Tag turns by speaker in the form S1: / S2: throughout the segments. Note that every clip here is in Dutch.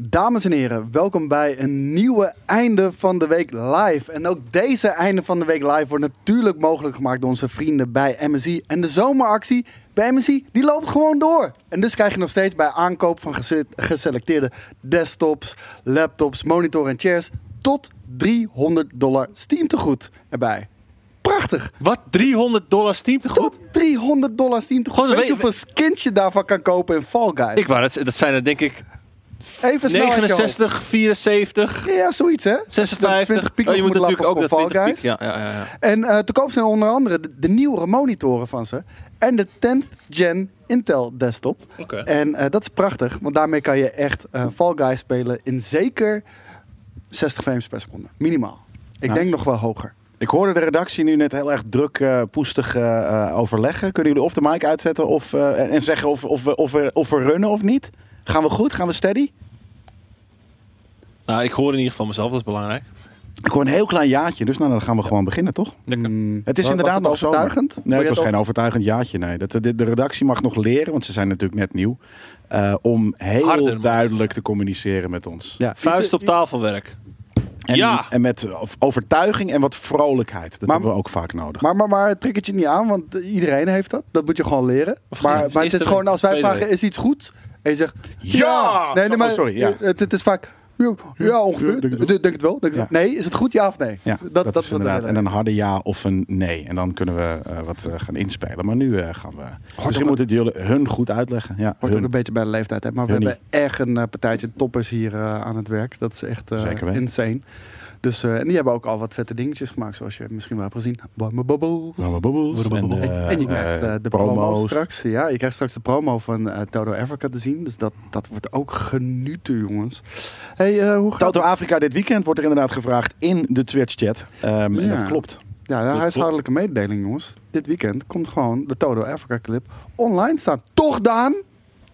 S1: Dames en heren, welkom bij een nieuwe Einde van de Week live. En ook deze Einde van de Week live wordt natuurlijk mogelijk gemaakt door onze vrienden bij MSI. En de zomeractie bij MSI, die loopt gewoon door. En dus krijg je nog steeds bij aankoop van gese- geselecteerde desktops, laptops, monitor en chairs... tot 300 dollar Steam tegoed erbij. Prachtig!
S2: Wat? 300 dollar Steam te goed?
S1: Tot 300 dollar Steam tegoed.
S2: Gewoon,
S1: Weet je
S2: we-
S1: hoeveel skins je daarvan kan kopen in Fall Guys?
S2: Ik wou, dat, dat zijn er denk ik
S1: Even snel uit je hoofd.
S2: 69, 74,
S1: Ja, zoiets hè?
S2: 56.
S1: 20 piek
S2: Oh, je
S1: nog
S2: moet
S1: moet
S2: natuurlijk ook
S1: lappen
S2: dat
S1: voor
S2: 20
S1: Fall
S2: piek.
S1: Guys.
S2: Ja, ja, ja, ja.
S1: En eh, te koop zijn onder andere de, de nieuwere monitoren van ze. En de 10th gen Intel desktop.
S2: Oké.
S1: En eh, dat is prachtig, want daarmee kan je echt eh, Fall Guys spelen in zeker 60 frames per seconde. Minimaal. Ik
S3: Nice.
S1: denk nog wel hoger.
S3: Ik hoorde de redactie nu net heel erg druk, eh, poestig eh, eh, overleggen. Kunnen jullie of de mic uitzetten of, eh, en- en zeggen of, of, we- of, we- of we runnen of niet? Gaan we goed? Gaan we steady?
S2: Nou, ik hoor in ieder geval mezelf, dat is belangrijk.
S3: Ik hoor een heel klein jaatje, dus nou, dan gaan we gewoon beginnen, toch?
S1: Mm,
S3: Het is
S1: wa-
S3: inderdaad
S1: was
S3: nog
S1: het
S3: zomer.
S1: overtuigend. Wil
S3: Nee,
S1: je
S3: het was
S1: het
S3: geen overtuigend jaatje. Nee. Dat, eh, de, de redactie mag nog leren, want ze zijn natuurlijk net nieuw. eh, om heel
S2: Harder, man.
S3: duidelijk te communiceren met ons.
S1: Ja,
S2: Vuist
S1: iets-
S2: op tafelwerk.
S3: En,
S2: Ja.
S3: en met of- overtuiging en wat vrolijkheid. Dat
S1: Maar-
S3: hebben we ook vaak nodig.
S1: Maar, maar, maar het triggert je niet aan, want iedereen heeft dat. Dat moet je gewoon leren.
S2: Of
S1: maar
S2: niet,
S1: maar het
S2: eerste
S1: is gewoon als wij
S2: tweede
S1: vragen,
S2: week.
S1: is iets goed? En je zegt, ja!
S3: Ja!
S1: Nee, nee, maar
S3: Oh, sorry, ja.
S1: het, het is vaak, ja, ja ongeveer.
S3: ja,
S1: denk
S3: denk
S1: het
S3: het
S1: wel.
S3: wel.
S1: Denk het wel.
S3: Ja.
S1: Nee, is het goed, ja of nee?
S3: ja, dat,
S1: wat
S3: is
S1: we
S3: inderdaad.
S1: willen.
S3: En een harde ja of een nee. En dan kunnen we eh, wat eh, gaan inspelen. Maar nu eh, gaan we...
S1: ook-
S3: misschien moeten jullie hun goed uitleggen. Ja,
S1: Wordt ook
S3: hun.
S1: een beetje bij de leeftijd, hè? maar we
S3: Hun
S1: hebben echt een eh, partijtje toppers hier eh, aan het werk. Dat is echt eh,
S3: Zeker weten.
S1: insane. Dus, eh, en die hebben ook al wat vette dingetjes gemaakt, zoals je misschien wel hebt gezien. Warme bubbles.
S3: Nou, maar boeboels. En,
S1: En,
S3: eh,
S1: en je krijgt
S3: eh,
S1: eh, de promo straks. Ja, je krijgt straks de promo van eh, Toto Africa te zien. Dus dat, dat wordt ook genieten, jongens. hey, eh, hoe gaat
S3: Toto
S1: het?
S3: Afrika dit weekend wordt er inderdaad gevraagd in de Twitch-chat. Ehm,
S1: Ja.
S3: En dat klopt.
S1: Ja, de huishoudelijke mededeling, jongens. Dit weekend komt gewoon de Toto Africa clip online staan. Toch, Daan?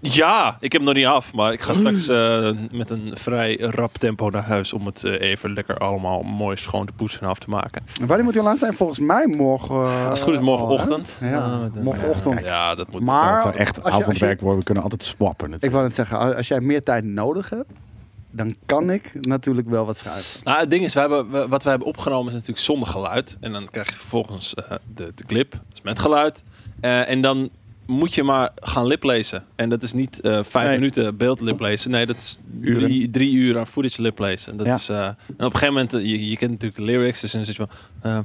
S2: Ja, ik heb hem nog niet af, maar ik ga straks eh, met een vrij rap tempo naar huis om het eh, even lekker allemaal mooi schoon te poetsen en af te maken.
S1: En Wanneer moet die online staan? Volgens mij morgen... eh,
S2: Als het goed is, morgenochtend.
S1: al, hè? Ja,
S2: Ah, dan-
S1: morgenochtend.
S2: Ja, dat moet.
S1: Maar
S3: dat zou echt
S1: als je- als je-
S3: avondwerk worden. We kunnen altijd swappen.
S1: Ik
S3: natuurlijk.
S1: wou net zeggen, als jij meer tijd nodig hebt, dan kan ik natuurlijk wel wat schuiven.
S2: Nou, het ding is, wij hebben, we- wat wij hebben opgenomen is natuurlijk zonder geluid. En dan krijg je vervolgens eh, de, de clip, dus met geluid. Eh, en dan moet je maar gaan liplezen. En dat is niet eh, vijf
S3: Nee.
S2: minuten beeld liplezen. Nee, dat is
S3: Uren.
S2: drie, drie uur aan footage liplezen. En, dat
S3: Ja.
S2: is, eh, en op een gegeven moment, eh, je, je kent natuurlijk de lyrics. Dus dan zit je van... ehm,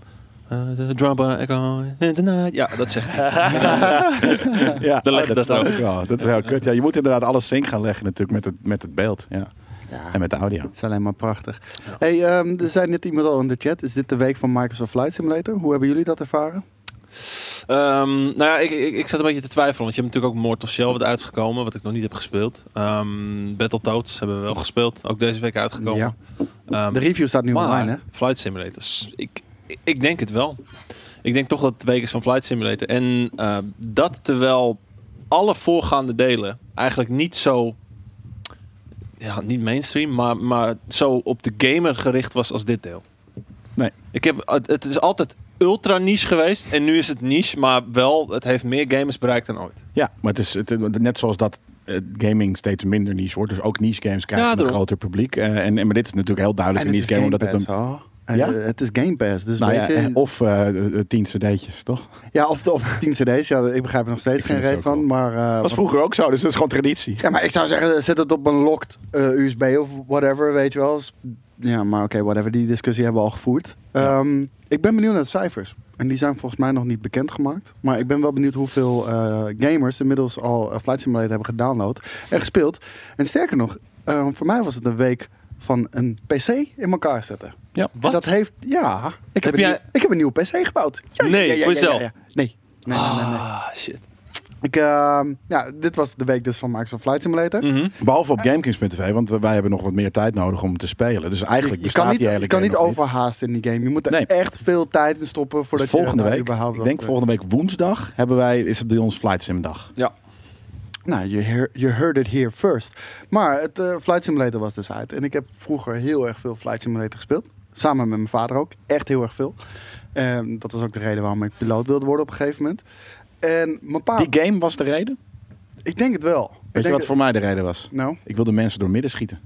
S2: eh, the drummer echo in the night. Ja, dat zegt hij.
S3: Ja,
S2: Dan leg je dat
S3: snap
S2: wel.
S3: ik wel. Dat is heel kut. Ja, je moet inderdaad alles zink gaan leggen natuurlijk met het, met het beeld. Ja.
S1: Ja.
S3: En met de audio.
S1: is alleen maar prachtig. Hey, ehm, er zei net iemand al in de chat. Is dit de week van Microsoft Flight Simulator? Hoe hebben jullie dat ervaren?
S2: Ehm, nou ja, ik, ik, ik zat een beetje te twijfelen. Want je hebt natuurlijk ook Mortal Shell wat uitgekomen. Wat ik nog niet heb gespeeld. Ehm Battletoads hebben we wel gespeeld. Ook deze week uitgekomen.
S1: Ja.
S2: Ehm,
S1: De review staat nu
S2: maar
S1: online, hè?
S2: Flight Simulators. Ik, ik denk het wel. Ik denk toch dat het week is van Flight Simulator. En eh, dat terwijl alle voorgaande delen eigenlijk niet zo... Ja, niet mainstream, maar, maar zo op de gamer gericht was als dit deel.
S3: Nee.
S2: Ik heb, het- het is altijd ultra niche geweest. En nu is het niche, maar wel, het heeft meer gamers bereikt dan ooit.
S3: Ja, maar het is het, net zoals dat eh, gaming steeds minder niche wordt. Dus ook niche games krijgen
S2: Ja,
S3: een
S2: daarom.
S3: groter publiek. Eh, en, en, maar dit is natuurlijk heel duidelijk een niche game. Omdat het een,
S1: een...
S3: Ja?
S1: het is Game Pass, dus
S3: nou
S1: weet
S3: ja,
S1: je- ja,
S3: eh, of eh, eh, tien cd'tjes, toch?
S1: of, de, of 10 cd's, ja, ik begrijp er nog steeds
S3: Ik
S1: geen
S3: vind het
S1: reet
S3: ook
S1: van,
S3: wel.
S1: maar... eh,
S3: Dat
S1: want-
S3: was vroeger ook zo, dus dat is gewoon traditie.
S1: ja, maar ik zou zeggen, zet het op een locked eh, USB of whatever, weet je wel. Ja, maar oké, whatever, die discussie hebben we al gevoerd. Ehm, ik ben benieuwd naar de cijfers. En die zijn volgens mij nog niet bekendgemaakt. Maar ik ben wel benieuwd hoeveel eh, gamers inmiddels al eh, Flight Simulator hebben gedownload en gespeeld. En sterker nog, eh, voor mij was het een week van een PC in elkaar zetten. En dat heeft, ja. Ik heb,
S2: Heb
S1: een,
S2: jij-
S1: nieuw- ik heb een nieuwe PC gebouwd. Ja, ja,
S2: Nee,
S1: ja, ja,
S2: voor
S1: ja,
S2: jezelf?
S1: ja, ja. Nee. Nee, nee, nee, nee.
S2: Ah, shit.
S1: Ik, ehm, ja, dit was de week dus van Microsoft Flight Simulator.
S2: Mhm.
S3: Behalve op GameKings.tv, want wij hebben nog wat meer tijd nodig om te spelen. Dus
S1: Je,
S3: eigenlijk
S1: je
S3: bestaat
S1: kan niet,
S3: die hele
S1: je kan
S3: game
S1: niet
S3: nog niet.
S1: overhaast in die game. Je moet er
S3: Nee.
S1: echt veel tijd in stoppen voordat
S3: Dus volgende
S1: je eh,
S3: week,
S1: überhaupt...
S3: ik denk
S1: wat-
S3: volgende week woensdag, hebben wij, is het bij ons Flight Sim dag.
S2: Ja.
S1: Nou, you, hear- you heard it here first. Maar het eh, Flight Simulator was dus uit. En ik heb vroeger heel erg veel Flight Simulator gespeeld. Samen met mijn vader ook. Echt heel erg veel. Ehm, dat was ook de reden waarom ik piloot wilde worden op een gegeven moment. En mijn pa...
S3: Die game was de reden?
S1: Ah. Ik denk het wel. ik
S3: Weet
S1: denk
S3: je wat
S1: het-
S3: voor mij de reden was?
S1: Nou,
S3: Ik wilde mensen door midden schieten.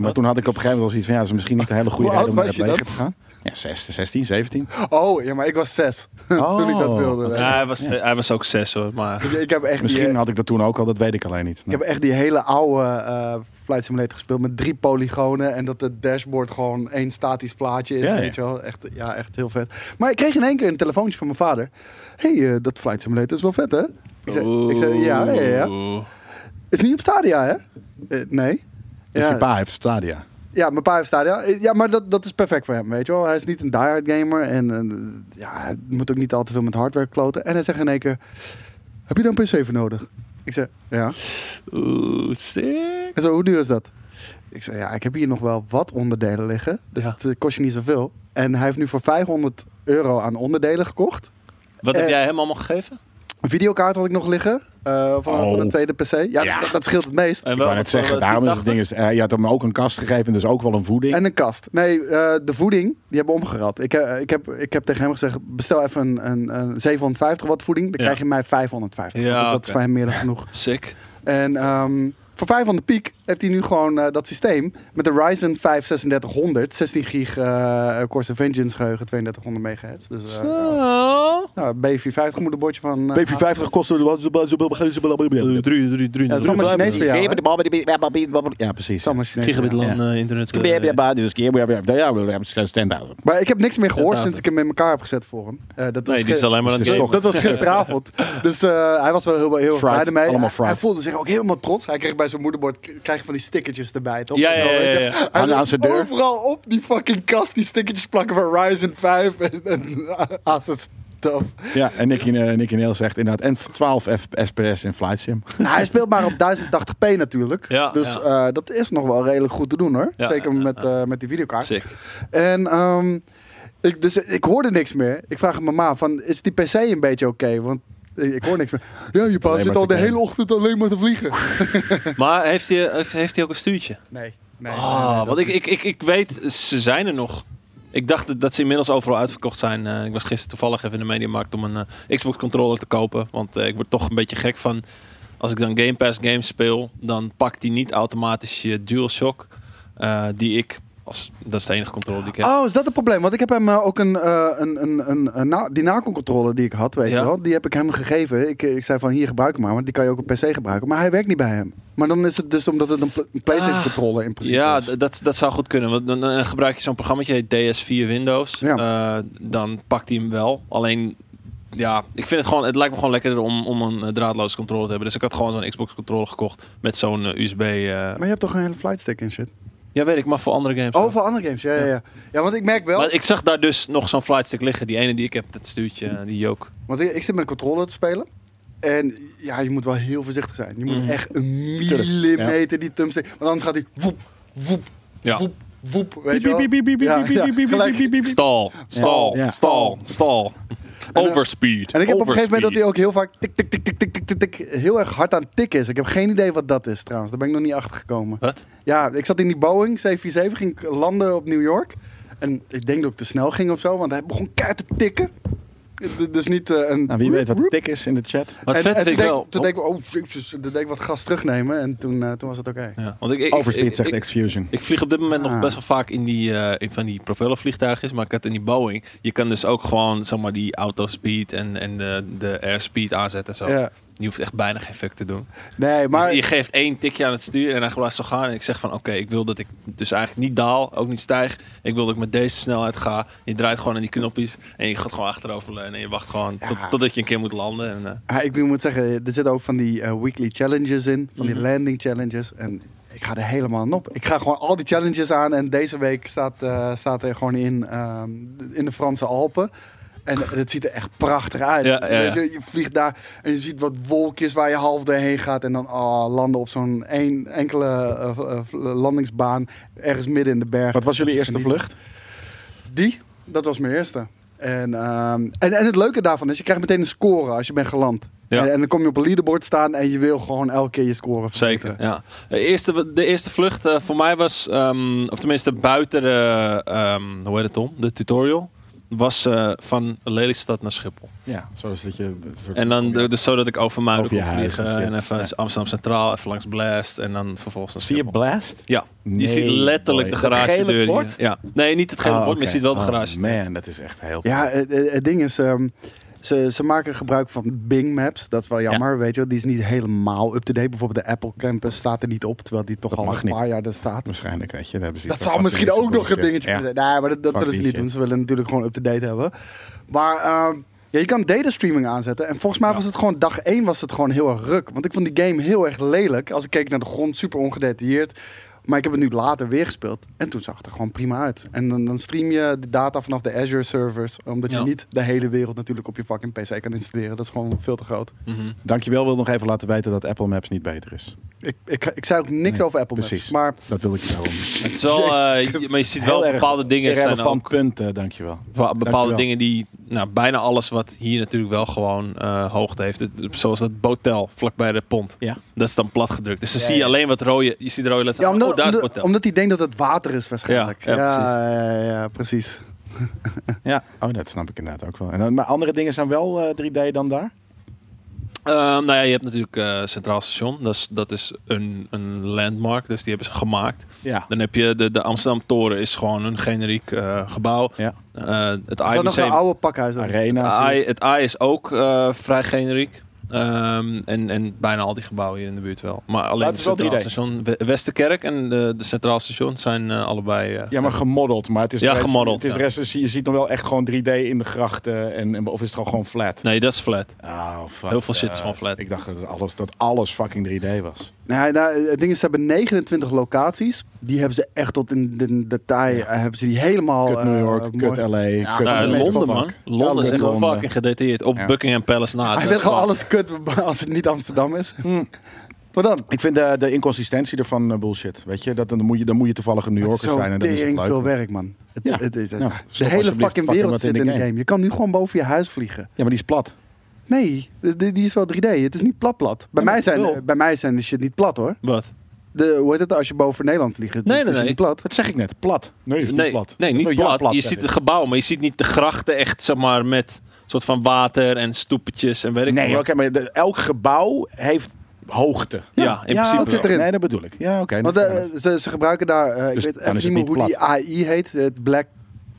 S3: Maar toen had ik op een gegeven moment al zoiets van, ja, dat is misschien niet een hele goede
S1: Hoe oud
S3: reden om
S1: was
S3: naar het
S1: je
S3: leger
S1: dan?
S3: te gaan. Ja, 16, 16 17.
S1: Oh, ja, maar ik was zes toen ik
S3: Oh.
S1: dat wilde.
S2: Ja, hij, was, hij was ook zes hoor, maar...
S1: Ik, ik heb echt die,
S3: Misschien had ik dat toen ook al, dat weet ik alleen niet.
S1: ik heb echt die hele oude eh, Flight Simulator gespeeld met drie polygonen en dat het dashboard gewoon één statisch plaatje is,
S3: Ja, ja.
S1: weet je wel. Echt, ja, echt heel vet. Maar ik kreeg in één keer een telefoontje van mijn vader. Hé, hey, eh, dat Flight Simulator is wel vet, hè? Ik zei, ik zei ja, ja, ja, ja.
S2: Oeh.
S1: Is niet op Stadia, hè? Eh, nee.
S3: Dus
S1: Ja.
S3: je pa heeft Stadia.
S1: Ja, mijn pa heeft Stadia. Eh, Ja, maar dat, dat is perfect voor hem, weet je wel. Hij is niet een diehard gamer en eh, ja, hij moet ook niet al te veel met hardware kloten. En hij zegt in één keer, heb je dan een PC voor nodig? Ik zeg, ja.
S2: Oeh, sick.
S1: En zo, hoe duur is dat? Ik zei, ja, ik heb hier nog wel wat onderdelen liggen, dus
S2: Ja.
S1: het eh, kost je niet zoveel. En hij heeft nu voor 500 euro aan onderdelen gekocht.
S2: Wat heb
S1: Eh,
S2: jij hem allemaal gegeven?
S1: Een videokaart had ik nog liggen eh, van, van een
S3: Oh.
S1: tweede PC. Ja,
S3: Ja.
S1: Dat, dat scheelt het meest.
S2: En
S3: Ik wou net zeggen, daarom is het ding is, eh, je had hem ook een kast gegeven, dus ook wel een voeding.
S1: En een kast. Nee, eh, de voeding, die hebben we omgerad. Ik, eh, ik, heb, ik heb tegen hem gezegd, bestel even een, een, een 750 watt voeding. Dan
S2: Ja.
S1: krijg je mij 550.
S2: Ja,
S1: dat
S2: oké.
S1: is voor hem meer dan genoeg.
S2: Sick.
S1: En ehm, voor 500 piek heeft hij nu gewoon eh, dat systeem. Met de Ryzen 5 3600, 16 gig eh Corsair Vengeance geheugen, 3200 megahertz. Dus eh,
S2: Zo.
S1: nou, B450 moet een bordje van... eh,
S3: B450 kostte wat
S2: Drie, drie, drie, drie.
S1: Ja, het is allemaal Chinees voor jou, hè? Het
S3: Ja, precies.
S1: is allemaal Chinees.
S2: Gigabit
S1: ja.
S2: LAN eh, internet. eh,
S1: Maar ik heb niks meer gehoord
S2: Ja,
S1: sinds ik hem in elkaar heb gezet voor hem. Eh, dat was
S2: Nee, die is
S1: ge-
S2: alleen maar aan het
S1: Dus
S3: Stok.
S2: gamen.
S1: dat was gisteravond. Dus eh, hij was wel heel, heel erg
S3: Fried.
S1: blij ermee.
S3: Allemaal
S1: Hij-
S3: fried.
S1: Hij voelde zich ook helemaal trots. Hij kreeg bij zijn moederbord k- krijg je van die stickertjes erbij. Toch?
S2: Ja,
S1: Zo,
S2: ja, ja,
S1: weet je.
S2: ja.
S1: Hij
S3: Aan-
S1: zei,
S3: aan zijn deur.
S1: Overal op die fucking kast die stickertjes plakken van Ryzen 5 en, en Asus stuff.
S3: Ja, en Nicky, eh, Nicky Neal zegt inderdaad, en 12 F- SPS in Flight Sim.
S1: Nou, hij speelt maar op 1080p natuurlijk.
S2: Ja,
S1: dus
S2: ja.
S1: eh, dat is nog wel redelijk goed te doen hoor.
S2: Ja,
S1: Zeker
S2: ja, ja,
S1: met, eh, met die videokaart.
S2: Sick.
S1: En ehm, ik, dus, ik hoorde niks meer. Ik vraag aan mijn ma, van, is die PC een beetje oké? Want eh, ik hoor niks meer. Ja, je pa
S3: Alleen
S1: zit
S3: maar
S1: al
S3: te
S1: de hele
S3: gamen.
S1: ochtend alleen maar te vliegen.
S2: Maar heeft hij, heeft, heeft hij ook een stuurtje?
S1: Nee. nee, nee, nee,
S2: Ah,
S1: dat
S2: want ik,
S1: niet.
S2: ik, ik, ik weet, ze zijn er nog. Ik dacht dat- dat ze inmiddels overal uitverkocht zijn. Eh, ik was gisteren toevallig even in de mediamarkt om een eh, Xbox controller te kopen. Want eh, ik word toch een beetje gek van... Als ik dan Game Pass games speel, dan pakt die niet automatisch je DualShock. eh, die ik... Als, dat is de enige controller die ik heb.
S1: Oh, is dat het probleem? Want ik heb hem eh, ook een, eh, een, een, een, een na- die Nacon-controller die ik had, weet
S2: Ja.
S1: je wel. Die heb ik hem gegeven. Ik, ik zei van, hier, gebruik hem maar. Want die kan je ook op PC gebruiken. Maar hij werkt niet bij hem. Maar dan is het dus omdat het een, pl- een PlayStation-controller in principe
S2: Ah. Ja,
S1: is.
S2: d- dat, dat zou goed kunnen. Want dan, dan gebruik je zo'n programma, heet DS4 Windows.
S1: Ja.
S2: Eh, dan pakt hij hem wel. Alleen, ja, ik vind het gewoon, het lijkt me gewoon lekkerder om, om een eh, draadloze controller te hebben. Dus ik had gewoon zo'n Xbox controller gekocht met zo'n eh, USB. eh,
S1: Maar je hebt toch een hele flight stick in shit?
S2: Ja, weet ik, maar voor andere games. ook.
S1: Oh, voor andere games. Ja, ja, ja. Ja, want ik merk wel...
S2: Maar ik zag daar dus nog zo'n flightstick liggen. Die ene die ik heb, dat stuurtje, eh, die jook.
S1: Want ik, ik zit met een controller te spelen. En ja, je moet wel heel voorzichtig zijn. Je moet
S2: Mhm.
S1: echt een millimeter die thumbstick... Want anders gaat hij woep, woep,
S2: Ja.
S1: woep, woep. Weet je wel? Ja, ja, gelijk.
S2: Stal, stal,
S3: Ja.
S2: stal,
S1: eh,
S2: stal.
S1: dan-
S2: Overspeed.
S1: En ik heb op een gegeven moment dat
S2: overspeed.
S1: hij ook heel vaak tik, tik, tik, tik, tik, tik, tik, tik, heel erg hard aan het tikken is. Ik heb geen idee wat dat is trouwens. Daar ben ik nog niet achter gekomen.
S2: Wat?
S1: Ja, ik zat in die Boeing 747, ging ik landen op New York. En ik denk dat ik te snel ging of zo, want hij begon keihard te tikken. D- Dus niet eh, een...
S3: Nou, wie weet wat de tik is in de chat.
S2: Wat
S1: en,
S2: vet
S1: en
S2: vind ik
S1: toen
S2: wel.
S1: deed- Toen deed ik, oh, jezus, toen deed ik wat gas terugnemen en toen, eh, toen was het oké.
S2: Ja, want ik, ik, ik-
S3: Overspeed
S2: ik-
S3: zegt
S2: ik-
S3: X-Fusion.
S2: Ik vlieg op dit moment
S1: Ah.
S2: nog best wel vaak in, die, eh, in van die propellervliegtuigjes, maar ik had in die Boeing. Je kan dus ook gewoon zeg maar, die autospeed en, en de, de airspeed aanzetten en zo.
S1: Ja.
S2: Je hoeft echt bijna geen fuck te doen.
S1: Nee, maar
S2: je geeft één tikje aan het stuur en hij laat zo gaan. En ik zeg van oké, ik wil dat ik dus eigenlijk niet daal, ook niet stijg. Ik wil dat ik met deze snelheid ga. Je draait gewoon aan die knopjes en je gaat gewoon achterover leunen. En je wacht gewoon
S1: Ja.
S2: tot, totdat je een keer moet landen. En, eh,
S1: ah, ik moet zeggen, er zitten ook van die eh, weekly challenges in, van die
S2: Mhm.
S1: landing challenges. En ik ga er helemaal aan op. Ik ga gewoon al die challenges aan en deze week staat, eh, staat er gewoon in, ehm, in de Franse Alpen. En het ziet er echt prachtig uit.
S2: Ja, ja, ja.
S1: Weet Je, je vliegt daar en je ziet wat wolkjes waar je half doorheen gaat. En dan ah, landen op zo'n één, enkele eh, eh, landingsbaan ergens midden in de berg.
S3: Wat was jullie
S1: Dat is
S3: eerste
S1: genieten.
S3: vlucht?
S1: Die, dat was mijn eerste. En, ehm, en, en het leuke daarvan is, je krijgt meteen een score als je bent geland.
S2: Ja.
S1: En, en dan kom je op een leaderboard staan en je wil gewoon elke keer je score verbeteren.
S2: Zeker, ja. De eerste, de eerste vlucht eh, voor mij was, ehm, of tenminste buiten de, ehm, hoe heet het om, de tutorial, was eh, van Lelystad naar Schiphol.
S3: Ja, zoals dat je... dat soort-
S2: En dan de- dus zodat ik over Muiden
S3: Oh, Over je
S2: kon
S3: huis en
S2: vliegen.
S3: shit.
S2: En even
S3: Ja.
S2: Amsterdam Centraal, even langs Blast. En dan vervolgens naar
S3: Zie je
S2: Schiphol.
S3: Blast?
S2: Ja,
S3: Nee,
S2: je ziet letterlijk
S3: boy.
S2: de
S3: Dat
S2: garage
S3: gele
S2: deur.
S3: bord?
S2: Ja. Nee, niet het gele
S3: Oh,
S2: bord, maar
S3: oké.
S2: je ziet wel de
S3: Oh,
S2: garage
S3: man, dat is echt heel...
S1: Ja, het, het- het ding is, ehm, ze, ze maken gebruik van Bing Maps. Dat is wel jammer, weet je wel. Die is niet helemaal up-to-date. Bijvoorbeeld de Apple Campus staat er niet op, terwijl die toch
S3: Dat
S1: al
S3: mag
S1: een
S3: niet.
S1: paar jaar er staat.
S3: waarschijnlijk, weet je. daar hebben ze
S1: Dat
S3: iets van
S1: zou misschien ook nog een
S3: bullshit.
S1: dingetje
S3: Ja.
S1: kunnen zijn. Nee, maar dat, dat
S3: Fuck
S1: zullen ze
S3: die
S1: niet
S3: shit.
S1: doen. Ze willen natuurlijk gewoon up-to-date hebben. Maar ehm, ja, je kan data streaming aanzetten. En volgens mij was het gewoon dag één was het gewoon heel erg ruk. Want ik vond die game heel erg lelijk. Als ik keek naar de grond, super ongedetailleerd. Maar ik heb het nu later weer gespeeld. En toen zag het er gewoon prima uit. En dan, dan stream je de data vanaf de Azure servers. Omdat
S2: Ja.
S1: je niet de hele wereld natuurlijk op je fucking PC kan installeren. Dat is gewoon veel te groot.
S2: deur. Mhm.
S3: Dankjewel, wil nog even laten weten dat Apple Maps niet beter is.
S1: Ik, ik, ik zei ook niks
S3: Nee,
S1: over Apple
S3: precies.
S1: Maps. Maar
S3: Dat wil ik zo.
S2: Het is wel, eh,
S1: Jezus,
S2: je- maar je ziet wel
S3: heel erg
S2: bepaalde dingen zijn
S3: Irrelevant
S2: ook.
S3: punt, eh, dankjewel.
S2: bepa- Bepaalde
S3: Dankjewel.
S2: dingen die, nou, bijna alles wat hier natuurlijk wel gewoon eh, hoogte heeft. Het- zoals dat botel vlakbij de pont.
S3: Ja.
S2: Dat is dan plat gedrukt. Dus dan
S3: Ja,
S2: zie je
S3: ja.
S2: alleen wat rode. Je ziet de rode letters.
S1: ja, omdat,
S2: oh, daar is
S1: omdat,
S2: botel.
S1: omdat hij denkt dat het water is waarschijnlijk.
S2: Ja, ja,
S1: ja, ja, ja,
S3: Ah,
S1: precies.
S3: Ja, oh, dat snap ik inderdaad ook wel. En, dan- maar andere dingen zijn wel eh, 3D dan daar?
S2: Ehm, nou ja, je hebt natuurlijk eh, Centraal Station. Dat is, dat is een, een landmark. Dus die hebben ze gemaakt.
S3: Ja.
S2: Dan heb je de, de Amsterdam Toren is gewoon een generiek eh, gebouw.
S3: Ja.
S2: Eh, het
S1: Is dat
S2: AI
S1: nog een
S2: Museum
S1: oude pakhuis? Dan?
S3: Arena.
S2: AI, het AI is ook eh, vrij generiek. Ehm, en, en bijna al die gebouwen hier in de buurt wel. Maar alleen
S3: het
S2: het
S3: is wel
S2: Centraal
S3: 3D.
S2: Station, We- Westerkerk en de, de Centraal Station zijn eh, allebei... eh,
S3: Ja, maar gemodeld. Maar het is
S2: Ja,
S3: de rest-
S2: gemodeld,
S3: Het is de
S2: ja.
S3: rest, je ziet nog wel echt gewoon 3D in de grachten. En, en- of is het gewoon gewoon flat?
S2: Nee, dat is flat.
S3: Oh, fuck.
S2: Heel veel shit is
S3: Eh,
S2: gewoon flat.
S3: Ik dacht dat alles, dat alles fucking 3D was.
S1: Nee, nou, het ding is, ze hebben 29 locaties. Die hebben ze echt tot in de detail. eh, hebben ze die helemaal.
S3: Kut New
S1: eh,
S3: York,
S1: mooi-
S3: kut LA, kut
S2: Nou,
S1: dat is
S2: Londen,
S1: wel
S2: man. Londen is echt
S3: Londen.
S2: fucking gedetailleerd. Op
S3: Ja.
S2: Buckingham Palace na.
S1: Hij
S2: Dat
S1: vindt
S2: is
S1: gewoon
S2: waar.
S1: alles kut als het niet Amsterdam is.
S3: Hmm.
S1: Maar dan?
S3: Ik vind eh, de, de inconsistentie ervan eh, bullshit. Weet je? Dat, dan, moet je, dan moet je toevallig een New Yorker
S1: Zo
S3: zijn. En dat is het
S1: tering veel
S3: leuk.
S1: werk, man. Het,
S3: Ja.
S1: het- het- het-
S3: Nou,
S1: de
S3: stop
S1: hele
S3: alsjeblieft
S1: fucking
S3: fucking
S1: wereld
S3: wat in
S1: zit
S3: de
S1: in de
S3: game.
S1: game. Je kan nu gewoon boven je huis vliegen.
S3: Ja, maar die is plat.
S1: Nee, de- de- die is wel 3D. Het is niet plat plat. Bij,
S3: Ja,
S1: mij,
S3: maar
S1: zijn,
S3: wel.
S1: bij mij zijn de shit niet plat hoor.
S2: Wat?
S1: De, hoe heet het als je boven Nederland vliegt? Het
S2: Nee,
S1: is-
S2: nee,
S1: is
S2: nee.
S1: niet plat.
S3: Dat zeg ik net. Plat. Nee, is niet
S2: Nee,
S3: plat.
S2: nee
S3: Dat
S2: niet
S3: wil jou
S2: plat. Je
S3: zeg
S2: ziet
S3: ik.
S2: het gebouw, maar je ziet niet de grachten echt, zeg maar, met soort van water en stoepetjes en weet ik
S3: Nee,
S2: veel
S3: oké,
S2: wat.
S3: maar de- elk gebouw heeft hoogte.
S2: Ja, in principe
S1: dat zit
S2: wel.
S1: erin.
S3: Nee, dat bedoel ik. Ja, oké.
S1: Want
S3: dat-
S1: eh, ze, ze gebruiken daar, eh, ik
S3: Dus
S1: weet
S3: dan
S1: even
S3: is
S1: niet
S3: het
S1: meer
S3: niet
S1: hoe die AI heet, het Black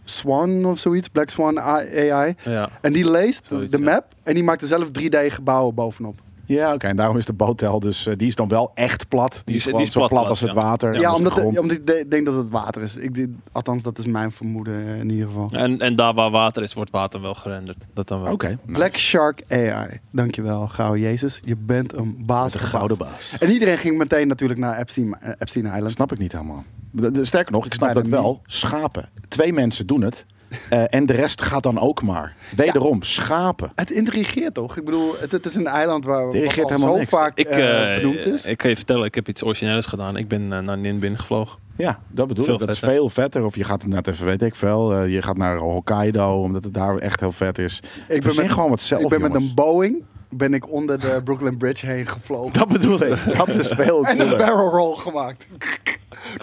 S1: Swan of zoiets, Black Swan AI.
S2: Ja.
S1: En die leest
S2: Zoiets,
S1: de
S2: ja.
S1: map en die maakt er zelf 3D gebouwen bovenop.
S3: Ja, oké. En daarom is de botel dus, eh, die is dan wel echt plat. Die, is,
S2: is- die
S3: gewoon
S2: is
S3: zo plat,
S2: plat, plat,
S3: als het
S2: ja.
S3: water.
S1: Ja,
S3: en als de
S1: omdat,
S3: grond.
S1: omdat ik de- denk dat het water is. Ik, denk- althans, dat is mijn vermoeden eh, in ieder geval.
S2: En, en daar waar water is, wordt water wel gerenderd. Dat dan wel.
S3: Oké. nou,
S1: Black Shark AI. Dankjewel, gauw Jezus. Je bent een baas.
S3: de
S1: gebaat.
S3: gouden baas.
S1: En iedereen ging meteen natuurlijk naar Epstein, eh, Epstein
S3: Dat
S1: Island.
S3: snap ik niet helemaal. De- de- Sterker nog, ik snap
S1: Bijna
S3: dat wel. Schapen. Twee mensen doen het. eh, en de rest gaat dan ook maar. Wederom, schapen.
S1: Het intrigeert toch? Ik bedoel, het, het is een eiland waar
S3: Het intrigeert
S1: wat al zo
S3: helemaal niks.
S1: vaak
S2: Ik,
S1: eh,
S2: eh,
S1: benoemd is.
S2: ik kan je vertellen, ik heb iets origineels gedaan. Ik ben eh, naar Ninbin gevlogen.
S3: Ja, dat bedoel
S2: Veel
S3: ik. Dat is
S2: vetter.
S3: veel vetter. Of je gaat inderdaad even, weet ik veel. eh, je gaat naar Hokkaido, omdat het daar echt heel vet is. Ik ben
S1: met-
S3: gewoon wat zelf,
S1: Ik ben met
S3: jongens.
S1: een Boeing ben ik onder de Brooklyn Bridge heen gevlogen.
S3: Dat bedoel ik. Dat is veel
S1: en een
S3: cooler.
S1: barrel roll gemaakt.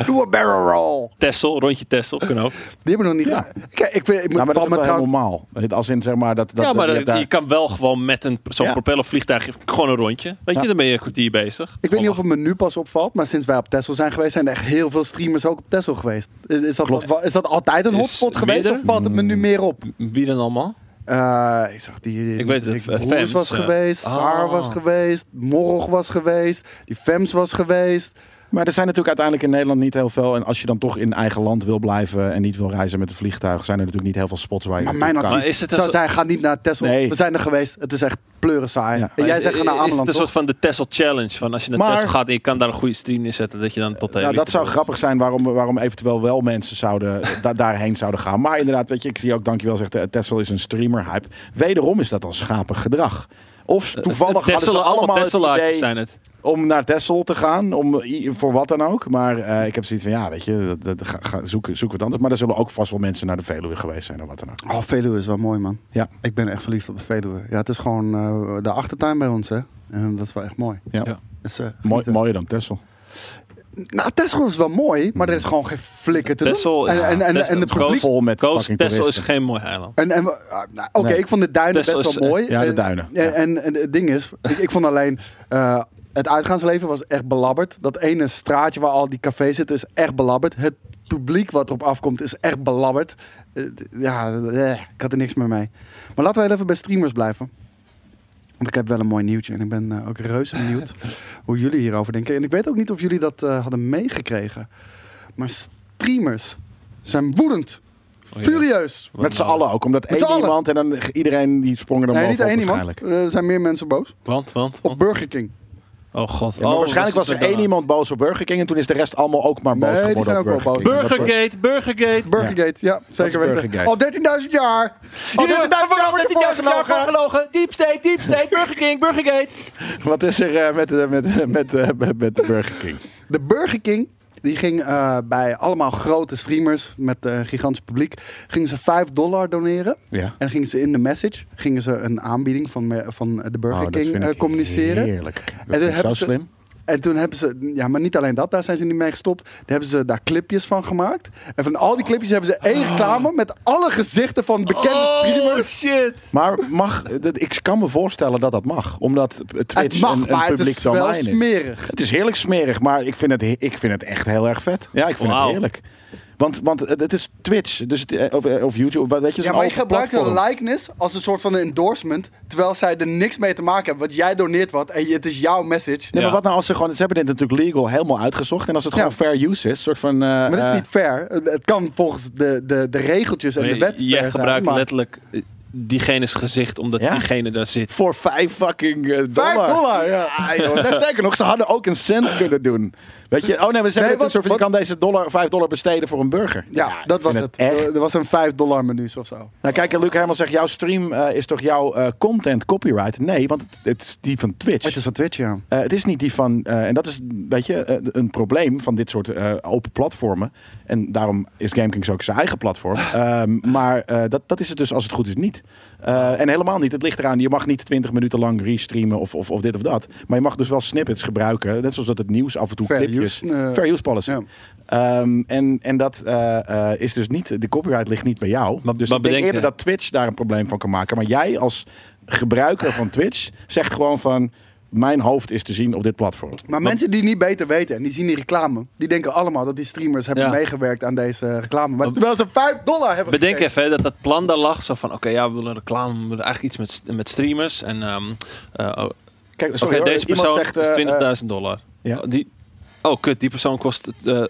S1: Doe een barrel roll.
S2: Tessel, rondje Tessel, kan ook.
S1: Die hebben we nog niet
S3: Ja.
S1: gedaan. Kijk, ik, vind, ik moet
S3: Nou, maar dat is ook
S1: Palmer
S3: wel
S1: trouwens-
S3: helemaal normaal. Als in, zeg maar, dat, dat,
S2: ja, maar
S3: dat je
S2: dat-
S3: hebt
S2: je,
S3: daar-
S2: kan wel gewoon met een, zo'n
S3: Ja.
S2: propellervliegtuig gewoon een rondje. Weet
S3: Ja.
S2: je, dan ben je een kwartier bezig.
S1: ik weet niet of het me nu pas opvalt, maar sinds wij op Tesla zijn geweest, zijn er echt heel veel streamers ook op Tesla geweest. Is, is
S2: Klopt.
S1: dat, is dat altijd een
S2: Is
S1: hotspot geweest
S2: minder?
S1: of valt het me
S3: Mm.
S1: nu meer op?
S2: Wie dan allemaal?
S1: Eh, ik zag die. die-
S2: Ik weet
S1: die
S2: dat, eh,
S1: Broers
S2: Fems,
S1: was
S2: eh,
S1: geweest,
S2: ah.
S1: Saar was geweest, Morg was geweest, die Fems was geweest.
S3: Maar er zijn natuurlijk uiteindelijk in Nederland niet heel veel. En als je dan toch in eigen land wil blijven en niet wil reizen met een vliegtuig, zijn er natuurlijk niet heel veel spots waar je
S1: Maar mijn
S3: naartoe kan.
S1: advies
S2: Maar is het een
S1: zou
S2: zo-
S1: zijn: ga niet naar Tesla.
S3: Nee.
S1: We zijn er geweest. Het is echt pleuren saai.
S3: Ja.
S1: En jij
S2: Is-
S1: zegt ga naar
S2: Is
S1: Ameland.
S2: het een
S1: toch?
S2: soort van de Tessel Challenge? Van als je naar
S3: Maar-
S2: Tessel gaat en je kan daar een goede stream in zetten, dat je dan tot de
S3: Nou,
S2: elite
S3: dat zou
S2: behoort.
S3: grappig zijn waarom, waarom eventueel wel mensen zouden, eh, da- daarheen zouden gaan. Maar inderdaad, weet je, ik zie ook, dankjewel, zegt eh, Tesla is een streamer-hype. Wederom is dat dan schapig gedrag. Of toevallig hadden ze
S2: Eh, Tessel,
S3: allemaal het
S2: Tesselaartjes
S3: idee
S2: zijn het.
S3: om naar Tesla te gaan, om, i- voor wat dan ook. Maar eh, ik heb zoiets van, ja, weet je, dat, dat, ga, ga- zoek, zoek wat anders. Maar er zullen ook vast wel mensen naar de Veluwe geweest zijn of wat dan ook.
S1: Oh, Veluwe is wel mooi, man.
S3: Ja.
S1: Ik ben echt verliefd op de Veluwe. Ja, het is gewoon eh, de achtertuin bij ons, hè. En dat is wel echt mooi.
S3: Ja.
S2: Ja.
S1: Dus, eh,
S3: Mooi,
S1: genieten.
S3: mooier dan Tesla.
S1: Nou, Tesla is wel mooi, maar er is gewoon geen flikker te
S2: Texel
S1: doen.
S2: is-
S1: En, en, en,
S2: Texel
S1: en
S2: is
S1: het
S2: groot.
S1: publiek...
S3: Vol met
S2: Coast
S3: fucking
S2: Texel is
S3: toeristen.
S2: geen mooi eiland.
S1: En, en, we- ah, nou, Oké,
S3: Nee.
S1: ik vond de duinen
S2: Texel
S1: best
S2: is,
S1: wel
S2: eh,
S1: mooi.
S3: ja, de
S1: En-
S3: duinen.
S1: En,
S3: Ja.
S1: en, en het ding is, ik, ik vond alleen... eh, het uitgaansleven was echt belabberd. Dat ene straatje waar al die cafés zitten is echt belabberd. Het publiek wat erop afkomt is echt belabberd. Eh, d- ja, eh, ik had er niks meer mee. Maar laten we heel even bij streamers blijven. Want ik heb wel een mooi nieuwtje en ik ben eh, ook reuze benieuwd hoe jullie hierover denken. En ik weet ook niet of jullie dat eh, hadden meegekregen. Maar streamers zijn woedend,
S3: Oh
S2: ja.
S1: furieus,
S3: Met z'n allen ook, omdat
S1: Met z'n
S3: één
S1: allen.
S3: iemand en dan iedereen die sprong er dan
S1: Nee, niet
S3: bovenop
S1: één iemand. Eh,
S3: waarschijnlijk.
S1: Er zijn meer mensen boos.
S2: Want, want,
S1: Op
S2: want.
S1: Burger King.
S2: Oh god.
S3: Ja, maar
S2: Oh,
S3: waarschijnlijk
S2: dat
S3: was
S2: is
S3: er
S2: het
S3: één
S2: dan.
S3: iemand boos op Burger King en toen is de rest allemaal ook maar boos
S1: Nee, die
S3: geworden
S1: zijn
S3: op
S1: ook wel
S3: Burger
S1: boos.
S3: King.
S2: Burgergate, Burgergate.
S1: Burgergate, ja, zeker
S3: is
S1: weten.
S3: Burgergate?
S1: Al 13.000 jaar! Al 13.000
S2: Jullie hebben
S1: jaar wordt je voorgelogen!
S2: voorgelogen. Deep state, deep state, Burger King, Burgergate.
S3: Wat is er eh, met, eh, met, eh, met, eh, met, met de Burger King?
S1: De Burger King, die ging eh, bij allemaal grote streamers met eh, gigantisch publiek, gingen ze 5 dollar doneren.
S3: Ja.
S1: En gingen ze in de message, gingen ze een aanbieding van, me- van de Burger
S3: Oh, dat
S1: King
S3: vind
S1: eh,
S3: ik
S1: communiceren.
S3: Heerlijk. Dat
S1: dat
S3: vind ik
S1: hebben
S3: zo
S1: ze-
S3: slim.
S1: En toen hebben ze, ja, maar niet alleen dat, daar zijn ze niet mee gestopt. Daar hebben ze daar clipjes van gemaakt. En van al die clipjes hebben ze
S3: Oh.
S1: één reclame met alle gezichten van bekende
S2: Oh
S1: streamers.
S2: shit.
S3: Maar mag, dat, ik kan me voorstellen dat dat mag. Omdat Twitch
S1: Het mag,
S3: een, een
S1: maar het
S3: publiek
S1: is wel
S3: domein is.
S1: smerig.
S3: Het is heerlijk smerig, maar ik vind het, he- ik vind het echt heel erg vet. Ja, ik vind
S2: Wauw.
S3: het heerlijk. Want, want het het is Twitch dus het, eh, of, eh, of YouTube. wat- Weet je, het is
S1: Ja,
S3: een
S1: maar je
S3: open
S1: gebruikt een
S3: platform.
S1: likeness als een soort van een endorsement, terwijl zij er niks mee te maken hebben. Want jij doneert wat en je- het is jouw message.
S3: Nee,
S2: Ja.
S3: maar wat nou als ze gewoon... Ze hebben dit natuurlijk legal helemaal uitgezocht. En als het gewoon
S1: Ja.
S3: fair use is, soort van... eh,
S1: Maar dat
S3: eh,
S1: is niet fair. Het kan volgens de, de, de regeltjes en de wet fair
S2: Jij
S1: zijn,
S2: gebruikt
S1: maar
S2: letterlijk eh, diegene's gezicht omdat
S3: Ja?
S2: diegene daar zit.
S3: Voor vijf fucking eh, dollar.
S1: Vijf dollar, ja.
S3: Ah, joh. Nou, sterker nog, ze hadden ook een cent kunnen doen. Weet je, oh nee, we zeggen
S1: Nee, wat-
S3: nee, je
S1: wat-
S3: kan deze dollar, vijf dollar besteden voor een burger.
S1: Ja, dat
S3: ik
S1: was
S3: vind
S1: het.
S3: het echt-
S1: Er was een 5 dollar menu of zo.
S3: Nou kijk, en Luc Herman zegt, jouw stream eh, is toch jouw eh, content copyright? Nee, want het, het is die van Twitch.
S1: Het is van Twitch, ja.
S3: Eh, het is niet die van, eh, en dat is, weet je, eh, een probleem van dit soort eh, open platformen. En daarom is GameKings ook zijn eigen platform. Ehm, maar eh, dat, dat is het dus als het goed is niet. Eh, en helemaal niet. Het ligt eraan, je mag niet 20 minuten lang restreamen of, of, of dit of dat. Maar je mag dus wel snippets gebruiken. Net zoals dat het nieuws af en toe
S1: Fair
S3: clipjes.
S1: use, eh,
S3: fair use policy.
S1: ja.
S3: Ehm, en, en dat eh, eh, is dus niet, de copyright ligt niet bij jou.
S2: Maar-
S3: dus
S2: maar
S3: ik denk
S2: bedenk-
S3: eerder dat Twitch daar een probleem van kan maken. Maar jij als gebruiker van Twitch zegt gewoon van... Mijn hoofd is te zien op dit platform.
S1: Maar mensen die niet beter weten en die zien die reclame, die denken allemaal dat die streamers hebben
S2: Ja.
S1: meegewerkt aan deze reclame. Maar terwijl ze 5 dollar hebben
S2: Bedenk
S1: gegeven.
S2: even hè, dat dat plan daar lag. Zo van, oké, ja, we willen reclame, we willen eigenlijk iets met, st- met streamers. En ehm, eh, oh, oké,
S3: Kijk, sorry, hoor,
S2: deze
S3: iemand
S2: persoon
S3: zegt, eh, eh,
S2: is 20.000 dollar.
S3: ja.
S2: Oh, die, oh, kut, die persoon kost eh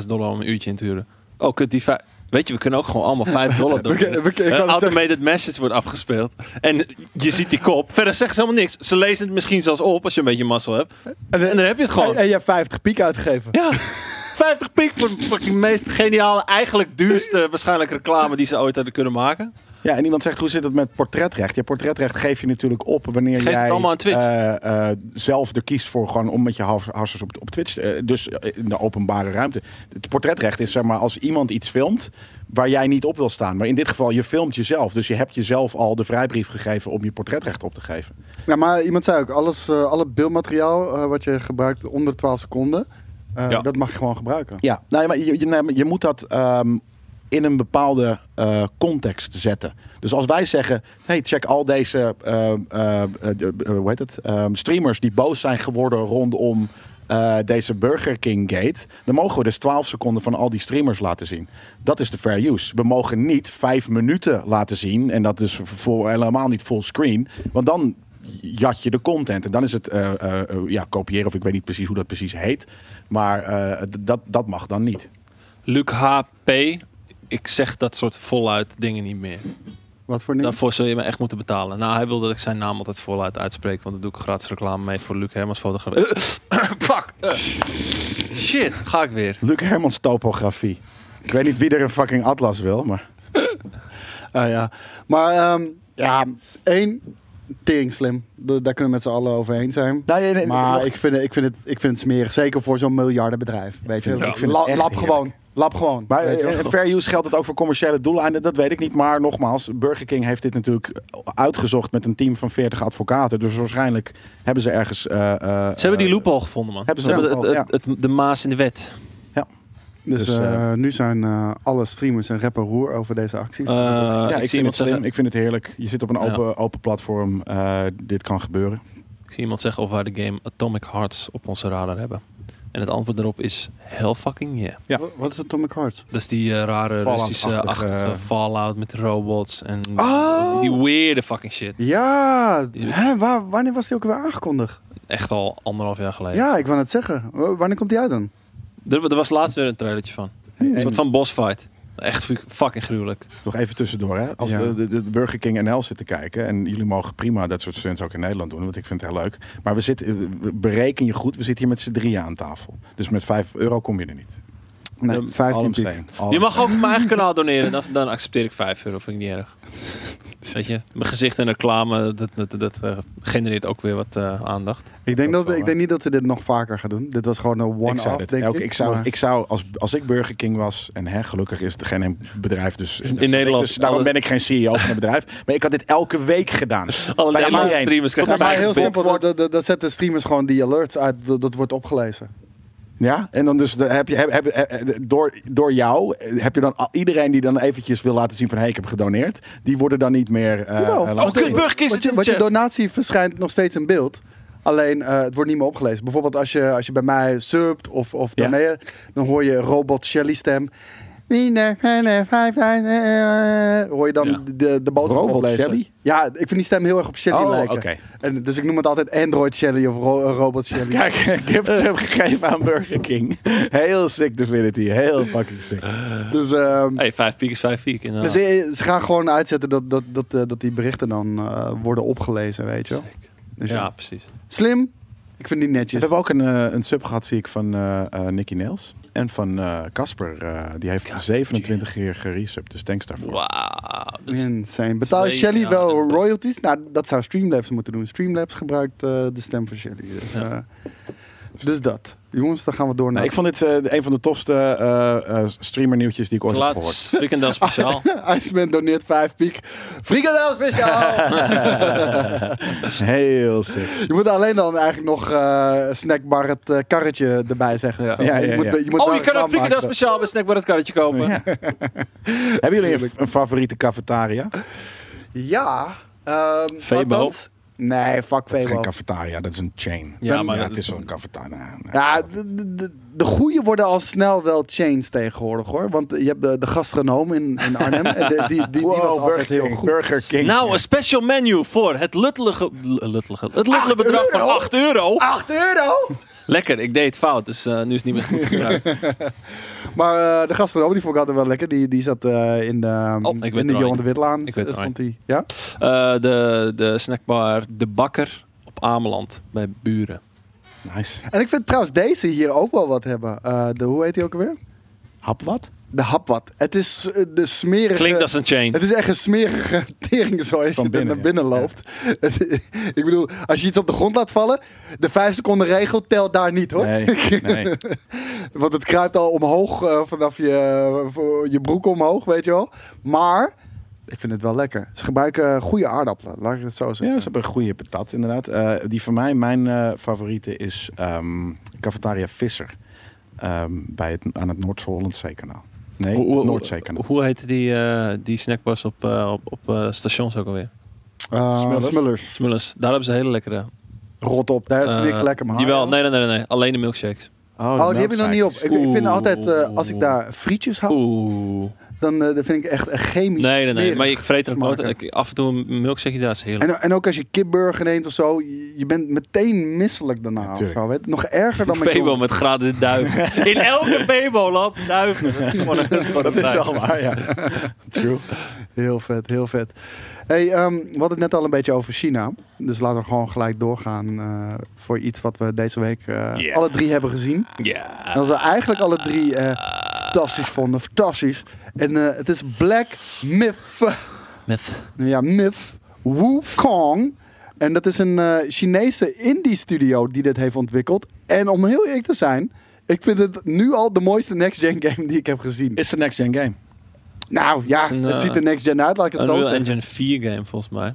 S2: 25.000 dollar om een uurtje in te huren. Oh, kut, die vij- Weet je, we kunnen ook gewoon allemaal 5 dollar doen.
S1: kunnen- we kunnen- ik
S2: Een
S1: wou net
S2: automated message wordt afgespeeld. En je ziet die kop. Verder zegt ze helemaal niks. Ze lezen het misschien zelfs op als je een beetje mazzel hebt.
S1: En,
S2: En dan heb je het gewoon.
S1: en je hebt 50 piek uitgegeven.
S2: Ja. 50 piek voor de fucking meest geniale, eigenlijk duurste waarschijnlijk reclame die ze ooit hadden kunnen maken.
S3: ja, en iemand zegt, hoe zit het met portretrecht? Ja, portretrecht geef je natuurlijk op wanneer
S2: Geef het
S3: jij
S2: allemaal aan Twitch.
S3: eh, eh, zelf er kiest voor gewoon om met je has- hassers op, op Twitch, eh, dus eh, in de openbare ruimte. Het portretrecht is zeg maar als iemand iets filmt waar jij niet op wil staan. Maar in dit geval, je filmt jezelf. Dus je hebt jezelf al de vrijbrief gegeven om je portretrecht op te geven.
S1: Ja, maar iemand zei ook, alles, eh alle beeldmateriaal eh, wat je gebruikt onder 12 seconden, eh,
S2: Ja.
S1: dat mag je gewoon gebruiken.
S3: Ja, nou, ja, maar je, je, nee, maar je moet dat ehm, in een bepaalde eh, context zetten. Dus als wij zeggen, hey, check al deze ehm, eh, eh, de- eh, hoe heet het? Ehm, streamers die boos zijn geworden rondom eh, deze Burger King Gate, dan mogen we dus 12 seconden van al die streamers laten zien. Dat is de fair use. We mogen niet vijf minuten laten zien en dat is voor, helemaal niet full screen, want dan jat je de content. En dan is het eh, eh, eh, ja, kopiëren, of ik weet niet precies hoe dat precies heet. Maar eh, d- dat, dat mag dan niet.
S2: Luc HP, ik zeg dat soort voluit dingen niet meer.
S1: Wat voor niet?
S2: Daarvoor zul je me echt moeten betalen. Nou, hij wil dat ik zijn naam altijd voluit uitspreek, want dan doe ik gratis reclame mee voor Luc Hermans fotograaf. Fuck! Eh. Shit, ga ik weer.
S3: Luc Hermans topografie. Ik weet niet wie er een fucking atlas wil, maar...
S1: Ah, ja. Maar ehm, ja, één, tering slim. Da- daar kunnen we met z'n allen overheen zijn.
S3: Nou, nee, nee,
S1: Maar
S3: nog-
S1: ik vind, het- ik, vind het, ik vind het smerig. Zeker voor zo'n miljardenbedrijf. Weet je?
S3: vind het-
S1: Ik
S3: ik vind
S1: la-
S3: het echt
S1: lap
S3: heerlijk.
S1: gewoon. Lap gewoon.
S3: Maar
S1: weet je wel.
S3: eh, fair use geldt het ook voor commerciële doeleinden? Dat weet ik niet. Maar nogmaals, Burger King heeft dit natuurlijk uitgezocht met een team van 40 advocaten. Dus waarschijnlijk hebben ze ergens. eh, eh,
S2: Ze hebben die
S3: eh,
S2: loophole gevonden, man.
S3: Hebben ze een
S2: het,
S3: loophole,
S2: het- het- de maas in de wet.
S1: dus
S3: dus,
S1: eh, nu zijn eh, alle streamers en rapper roer over deze acties.
S2: Eh,
S3: Ja, ik,
S2: ik, zie
S3: vind
S2: iemand
S3: het slim.
S2: zeggen,
S3: Ik vind het heerlijk. Je zit op een
S2: Ja.
S3: open, open platform. eh, dit kan gebeuren.
S2: ik zie iemand zeggen of wij de game Atomic Hearts op onze radar hebben. En het antwoord daarop is hell fucking yeah.
S3: ja.
S1: Wa- Wat is Atomic Heart?
S2: Dat is die eh, rare
S3: Fallout-achtige,
S2: Russische achtige
S3: eh,
S2: Fallout met robots en
S1: Oh!
S2: die weirde fucking shit.
S1: Ja,
S2: Die-
S1: hè, waar, wanneer was die ook weer aangekondigd?
S2: Echt al anderhalf jaar geleden.
S1: Ja, ik wou net zeggen. Wa- Wanneer komt die uit dan?
S2: Er, er was laatst weer een trailertje van. Een soort van boss fight. Echt fu- fucking gruwelijk.
S3: Nog even tussendoor, hè? Als
S1: Ja.
S3: we de, de Burger King NL zitten kijken, en jullie mogen prima dat soort stunts ook in Nederland doen, want ik vind het heel leuk. Maar we zitten, we- bereken je goed, we zitten hier met z'n drieën aan tafel. Dus met 5 euro kom je er niet.
S1: Nee,
S3: Ehm,
S2: De-
S1: 15 piek.
S3: Allemsteen. Allem-
S2: Je mag ook mijn eigen kanaal doneren. Dan, dan accepteer ik 5 euro. Vind ik niet erg. Weet je, mijn gezicht en reclame, dat, dat, dat eh, genereert ook weer wat eh, aandacht.
S1: Ik denk,
S3: Dat
S1: dat,
S3: wel,
S1: ik
S3: hè?
S1: denk niet dat ze dit nog vaker gaan doen. Dit was gewoon een
S3: Ik zou,
S1: one-off,
S3: dit
S1: denk
S3: elke-
S1: ik.
S3: ik zou,
S1: maar-
S3: ik zou als, als ik Burger King was, en hè, gelukkig is het geen bedrijf, dus
S2: in Nederland
S3: Dus daarom
S2: alles-
S3: ben ik geen CEO van een bedrijf. Maar ik had dit elke week gedaan.
S2: Alle
S3: Bij
S2: Nederlandse
S3: mij één.
S2: streamers
S1: Ja,
S2: krijgen
S1: maar
S2: mij
S1: heel
S2: gebind.
S1: simpel, dat, dat, dat zetten streamers gewoon die alerts uit, dat, dat wordt opgelezen.
S3: Ja, en dan dus de- heb je, heb, heb- eh, door, door jou eh, heb je dan al- iedereen die dan eventjes wil laten zien van hé, ik heb gedoneerd, die worden dan niet meer. eh,
S1: Jawel.
S3: eh, laten
S2: Oh, kut,
S3: zien.
S2: Burger King
S1: Want
S2: zit
S1: je,
S2: in de
S1: want je
S2: chat.
S1: donatie verschijnt nog steeds in beeld. Alleen eh, het wordt niet meer opgelezen. Bijvoorbeeld als je, als je bij mij subt of, of
S3: Ja.
S1: doneert, dan hoor je robot Shelly stem. Wiener, Henner, vijf, vijf, eh, Hoor je dan
S2: Ja.
S1: de, de boodschap
S3: Robot
S1: oplezen.
S3: Shelly?
S1: Ja, ik vind die stem heel erg op Shelly
S3: Oh,
S1: lijken.
S3: oké.
S1: En, dus ik noem het altijd Android Shelly of ro- eh, Robot Shelly.
S3: Kijk, gifts heb gegeven aan Burger King. Heel sick divinity, heel fucking sick.
S1: Dus, ehm,
S2: Hey, 5 piek is 5 piek. inderdaad.
S1: dus eh, ze gaan gewoon uitzetten dat, dat, dat, eh, dat die berichten dan eh, worden opgelezen, weet je wel.
S2: Sick.
S1: Dus ja.
S2: Ja, precies.
S1: Slim. Ik vind die
S3: We
S1: netjes.
S3: hebben ook een, eh, een sub gehad, zie ik, van eh eh, Nicky Nails. En van eh, Casper. eh, die heeft
S2: Casper,
S3: 27 keer geresubbed, dus thanks daarvoor.
S2: Wauw. dat is-
S1: Dus Insane. Betaal
S2: Twee,
S1: Shelly
S2: ja,
S1: wel
S2: en-
S1: royalties? Nou, dat zou Streamlabs moeten doen. Streamlabs gebruikt eh, de stem van Shelly. Dus,
S2: Ja.
S1: eh, dus dat. Jongens, dan gaan we door naar...
S3: Nou, ik vond dit eh, een van de tofste eh, eh, streamernieuwtjes die ik ooit heb gehoord.
S2: Laatst frikandel speciaal. Oh,
S1: Iceman doneert 5 piek. Frikandel speciaal!
S3: Oh. Heel sick.
S1: je moet alleen dan eigenlijk nog eh, snackbar het eh, karretje erbij zeggen.
S2: Ja.
S1: Zo,
S3: Ja, ja,
S1: Je moet,
S3: ja.
S1: je moet
S2: Oh,
S1: wel
S2: je kan
S1: reclame
S2: een frikandel
S1: maken.
S2: speciaal bij Snackbar het karretje kopen.
S3: Ja. Hebben jullie een, een favoriete cafetaria?
S1: Ja. ehm,
S2: Febo.
S1: althans- Nee, fuck
S3: Dat is
S1: Febo.
S3: geen cafetaria, dat is een chain.
S2: Ja,
S3: Ja,
S2: maar
S3: het is zo'n cafetaria. Nee, nee.
S1: Ja, de, de- de, de goeie worden al snel wel chains tegenwoordig hoor. Want je hebt de, de gastronoom in, in Arnhem. en de- die, die, die
S3: Wow,
S1: was altijd
S3: Burger
S1: heel
S3: King,
S1: goed.
S3: Burger King.
S2: Nou, een special menu voor het luttelige, luttelige, het luttelige
S1: Acht
S2: bedrag van
S1: euro?
S2: 8 euro.
S1: 8 euro!
S2: Lekker, ik deed het fout, dus eh, nu is het niet meer goed gebruikt.
S1: Maar eh, de gastronoom die vond ik altijd wel lekker. Die, die zat eh, in de,
S2: Oh, ik weet
S1: in
S2: het
S1: de
S2: al.
S1: Johan de Witlaan.
S2: Ik weet het al.
S1: stond die. Ja?
S2: Eh, de, de snackbar De Bakker op Ameland bij Buren.
S3: Nice.
S1: En ik vind trouwens deze hier ook wel wat hebben. Eh, de, hoe heet die ook alweer?
S3: Hap wat?
S1: De hapwat. Het is eh, de smerige...
S2: Klinkt als een chain.
S1: Het is echt een smerige tering zoals je
S3: Van
S1: er
S3: binnen,
S1: naar binnen
S3: ja.
S1: loopt. ik bedoel, als je iets op de grond laat vallen, de 5 seconden regel telt daar niet hoor.
S3: Nee, nee.
S1: Want het kruipt al omhoog eh, vanaf je, eh, voor je broek omhoog, weet je wel. Maar ik vind het wel lekker. Ze gebruiken eh, goede aardappelen, laat ik het zo
S3: Ja,
S1: zeggen.
S3: ze hebben een goede patat inderdaad. Eh, die van mij, mijn eh, favoriete is ehm, Cafetaria Visser. Ehm, bij het, aan het Noord-Hollandzeekanaal. Nee,
S2: Hoe- hoe-
S3: Noordzeekanaal.
S2: Hoe heette die, eh, die snackbars op, eh, op, op eh, stations ook alweer?
S1: Eh,
S3: Smullers.
S1: Smullers.
S2: Smullens. Daar hebben ze hele lekkere.
S1: Rot op, daar is
S2: Eh,
S1: niks lekker man.
S2: Jawel,
S3: Oh,
S2: nee, nee, nee, nee. Alleen de milkshakes.
S1: Oh,
S3: nou,
S1: die heb je nog niet op. Ik, ik vind
S2: Oeh.
S1: altijd, eh, als ik daar frietjes hou,
S2: Oeh.
S1: dan eh, dat vind ik echt een chemisch
S2: Nee, nee, nee.
S1: smerig.
S2: Maar ik vreet er ook nooit.
S1: smaken.
S2: Ik- Af en toe een milkshake daar is heerlijk.
S1: En, en ook als je kipburger neemt of zo, je je bent meteen misselijk daarna. of
S3: Natuurlijk.
S1: zo, weet je. Nog erger dan mijn
S2: Febo met gratis duiven. In elke Febo-lab duiven. Dat is gewoon een, dat is gewoon
S3: Dat
S2: een
S3: is
S2: prijs.
S3: wel waar, ja. True.
S1: Heel vet, heel vet. Hey, ehm, we hadden het net al een beetje over China. Dus laten we gewoon gelijk doorgaan eh, voor iets wat we deze week eh,
S2: Ja.
S1: alle drie hebben gezien. En
S2: Ja.
S1: dat we eigenlijk alle drie eh, fantastisch vonden. Fantastisch. En eh, het is Black Myth.
S2: Met
S1: Nou ja, Myth Wukong. En dat is een eh, Chinese indie studio die dit heeft ontwikkeld. En om heel eerlijk te zijn, ik vind het nu al de mooiste next-gen game die ik heb gezien.
S3: Is de next gen game.
S1: nou ja,
S2: is een,
S1: het
S2: eh,
S1: ziet er next-gen uit, laat ik het zo
S2: Unreal
S1: zeggen.
S2: Engine 4 game volgens mij.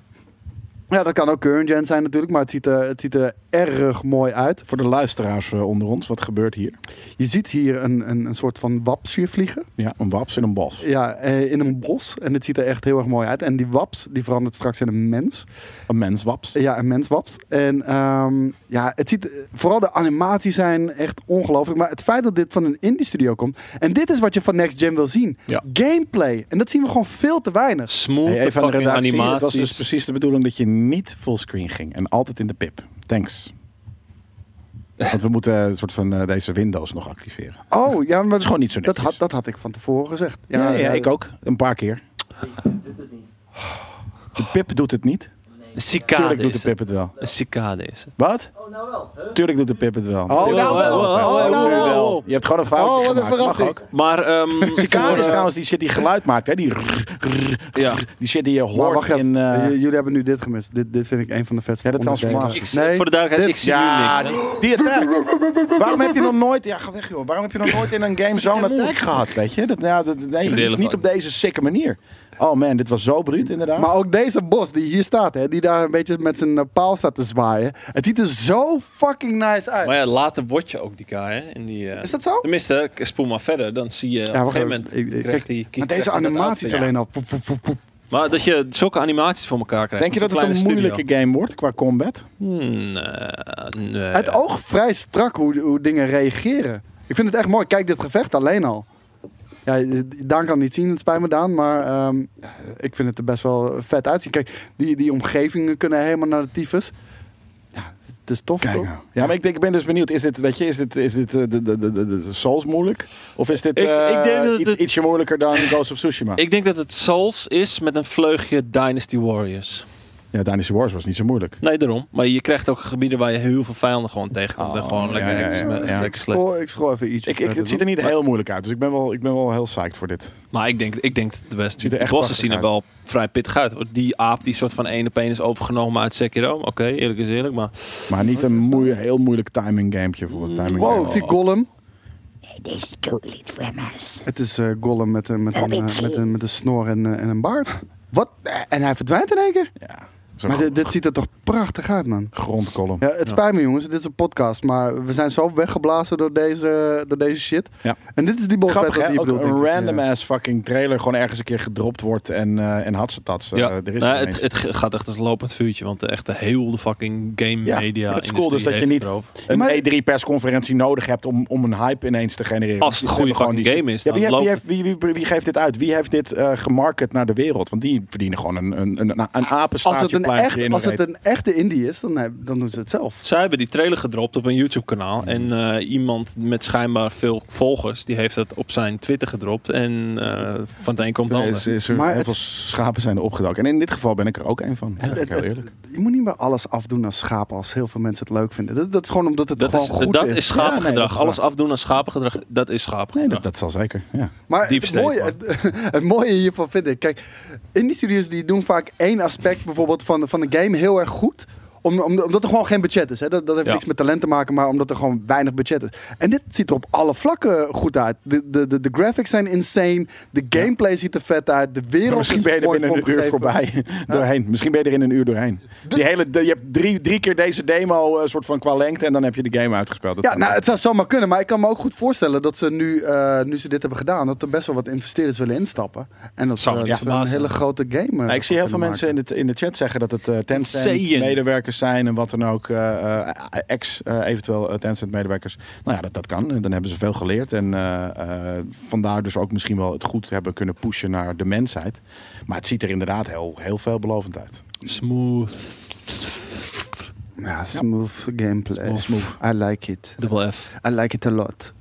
S1: Ja, dat kan ook current-gen zijn natuurlijk, maar het ziet, er, het ziet er erg mooi uit.
S3: Voor de luisteraars eh, onder ons, wat gebeurt hier?
S1: Je ziet hier een, een, een soort van wapsje vliegen.
S3: Ja, een waps en een bos.
S1: Ja, eh, in een bos. En het ziet er echt heel erg mooi uit. En die waps, die verandert straks in een mens.
S3: Een mens waps.
S1: Ja, een menswaps. En ehm, ja, het ziet, vooral de animaties zijn echt ongelooflijk. Maar het feit dat dit van een indie studio komt. En dit is wat je van Next Gen wil zien.
S2: Ja.
S1: Gameplay. En dat zien we gewoon veel te weinig.
S2: Smooth
S3: Hey, even aan
S2: fucking
S3: de redactie. Het was
S2: animaties.
S3: dus precies de bedoeling dat je niet fullscreen ging. En altijd in de pip. Thanks. Want we moeten een soort van eh, deze Windows nog activeren. Dat
S1: Oh, ja, maar
S3: is gewoon niet zo
S1: dat,
S3: netjes.
S1: had, dat had ik van tevoren gezegd.
S3: ja, ja, ik ook. Een paar keer. De pip doet het niet.
S2: Een cicade
S3: Tuurlijk doet de
S2: is het.
S3: pip het wel.
S2: Een cicade is het.
S3: Wat? Oh, nou wel. Tuurlijk doet de pip het wel.
S1: Oh, nou wel.
S2: Oh, oh,
S1: Oh, nou
S2: oh, oh.
S1: wel.
S3: Je hebt gewoon een fout
S1: Oh, wat een
S3: gemaakt. Mag
S1: verrassing.
S3: ook.
S2: Maar, ehm,
S3: Cicade
S2: voor,
S3: is
S2: eh,
S3: trouwens die shit die geluid maakt. Hè? Die, rrr, rrr,
S2: Ja.
S3: die shit die je
S1: Maar
S3: hoort
S1: wacht even.
S3: in... eh,
S1: J- Jullie hebben nu dit gemist. Dit, dit vind ik een van de vetste.
S3: Ja, dat
S1: onderdelen.
S3: transformatie.
S2: Ik zie- voor de duidelijkheid, ik zie
S3: ja,
S2: nu niks. hè.
S3: die- die attack. Waarom heb je nog nooit... Ja, ga weg joh. Waarom heb je nog nooit in een game zo'n attack gehad? Weet je? Dat, ja, dat, nee,
S2: telefoon.
S3: niet op deze sikke manier. Oh man, dit was zo bruut inderdaad.
S1: Maar ook deze bos die hier staat, hè, die daar een beetje met zijn eh, paal staat te zwaaien. Het ziet er zo fucking nice uit.
S2: Maar ja, later word je ook die guy, hè? In die, eh,
S1: Is dat zo?
S2: Tenminste, ik spoel maar verder. Dan zie je op een
S1: wacht
S2: gegeven
S1: even. Ik-
S2: moment...
S1: ik-
S2: krijgt
S1: kijk,
S2: die,
S1: Maar
S2: krijgt
S1: deze
S2: dat
S1: animaties
S2: outfit.
S1: alleen al. Poep, poep, poep, poep.
S2: Maar dat je zulke animaties voor elkaar krijgt.
S3: Denk je dat het
S2: Zo'n
S3: een
S2: kleine
S3: moeilijke
S2: studio.
S3: game wordt qua combat?
S2: Hmm, eh, nee.
S1: Het oog vrij strak hoe, hoe dingen reageren. Ik vind het echt mooi. Kijk dit gevecht alleen al. Ja, Daan kan het niet zien, het spijt me Daan. Maar ehm, ik vind het er best wel vet uitzien. Kijk, die, die omgevingen kunnen helemaal naar de tyfus. Ja, het is tof toch?
S2: nou,
S3: Ja, maar ik, denk, ik ben dus benieuwd. Is dit, weet je, is dit, is dit eh, de, de, de, de, de Souls moeilijk? Of is dit
S2: Ik-
S3: eh,
S2: ik denk dat
S3: iets,
S2: het-
S3: ietsje moeilijker dan Ghost of Tsushima?
S2: Ik denk dat het Souls is met een vleugje Dynasty Warriors.
S3: Ja, Dynasty Wars was niet zo moeilijk.
S2: Nee, daarom. Maar je krijgt ook gebieden waar je heel veel vijanden gewoon tegenkomt. en
S3: Oh,
S2: gewoon
S3: ja,
S2: lekker
S3: ja,
S2: hacks
S3: ja, Oh.
S2: met-
S3: ja.
S2: lekker
S1: Ik
S2: slecht.
S1: scroll, ik scroll even iets.
S3: Ik, ik, het ziet er niet heel moeilijk uit, dus ik ben wel, ik ben wel heel psyched voor dit.
S2: Maar ik denk, ik denk dat de West
S3: Ziet er
S2: de
S3: echt
S2: bossen
S3: prachtig
S2: zien er wel vrij pittig uit. hoor. Die aap die soort van één op één is overgenomen uit Sekiro. Oké, eerlijk is eerlijk. Maar
S3: Maar niet een moe, heel moeilijk timing gamepje voor een timing
S1: Wow,
S3: game.
S1: ik zie Gollum.
S4: This totally from us.
S1: Het is eh, Gollum met, een- met, een, eh, met, een, met een snor en, eh, en een baard. Wat? En hij verdwijnt in één keer.
S3: Ja, zo'n
S1: Maar
S3: gro-
S1: dit, dit ziet er toch prachtig uit, man.
S3: grondkolom.
S1: Ja, het spijt me jongens, dit is een podcast, maar we zijn zo weggeblazen door deze, door deze shit.
S3: Ja.
S1: En dit is die boss
S3: Grappig,
S1: battle
S3: hè?
S1: die eh,
S3: Ook
S1: ik bedoel,
S3: een
S1: denk ik.
S3: random
S1: Ja.
S3: ass fucking trailer gewoon ergens een keer gedropt wordt en, eh en hatsetats. Eh,
S2: ja,
S3: er is
S2: Nou,
S3: er
S2: het,
S3: ineens.
S2: het ge- gaat echt als lopend vuurtje. Want de echte heel de fucking game
S3: Ja,
S2: media.
S3: maar het is cool dus
S2: industrie
S3: dat je
S2: heeft
S3: niet-
S2: erover.
S3: een
S1: Maar-
S3: E3-persconferentie nodig hebt om, om een hype ineens te genereren.
S2: Als het
S3: Die
S2: een goede
S3: hebben gewoon
S2: fucking
S3: die-
S2: game is,
S3: Ja, wie,
S2: dan
S3: heeft- wie, heeft- wie- wie- wie geeft dit uit? Wie heeft dit eh gemarket naar de wereld? Want die verdienen gewoon een, een, een, een
S1: Als het,
S3: apenstaartje
S1: een
S3: plaatje
S1: echt,
S3: in
S1: als
S3: hun
S1: het
S3: reet.
S1: een echte indie is, dan, heb- dan doen ze het zelf.
S2: Zij hebben die trailer gedropt op een YouTube-kanaal.
S3: Mm.
S2: En eh, iemand met schijnbaar veel volgers, die heeft dat op zijn Twitter gedropt. En eh, van het een komt het
S3: Er
S2: ander.
S3: is- is er
S1: Maar
S3: heel
S1: het-
S3: veel schapen zijn er opgedoken. En in dit geval ben ik er ook een van. Ja,
S1: Het-
S3: heel
S1: het-
S3: eerlijk.
S1: Je moet niet meer alles afdoen als schapen als heel veel mensen het leuk vinden. Dat, dat is gewoon omdat het
S2: Dat
S1: gewoon
S2: is,
S1: goed
S2: dat
S1: is.
S2: is
S3: Ja, nee,
S2: schapengedrag.
S3: dat is
S2: Alles
S3: waar.
S2: afdoen aan schapengedrag, dat is
S3: Nee,
S2: schapengedrag.
S3: dat, dat zal zeker. Ja.
S1: Maar
S2: Deep
S1: het
S2: state,
S1: mooie, het, het mooie hiervan vind ik, kijk, indie studios die doen vaak één aspect bijvoorbeeld van, van de game heel erg goed. Om, om- omdat er gewoon geen budget is. Hè? Dat, dat heeft
S2: Ja.
S1: niks met talent te maken, maar omdat er gewoon weinig budget is. En dit ziet er op alle vlakken goed uit. De, de, de, de graphics zijn insane. De gameplay ziet er vet uit. De wereld
S3: Misschien
S1: is
S3: ben je er
S1: mooi
S3: binnen een uur
S1: vormgegeven.
S3: voorbij. doorheen. Misschien ben je er in een uur doorheen. Die hele, de- je hebt drie, drie keer deze demo eh, soort van qua lengte en dan heb je de game uitgespeeld. Dat
S1: Ja,
S3: kan
S1: nou,
S3: ook.
S1: het zou zomaar kunnen. Maar ik kan me ook goed voorstellen dat ze nu, eh, nu ze dit hebben gedaan, dat er best wel wat investeerders willen instappen. En dat,
S2: Zou me
S1: eh,
S2: niet
S1: dat ze een
S2: verbazen.
S1: hele grote game. eh,
S3: Nou, ik zie heel veel
S1: kunnen
S3: mensen in de, in de chat zeggen dat het eh,
S2: Insane.
S3: Tencent-medewerkers zijn en wat dan ook. eh, eh, ex, eh, eventueel eh, Tencent-medewerkers. Nou ja, dat, dat kan. En Dan hebben ze veel geleerd. En eh, eh, vandaar dus ook misschien wel het goed hebben kunnen pushen naar de mensheid. Maar het ziet er inderdaad heel, heel veelbelovend uit.
S2: Smooth.
S1: Ja, smooth gameplay.
S2: Smooth.
S1: I like it.
S2: Dubbel F.
S1: I like it a lot.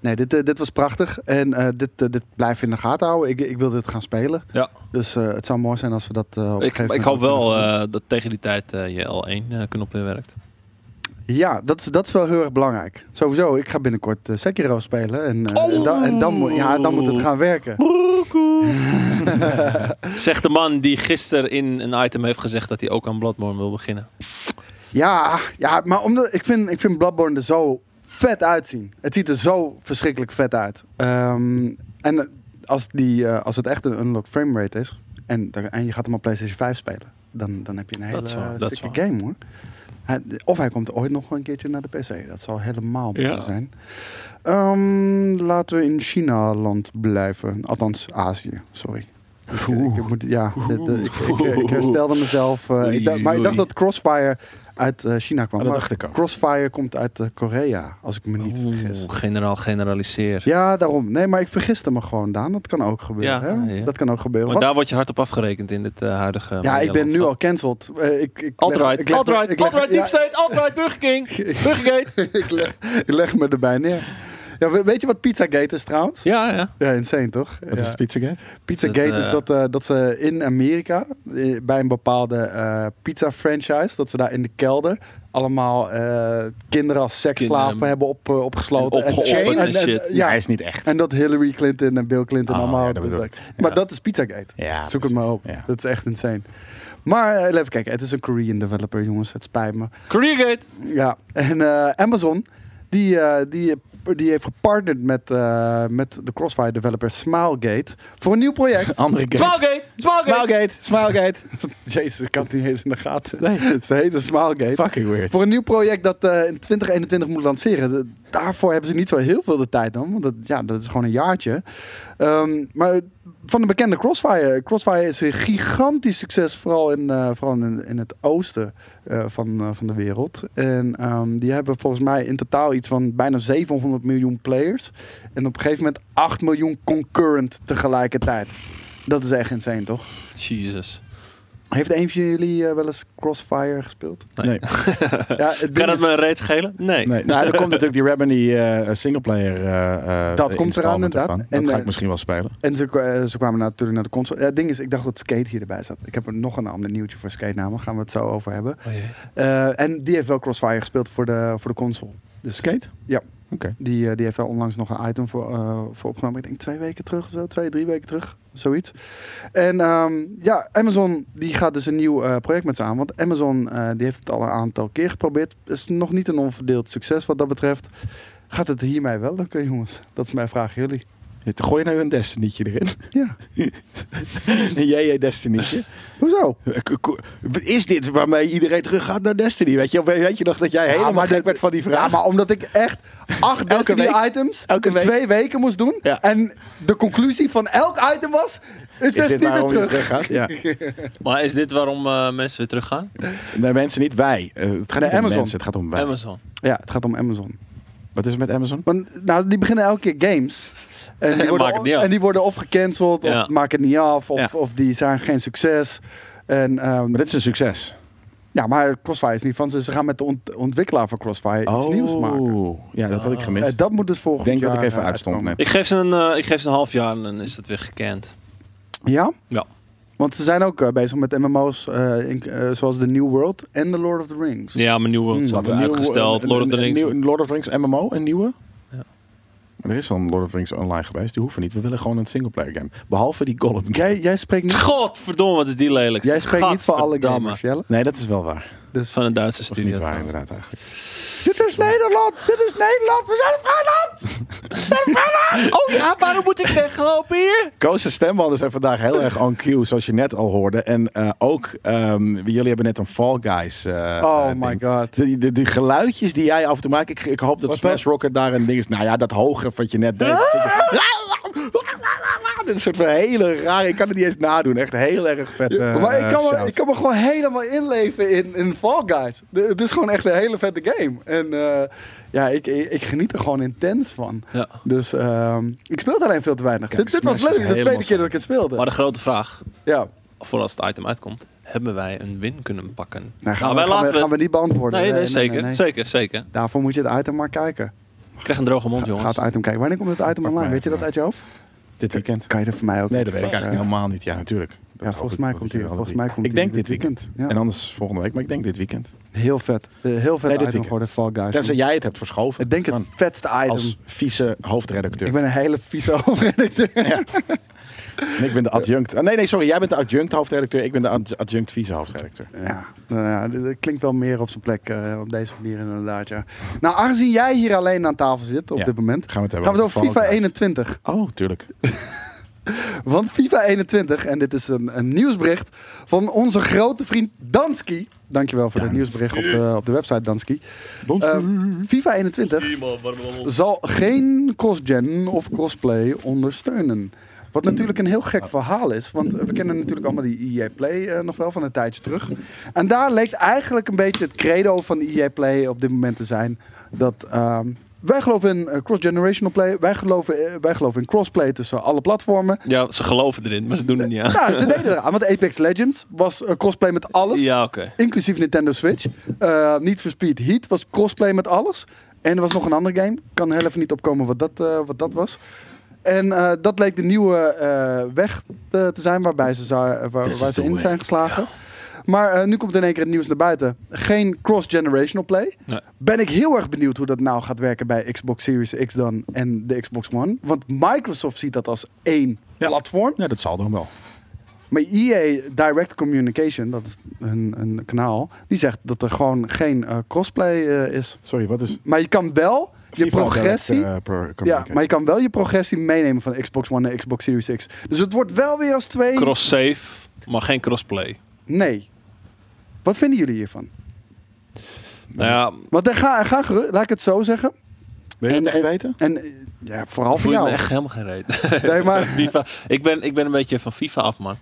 S1: Nee, dit, eh, dit was prachtig. En eh, dit, eh, dit blijf in de gaten houden. Ik, ik wil dit gaan spelen.
S2: Ja,
S1: Dus eh, het zou mooi zijn als we dat eh, op een
S2: ik,
S1: gegeven moment
S2: ik hoop
S1: ook
S2: wel
S1: kunnen
S2: eh, dat tegen die tijd eh, je L1-knop weer werkt.
S1: doen. Ja, dat is, dat is wel heel erg belangrijk. Sowieso, ik ga binnenkort eh, Sekiro spelen. En, eh, en, dan- en dan, moet- ja, dan moet het gaan werken.
S2: Zegt de man die gisteren in een item heeft gezegd dat hij ook aan Bloodborne wil beginnen.
S1: Ja, ja maar omdat, ik, vind, ik vind Bloodborne er zo vet uitzien. Het ziet er zo verschrikkelijk vet uit. Ehm, en als, die, eh, als het echt een unlocked framerate is... En, daar- en je gaat hem op PlayStation 5 spelen... dan, dan heb je een hele
S2: Dat is waar, dat is
S1: stikke game, hoor. Hij- of hij komt ooit nog een keertje naar de PC. Dat zal helemaal
S2: Ja.
S1: moeten zijn. Ehm, laten we in China-land blijven. Althans, Azië, sorry. Ik, eh, ik moet, ja, de- de- ik, ik, ik herstelde mezelf. eh, ik dacht- maar ik dacht dat Crossfire uit eh, China kwam.
S3: Oh, dat
S1: Maar
S3: dacht ik ook.
S1: Crossfire komt uit eh, Korea, als ik me niet vergis.
S2: Oeh, generaal generaliseer.
S1: Ja, daarom. Nee, maar ik vergiste me gewoon, Daan. Dat kan ook gebeuren.
S2: Ja,
S1: hè?
S2: ja.
S1: Dat kan ook gebeuren.
S2: Maar
S1: Wat-
S2: daar word je hard op afgerekend in dit eh, huidige.
S1: ja, ik ben nu al
S2: medialandschap.
S1: cancelled. Eh, ik, ik
S2: Alt-right,
S1: ik leg me-
S2: alt-right,
S1: ik leg me-
S2: alt-right, deep
S1: ja,
S2: state, alt-right, Burger King, Burgergate.
S1: ik, leg, ik leg me erbij neer. Ja, we- weet je wat Pizzagate is trouwens?
S2: Ja, ja.
S1: Ja, insane toch?
S3: Wat
S1: Ja.
S3: is Pizzagate?
S1: Pizzagate
S2: Dat, eh,
S1: is dat, eh, dat ze in Amerika eh, bij een bepaalde eh, pizza franchise, dat ze daar in de kelder allemaal eh, kinderen als seksslaven
S2: Kinderen.
S1: hebben op, eh, opgesloten.
S2: En opgeofferd
S1: chain-
S2: en shit.
S1: ja,
S3: Hij is niet echt.
S1: en dat Hillary Clinton en Bill Clinton
S3: Oh,
S1: allemaal.
S3: ja, dat bedoel ik.
S1: Maar
S2: Ja.
S1: dat is Pizzagate.
S3: Ja,
S1: Zoek het maar op.
S3: Ja.
S1: Dat is echt insane. Maar eh, even kijken, het is een Korean developer, jongens. Het spijt me.
S2: Careergate.
S1: Ja, en eh, Amazon, die, eh, die, die heeft gepartnerd met, eh, met de Crossfire developer Smilegate voor een nieuw project.
S3: Andere gate.
S2: Smilegate, Smilegate.
S3: Smilegate, Smilegate.
S1: Jezus, ik had het niet eens in de gaten.
S3: Nee.
S1: Ze heette Smilegate.
S3: Fucking weird.
S1: Voor een nieuw project dat eh, in 2021 moet lanceren. de- daarvoor hebben ze niet zo heel veel de tijd dan. Want dat, ja, dat is gewoon een jaartje. Ehm, maar van de bekende Crossfire. Crossfire is een gigantisch succes. Vooral in, eh, vooral in, in het oosten eh, van, eh, van de wereld. En ehm, die hebben volgens mij in totaal iets van bijna 700 miljoen players. En op een gegeven moment 8 miljoen concurrent tegelijkertijd. Dat is echt insane, toch?
S2: Jesus.
S1: Heeft een van jullie eh, wel eens Crossfire gespeeld? Ja,
S3: Nee.
S1: het
S2: Kan
S1: ding
S2: dat
S1: is-
S2: me reeds schelen? Nee.
S3: Nee. Nou, er komt natuurlijk die Remedy eh singleplayer eh, eh,
S1: Dat komt eraan,
S3: installment
S1: inderdaad.
S3: ervan. Dat
S1: En,
S3: ga
S1: eh,
S3: ik misschien wel spelen.
S1: En ze, eh, ze kwamen natuurlijk naar de console. Ja, het ding is, ik dacht dat Skate hier erbij zat. Ik heb er nog een ander nieuwtje voor Skate namelijk. Gaan we het zo over hebben.
S2: Oh jee.
S1: Eh, en die heeft wel Crossfire gespeeld voor de, voor de console. Dus
S3: Skate?
S1: Ja.
S3: Oké.
S1: die, eh, die heeft daar onlangs nog een item voor, eh, voor opgenomen. Ik denk twee weken terug of zo. Twee, drie weken terug. Zoiets. En ehm, ja, Amazon die gaat dus een nieuw eh, project met ze aan. Want Amazon eh, die heeft het al een aantal keer geprobeerd. Is nog niet een onverdeeld succes wat dat betreft. Gaat het hiermee wel lukken, jongens? Dat is mijn vraag aan jullie.
S3: Gooi nou een Destiny'tje erin.
S1: Ja,
S3: Een JJ Destiny'tje.
S1: hoezo?
S3: Is dit waarmee iedereen terug gaat naar Destiny? Weet je, weet je nog dat jij helemaal
S1: maar
S3: gek
S1: dat-
S3: werd van die vraag?
S1: Ja, maar omdat ik echt acht Destiny
S3: week.
S1: items
S3: Elke
S1: in
S3: week.
S1: twee weken moest doen.
S3: Ja.
S1: En de conclusie van elk item was, is,
S3: is dit
S1: Destiny weer
S3: waarom je
S1: terug.
S3: teruggaat? Ja.
S2: Maar is dit waarom eh, mensen weer teruggaan?
S3: Nee, mensen niet. Wij. Eh, het gaat
S1: Nee,
S3: niet om
S1: Amazon.
S3: mensen, het gaat om wij.
S2: Amazon.
S1: Ja, het gaat om Amazon.
S3: Wat is er met Amazon?
S1: Want nou, die beginnen elke keer games. En die worden,
S2: Maak het niet af.
S1: en die worden of gecanceld, of
S2: Ja.
S1: maak het niet af, of,
S3: Ja.
S1: of die zijn geen succes. En, ehm,
S3: Maar dit is een succes.
S1: ja, maar Crossfire is niet van ze. Ze gaan met de ont- ontwikkelaar van Crossfire iets nieuws maken.
S3: Ja, dat had ik gemist.
S1: Eh, dat moet dus
S3: Oh. ik
S1: volgend
S3: denk
S1: jaar
S3: dat ik even
S1: eh,
S3: uitstond
S1: uitkomen.
S3: net.
S2: Ik geef ze een, eh, ik geef ze een half jaar en dan is dat weer gekend.
S1: Ja?
S2: Ja.
S1: Want ze zijn ook eh, bezig met MMO's eh, in- eh, zoals The New World en The Lord of the Rings.
S2: Ja, mijn nieuwe
S1: Hmm,
S2: World
S1: wat
S2: zat
S3: Een nieuwe-
S2: uitgesteld.
S3: een-
S2: Lord of the
S3: een-
S2: Rings.
S3: Een, nieuw- Lord of the Rings MMO, een nieuwe?
S2: Ja.
S3: Er is al een Lord of the Rings online geweest. Die hoeven niet. We willen gewoon een singleplayer game. Behalve die Golem game.
S1: Jij, jij spreekt niet,
S2: Godverdomme, wat is die lelijk.
S1: jij spreekt niet voor alle
S2: Gadverdamme.
S1: gamers, Jelle.
S3: Nee, dat is wel waar.
S1: Dus,
S2: Van een Duitse
S3: Dat is niet
S2: studio.
S3: waar,
S2: trouwens.
S3: inderdaad. Eigenlijk.
S1: dit is Nederland! Dit is Nederland! We zijn een vrij land!
S2: Oh ja, waarom moet ik weglopen hier?
S3: Koos' stembanden zijn vandaag heel erg on cue, zoals je net al hoorde. En eh, ook, ehm, jullie hebben net een Fall Guys eh,
S1: Oh
S3: eh,
S1: my
S3: ding.
S1: god.
S3: Die, die, die geluidjes die jij af en toe maakt, ik, ik hoop dat
S1: Wat
S3: Smash Rocket daar een ding is. Nou ja, dat hoge wat je net deed. Dat zit je- Dit is een soort van hele raar. Ik kan het niet eens nadoen. Echt heel erg vet. eh,
S1: maar ik kan, me,
S3: shout.
S1: ik kan me gewoon helemaal inleven in, in Fall Guys. De- het is gewoon echt een hele vette game. En eh, ja, ik, ik, ik geniet er gewoon intens van.
S2: Ja.
S1: Dus ehm, ik speel alleen veel te weinig.
S3: Kijk,
S1: dit dit was
S3: Smash is
S1: letterlijk de tweede
S3: helemaal
S1: keer dat ik het speelde.
S2: Maar Nou, de grote vraag,
S1: ja.
S2: voor als het item uitkomt, hebben wij een win kunnen pakken?
S1: Nou, gaan,
S2: Nou,
S1: we,
S2: wij
S1: gaan, we,
S2: laten
S1: gaan we niet beantwoorden.
S2: Nee, nee, zeker,
S1: nee.
S2: zeker, zeker.
S1: Daarvoor moet je het item maar kijken.
S2: Ik krijg een droge mond,
S1: Ga
S2: jongens.
S1: het item kijken. Wanneer komt het item online?
S3: mij
S1: Weet je dat
S3: even.
S1: uit je hoofd?
S3: Dit weekend.
S1: Kan je er voor mij ook
S3: Nee, dat weet ik
S1: Eh,
S3: eigenlijk helemaal niet. Ja, natuurlijk. Dat
S1: Ja,
S3: hoop
S1: volgens
S3: ik
S1: mij
S3: dat
S1: komt
S3: jullie
S1: hij.
S3: alle
S1: Volgens mij
S3: drie-
S1: komt
S3: Ik
S1: die
S3: denk dit weekend. En
S1: Ja.
S3: anders volgende week, maar ik denk dit weekend.
S1: Heel vet. Eh, Heel vet
S3: Nee, dit
S1: item
S3: weekend.
S1: geworden, Fall Guys.
S3: Tenzij jij het hebt verschoven.
S1: Ik denk het
S3: Dan
S1: vetste item.
S3: Als vieze hoofdredacteur.
S1: Ik ben een hele vieze hoofdredacteur.
S3: Ja. En ik ben de adjunct. ah, nee, nee, sorry. Jij bent de adjunct hoofdredacteur. Ik ben de ad- adjunct vice hoofdredacteur.
S1: Ja, nou ja, dit- dit klinkt wel meer op zijn plek eh, op deze manier inderdaad, ja. Nou, aangezien jij hier alleen aan tafel zit op
S3: Ja.
S1: dit moment,
S3: Gaan we het hebben
S1: gaan we het over
S3: Fallout
S1: FIFA
S3: Guys.
S1: 21.
S3: Oh, tuurlijk.
S1: Want FIFA 21, en dit is een, een nieuwsbericht van onze grote vriend Dansky. Dankjewel voor het nieuwsbericht op de, op de website Dansky. Eh, FIFA 21 zal geen cross-gen of crossplay ondersteunen. Wat natuurlijk een heel gek verhaal is, want eh, we kennen natuurlijk allemaal die EA Play eh, nog wel van een tijdje terug. En daar leek eigenlijk een beetje het credo van EA Play op dit moment te zijn. Dat ehm, wij geloven in eh, cross-generational play, wij geloven, eh, wij geloven in crossplay tussen alle platformen.
S2: Ja, ze geloven erin, maar ze doen het niet aan.
S1: Nou, ze deden eraan, want Apex Legends was eh, crossplay met alles.
S2: Ja, oké.
S1: Inclusief Nintendo Switch. Eh, Need for Speed Heat was crossplay met alles. En er was nog een andere game. Kan heel even niet opkomen wat dat, eh, wat dat was. En eh, dat leek de nieuwe eh, weg te, te zijn waarbij ze, zou- eh, waar,
S2: This
S1: waar
S2: is
S1: ze
S2: the
S1: in
S2: way.
S1: zijn geslagen. Maar eh, nu komt in één keer het nieuws naar buiten. Geen cross-generational play.
S2: Nee.
S1: Ben ik heel erg benieuwd hoe dat nou gaat werken bij Xbox Series X dan en de Xbox One. Want Microsoft ziet dat als één
S3: Ja.
S1: platform.
S3: Ja, dat zal dan wel.
S1: Maar EA Direct Communication, dat is hun, hun kanaal, die zegt dat er gewoon geen eh, crossplay eh, is.
S3: Sorry, wat is...
S1: Maar je kan wel je
S3: FIFA
S1: progressie.
S3: Direct, eh, pro-
S1: ja,
S3: communication.
S1: maar je kan wel je progressie meenemen van Xbox One naar Xbox Series X. Dus het wordt wel weer als twee.
S2: Cross-save, maar geen crossplay.
S1: nee. Wat vinden jullie hiervan?
S2: Nou ja,
S1: Want er ga, er ga geru- laat ik het zo zeggen.
S3: Wil je
S1: En-
S3: het echt
S1: en-
S3: weten?
S1: En eh, ja, vooral voor
S2: voel ik me
S1: jou.
S2: echt helemaal geen reet.
S1: Nee, maar,
S2: FIFA. Ik, ben, ik ben een beetje van FIFA af, man.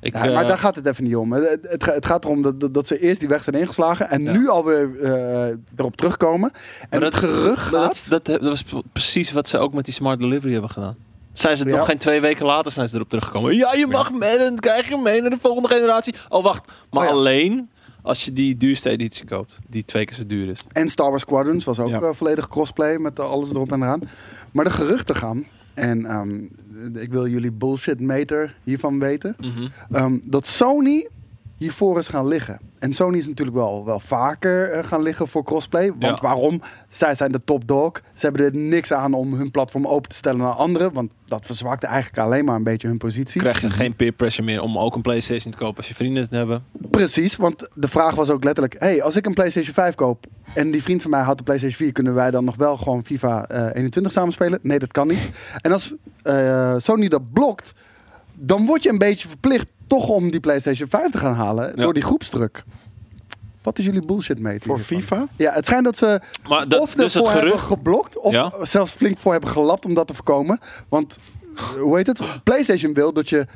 S2: Ik,
S1: Ja, maar
S2: eh,
S1: daar gaat het even niet om. Het, het- het, ga- het gaat erom dat, dat, dat ze eerst die weg zijn ingeslagen en
S2: Ja.
S1: nu alweer eh erop terugkomen. En
S2: Maar
S1: het gerucht gaat...
S2: maar dat, is- dat, dat was p- precies wat ze ook met die smart delivery hebben gedaan. Zijn ze
S1: Ja.
S2: nog geen twee weken later zijn ze erop teruggekomen. Ja, je mag mee, dan krijg je mee naar de volgende generatie. Oh, wacht. Maar
S1: Oh ja.
S2: alleen als je die duurste editie koopt. Die twee keer zo duur is.
S1: En Star Wars Squadrons was ook
S3: Ja.
S1: eh, volledig crossplay met eh, alles erop en eraan. Maar de geruchten gaan, en ehm, d- ik wil jullie bullshit meter hiervan weten,
S2: Mhm.
S1: ehm, dat Sony hiervoor is gaan liggen. En Sony is natuurlijk wel, wel vaker eh, gaan liggen voor crossplay. Want
S2: Ja.
S1: waarom? Zij zijn de top dog. Ze hebben er niks aan om hun platform open te stellen naar anderen. Want dat verzwakte eigenlijk alleen maar een beetje hun positie.
S2: Krijg je geen peer pressure meer om ook een PlayStation te kopen als je vrienden het hebben.
S1: Precies, want de vraag was ook letterlijk: hey, als ik een PlayStation 5 koop en die vriend van mij houdt de PlayStation 4, kunnen wij dan nog wel gewoon FIFA eh 21 samen spelen? Nee, dat kan niet. En als eh, Sony dat blokt, dan word je een beetje verplicht toch om die PlayStation 5 te gaan halen
S2: Ja.
S1: door die groepsdruk. Wat is jullie bullshit meter?
S3: Voor
S1: hiervan?
S3: FIFA?
S1: Ja, het schijnt dat ze
S2: Maar dat,
S1: of
S2: dus het
S1: ervoor hebben
S2: gerucht.
S1: geblokt, of
S2: Ja.
S1: zelfs flink voor hebben gelapt om dat te voorkomen. Want eh, hoe heet het? PlayStation wil dat je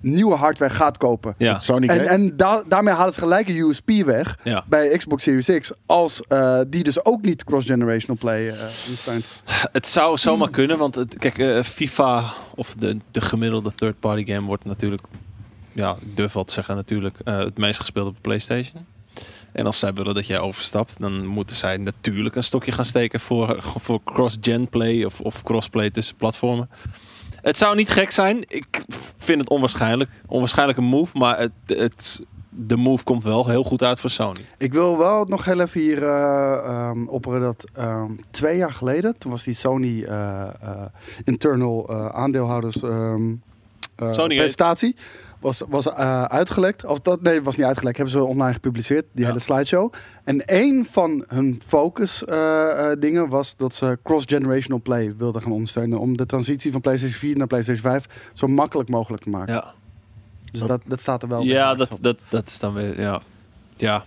S1: nieuwe hardware gaat kopen.
S2: Ja.
S3: Sony
S1: En,
S3: Gate?
S1: en da- daarmee halen ze gelijk een USP weg
S2: Ja.
S1: bij Xbox Series X. Als eh, die dus ook niet cross-generational play eh ondersteunt.
S2: Het zou zomaar kunnen, want het, kijk, eh, FIFA of de, de gemiddelde third-party game wordt natuurlijk, ja, ik durf wel te zeggen, natuurlijk eh, het meest gespeeld op de PlayStation. En als zij willen dat jij overstapt, dan moeten zij natuurlijk een stokje gaan steken voor, voor cross-gen play of, of crossplay tussen platformen. Het zou niet gek zijn. Ik vind het onwaarschijnlijk. Onwaarschijnlijk een move, maar het, het, de move komt wel heel goed uit voor Sony.
S1: Ik wil wel nog heel even hier eh, ehm, opperen dat ehm, twee jaar geleden, toen was die Sony eh, eh, internal eh, aandeelhouders ehm, eh,
S2: Sony heet-
S1: presentatie was, was eh, uitgelekt. Of dat, nee, was niet uitgelekt. Hebben ze online gepubliceerd, die
S2: Ja.
S1: hele slideshow. En één van hun focus eh, eh, dingen was dat ze cross-generational play wilden gaan ondersteunen. Om de transitie van PlayStation 4 naar PlayStation 5 zo makkelijk mogelijk te maken.
S2: Ja,
S1: Dus dat, dat staat er wel.
S2: ja
S1: bij.
S2: dat, dat, dat is dan weer, ja. Ja,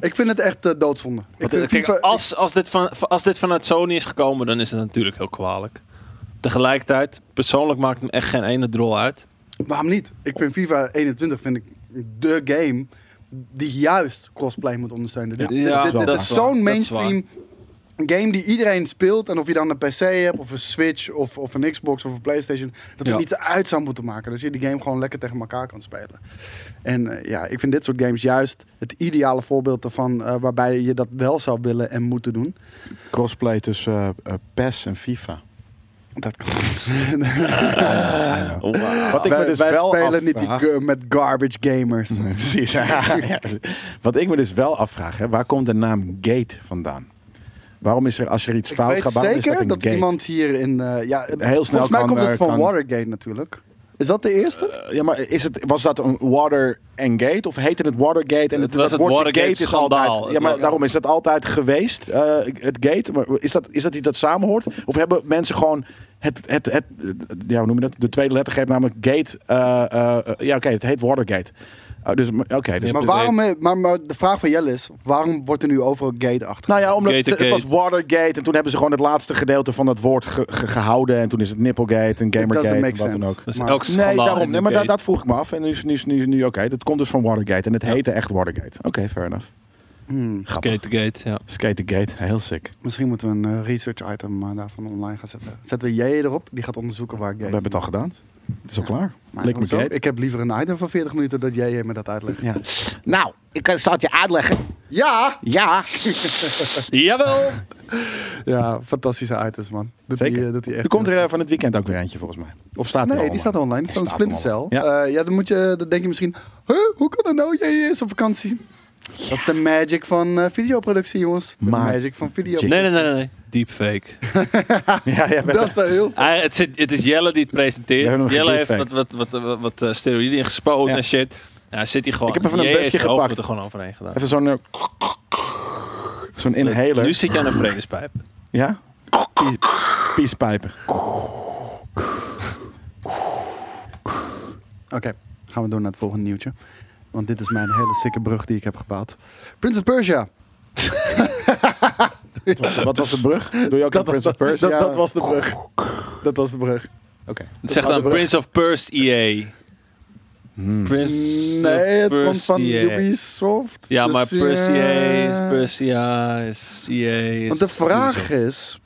S1: Ik vind het echt eh, doodzonde. Ik
S2: Want,
S1: vind
S2: eh, kijk,
S1: FIFA-
S2: als, als, dit van, als dit vanuit Sony is gekomen, dan is het natuurlijk heel kwalijk. Tegelijkertijd, persoonlijk maakt het me echt geen ene drol uit.
S1: Waarom niet? Ik vind FIFA 21 vind ik de game die juist crossplay moet ondersteunen. Dit,
S2: Ja,
S1: dit- dit-
S3: dat
S1: dit
S3: is
S1: is
S2: waar.
S1: zo'n
S2: Dat is waar.
S1: mainstream game die iedereen speelt. En of je dan een PC hebt, of een Switch, of, of een Xbox, of een Playstation. Dat
S2: Ja.
S1: het niet uit zou moeten maken. Dat je die game gewoon lekker tegen elkaar kan spelen. En eh, ja, ik vind dit soort games juist het ideale voorbeeld ervan... eh, waarbij je dat wel zou willen en moeten doen.
S3: Crossplay tussen eh, eh, PES en FIFA.
S1: Dat kan
S2: Oh,
S3: Wat ik me
S1: Wij,
S3: dus
S1: wij
S3: wel
S1: spelen niet die
S3: afvraag-
S1: gu- met garbage gamers.
S3: Nee, precies. Ja, ja. Wat ik me dus wel afvraag, hè, waar komt de naam Gate vandaan? Waarom is er, als er iets fout
S1: ik
S3: gaat,
S1: weet
S3: waarom is
S1: zeker
S3: dat een
S1: dat
S3: gate?
S1: iemand hier in... eh, ja,
S3: Heel snel
S1: volgens mij
S3: kan,
S1: komt
S3: eh,
S1: het van
S3: kan- Eh,
S1: Watergate natuurlijk. Is dat de eerste?
S3: Ja, maar is het, was dat een water and gate? Of heette het Watergate? En
S2: Het was het
S3: woordje
S2: Watergate
S3: is altijd,
S2: schandaal.
S3: ja, maar
S2: Ja.
S3: daarom is dat altijd geweest, eh, het gate. Maar is dat, is dat iets dat samenhoort? Of hebben mensen gewoon het, het, het, ja, hoe noem je dat? De tweede lettergreep, namelijk gate. eh, eh, eh, ja, oké, het heet Watergate. Oh, dus, oké. dus,
S2: Ja,
S1: Maar,
S2: dus
S1: waarom, maar, maar de vraag van Jelle is, waarom wordt er nu overal gate achter?
S3: nou ja, omdat het,
S2: Gate
S3: het was
S2: Gate.
S3: Watergate en toen hebben ze gewoon het laatste gedeelte van dat woord ge- ge- gehouden. En toen is het Nipplegate en Gamergate en wat
S1: make
S3: dan
S1: sense.
S3: ook.
S2: Dus
S1: Maar-
S2: elk
S3: Nee,
S2: schandaal
S3: daarom.
S2: in
S3: Nee,
S2: de
S3: maar da-
S2: gate.
S3: dat vroeg ik me af. En nu, is- nu, is- nu, is- nu oké, dat komt dus van Watergate. En het heette echt Watergate. Oké, fair enough.
S1: Hmm,
S3: Grappig.
S2: Gate to gate, ja.
S3: Skate the Gate, heel sick.
S1: misschien moeten we een eh, research item eh, daarvan online gaan zetten. Zetten we jij erop, die gaat onderzoeken waar
S3: We
S1: gate...
S3: hebben het al gedaan. Het is al klaar.
S1: Maar
S3: Lik me
S1: hoezo?
S3: gate.
S1: ik heb liever een item van 40 minuten dat jij me dat uitlegt.
S3: Ja. Nou, ik eh, zal het je uitleggen.
S1: Ja!
S3: Ja.
S2: Jawel!
S1: Ja, fantastische items, man. Doet
S3: Zeker.
S1: Die, eh, doet die echt
S3: Er komt er eh, van het weekend ook weer eentje volgens mij. Of staat er
S1: Nee,
S3: al
S1: die staat online. Van
S3: staat
S1: Splinter Cell.
S3: online.
S1: Ja. ja, dan, moet je, dan denk je misschien... Huh, hoe kan dat nou? Jij is op vakantie. Dat is de magic van eh, videoproductie, jongens. De
S3: Maar-
S1: magic van video.
S2: Nee, nee, nee, nee, nee. Deepfake.
S3: Ja, ja, we-
S1: Dat is wel heel...
S2: Ah, het, zit- het is Jelle die het
S3: We hebben
S2: presenteert.
S3: hem
S2: Jelle heeft wat,
S3: gedeepfaked.
S2: wat, wat, wat, wat eh, steroïden ingespoten
S3: Ja.
S2: en shit. Nou, zit hij gewoon.
S3: Ik heb even een
S2: Jij is
S3: befje
S2: zijn hoofd
S3: gepakt.
S2: er gewoon overheen gedaan.
S3: Even zo'n... eh, zo'n inhaler.
S2: Nu zit je aan een vredespijp.
S3: Ja? Piespipen.
S1: Oké, gaan we door naar het volgende nieuwtje. Want dit is mijn hele sikke brug die ik heb gebouwd. Prince of Persia.
S3: Wat was de brug? Doe je ook een Prince of Persia? Oh.
S1: Dat, dat was de brug. Dat was de brug.
S3: Oké.
S2: Het zegt
S1: was
S2: dan
S1: de brug.
S2: Prince of Perse EA.
S3: Hmm.
S2: Prince
S1: Nee,
S2: of E
S1: het komt van
S2: Persia.
S1: Ubisoft.
S2: Ja,
S1: Dus,
S2: maar Perse EA
S1: ja.
S2: is Perse EA is EA is...
S1: Want de vraag
S2: Ubisoft.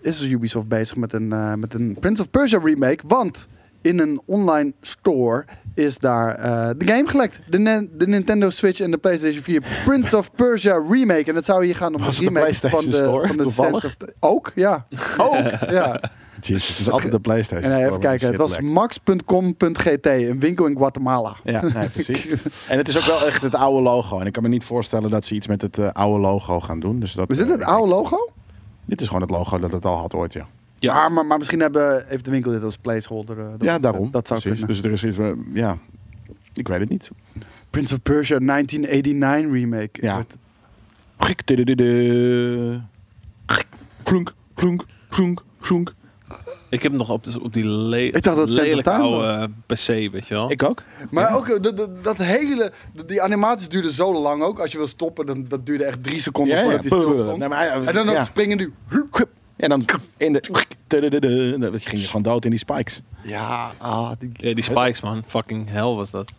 S1: is: is Ubisoft bezig met een, eh, met een Prince of Persia remake? Want in een online store is daar eh, de game gelekt. De, Nin- de Nintendo Switch en de PlayStation 4 Prince of Persia remake. En dat zou hier gaan om
S3: Was
S1: een
S3: het de
S1: remake van
S3: PlayStation
S1: de,
S3: Store?
S1: van de
S3: Toevallig?
S1: Sense of ook, ja. Ook, ja.
S3: Jeez, het is altijd de PlayStation.
S1: En eh,
S3: Waar
S1: even
S3: we
S1: kijken, het
S3: shit
S1: was
S3: lekt.
S1: max.com.gt, een winkel in Guatemala.
S3: Ja, nee, precies. En het is ook wel echt het oude logo. En ik kan me niet voorstellen dat ze iets met het eh, oude logo gaan doen. Dus dat,
S1: Is dit
S3: eh,
S1: het oude logo?
S3: Dit is gewoon het logo dat het al had ooit, ja.
S2: Ja.
S1: Maar, maar, maar misschien hebben, heeft de winkel dit als placeholder. eh, dat-
S3: ja, daarom.
S1: Dat zou
S3: precies.
S1: kunnen.
S3: Dus er is iets, eh, ja, ik weet het niet.
S1: Prince of Persia 1989 remake.
S3: Ja. Gik, tudududu. Gik, Klunk, klunk, klunk, klunk.
S2: Ik heb hem nog op, dus op die le
S1: Ik dacht dat het
S2: lelijke
S1: Sense of Time
S2: oude eh, PC, weet je wel.
S3: Ik ook.
S1: Maar ook eh, dat- dat- dat hele, dat- die animaties duurden zo lang ook. Als je wil stoppen, dan dat duurde echt drie seconden
S3: Ja, ja.
S1: voordat hij stil stond.
S3: Nee, maar hij-
S1: en dan
S3: ja.
S1: nog springen nu.
S3: En dan in de... gik, tudududu. Dan ging je gewoon dood in die spikes.
S1: Ja, ah, die-
S2: Ja, die spikes, man. Fucking hell was dat.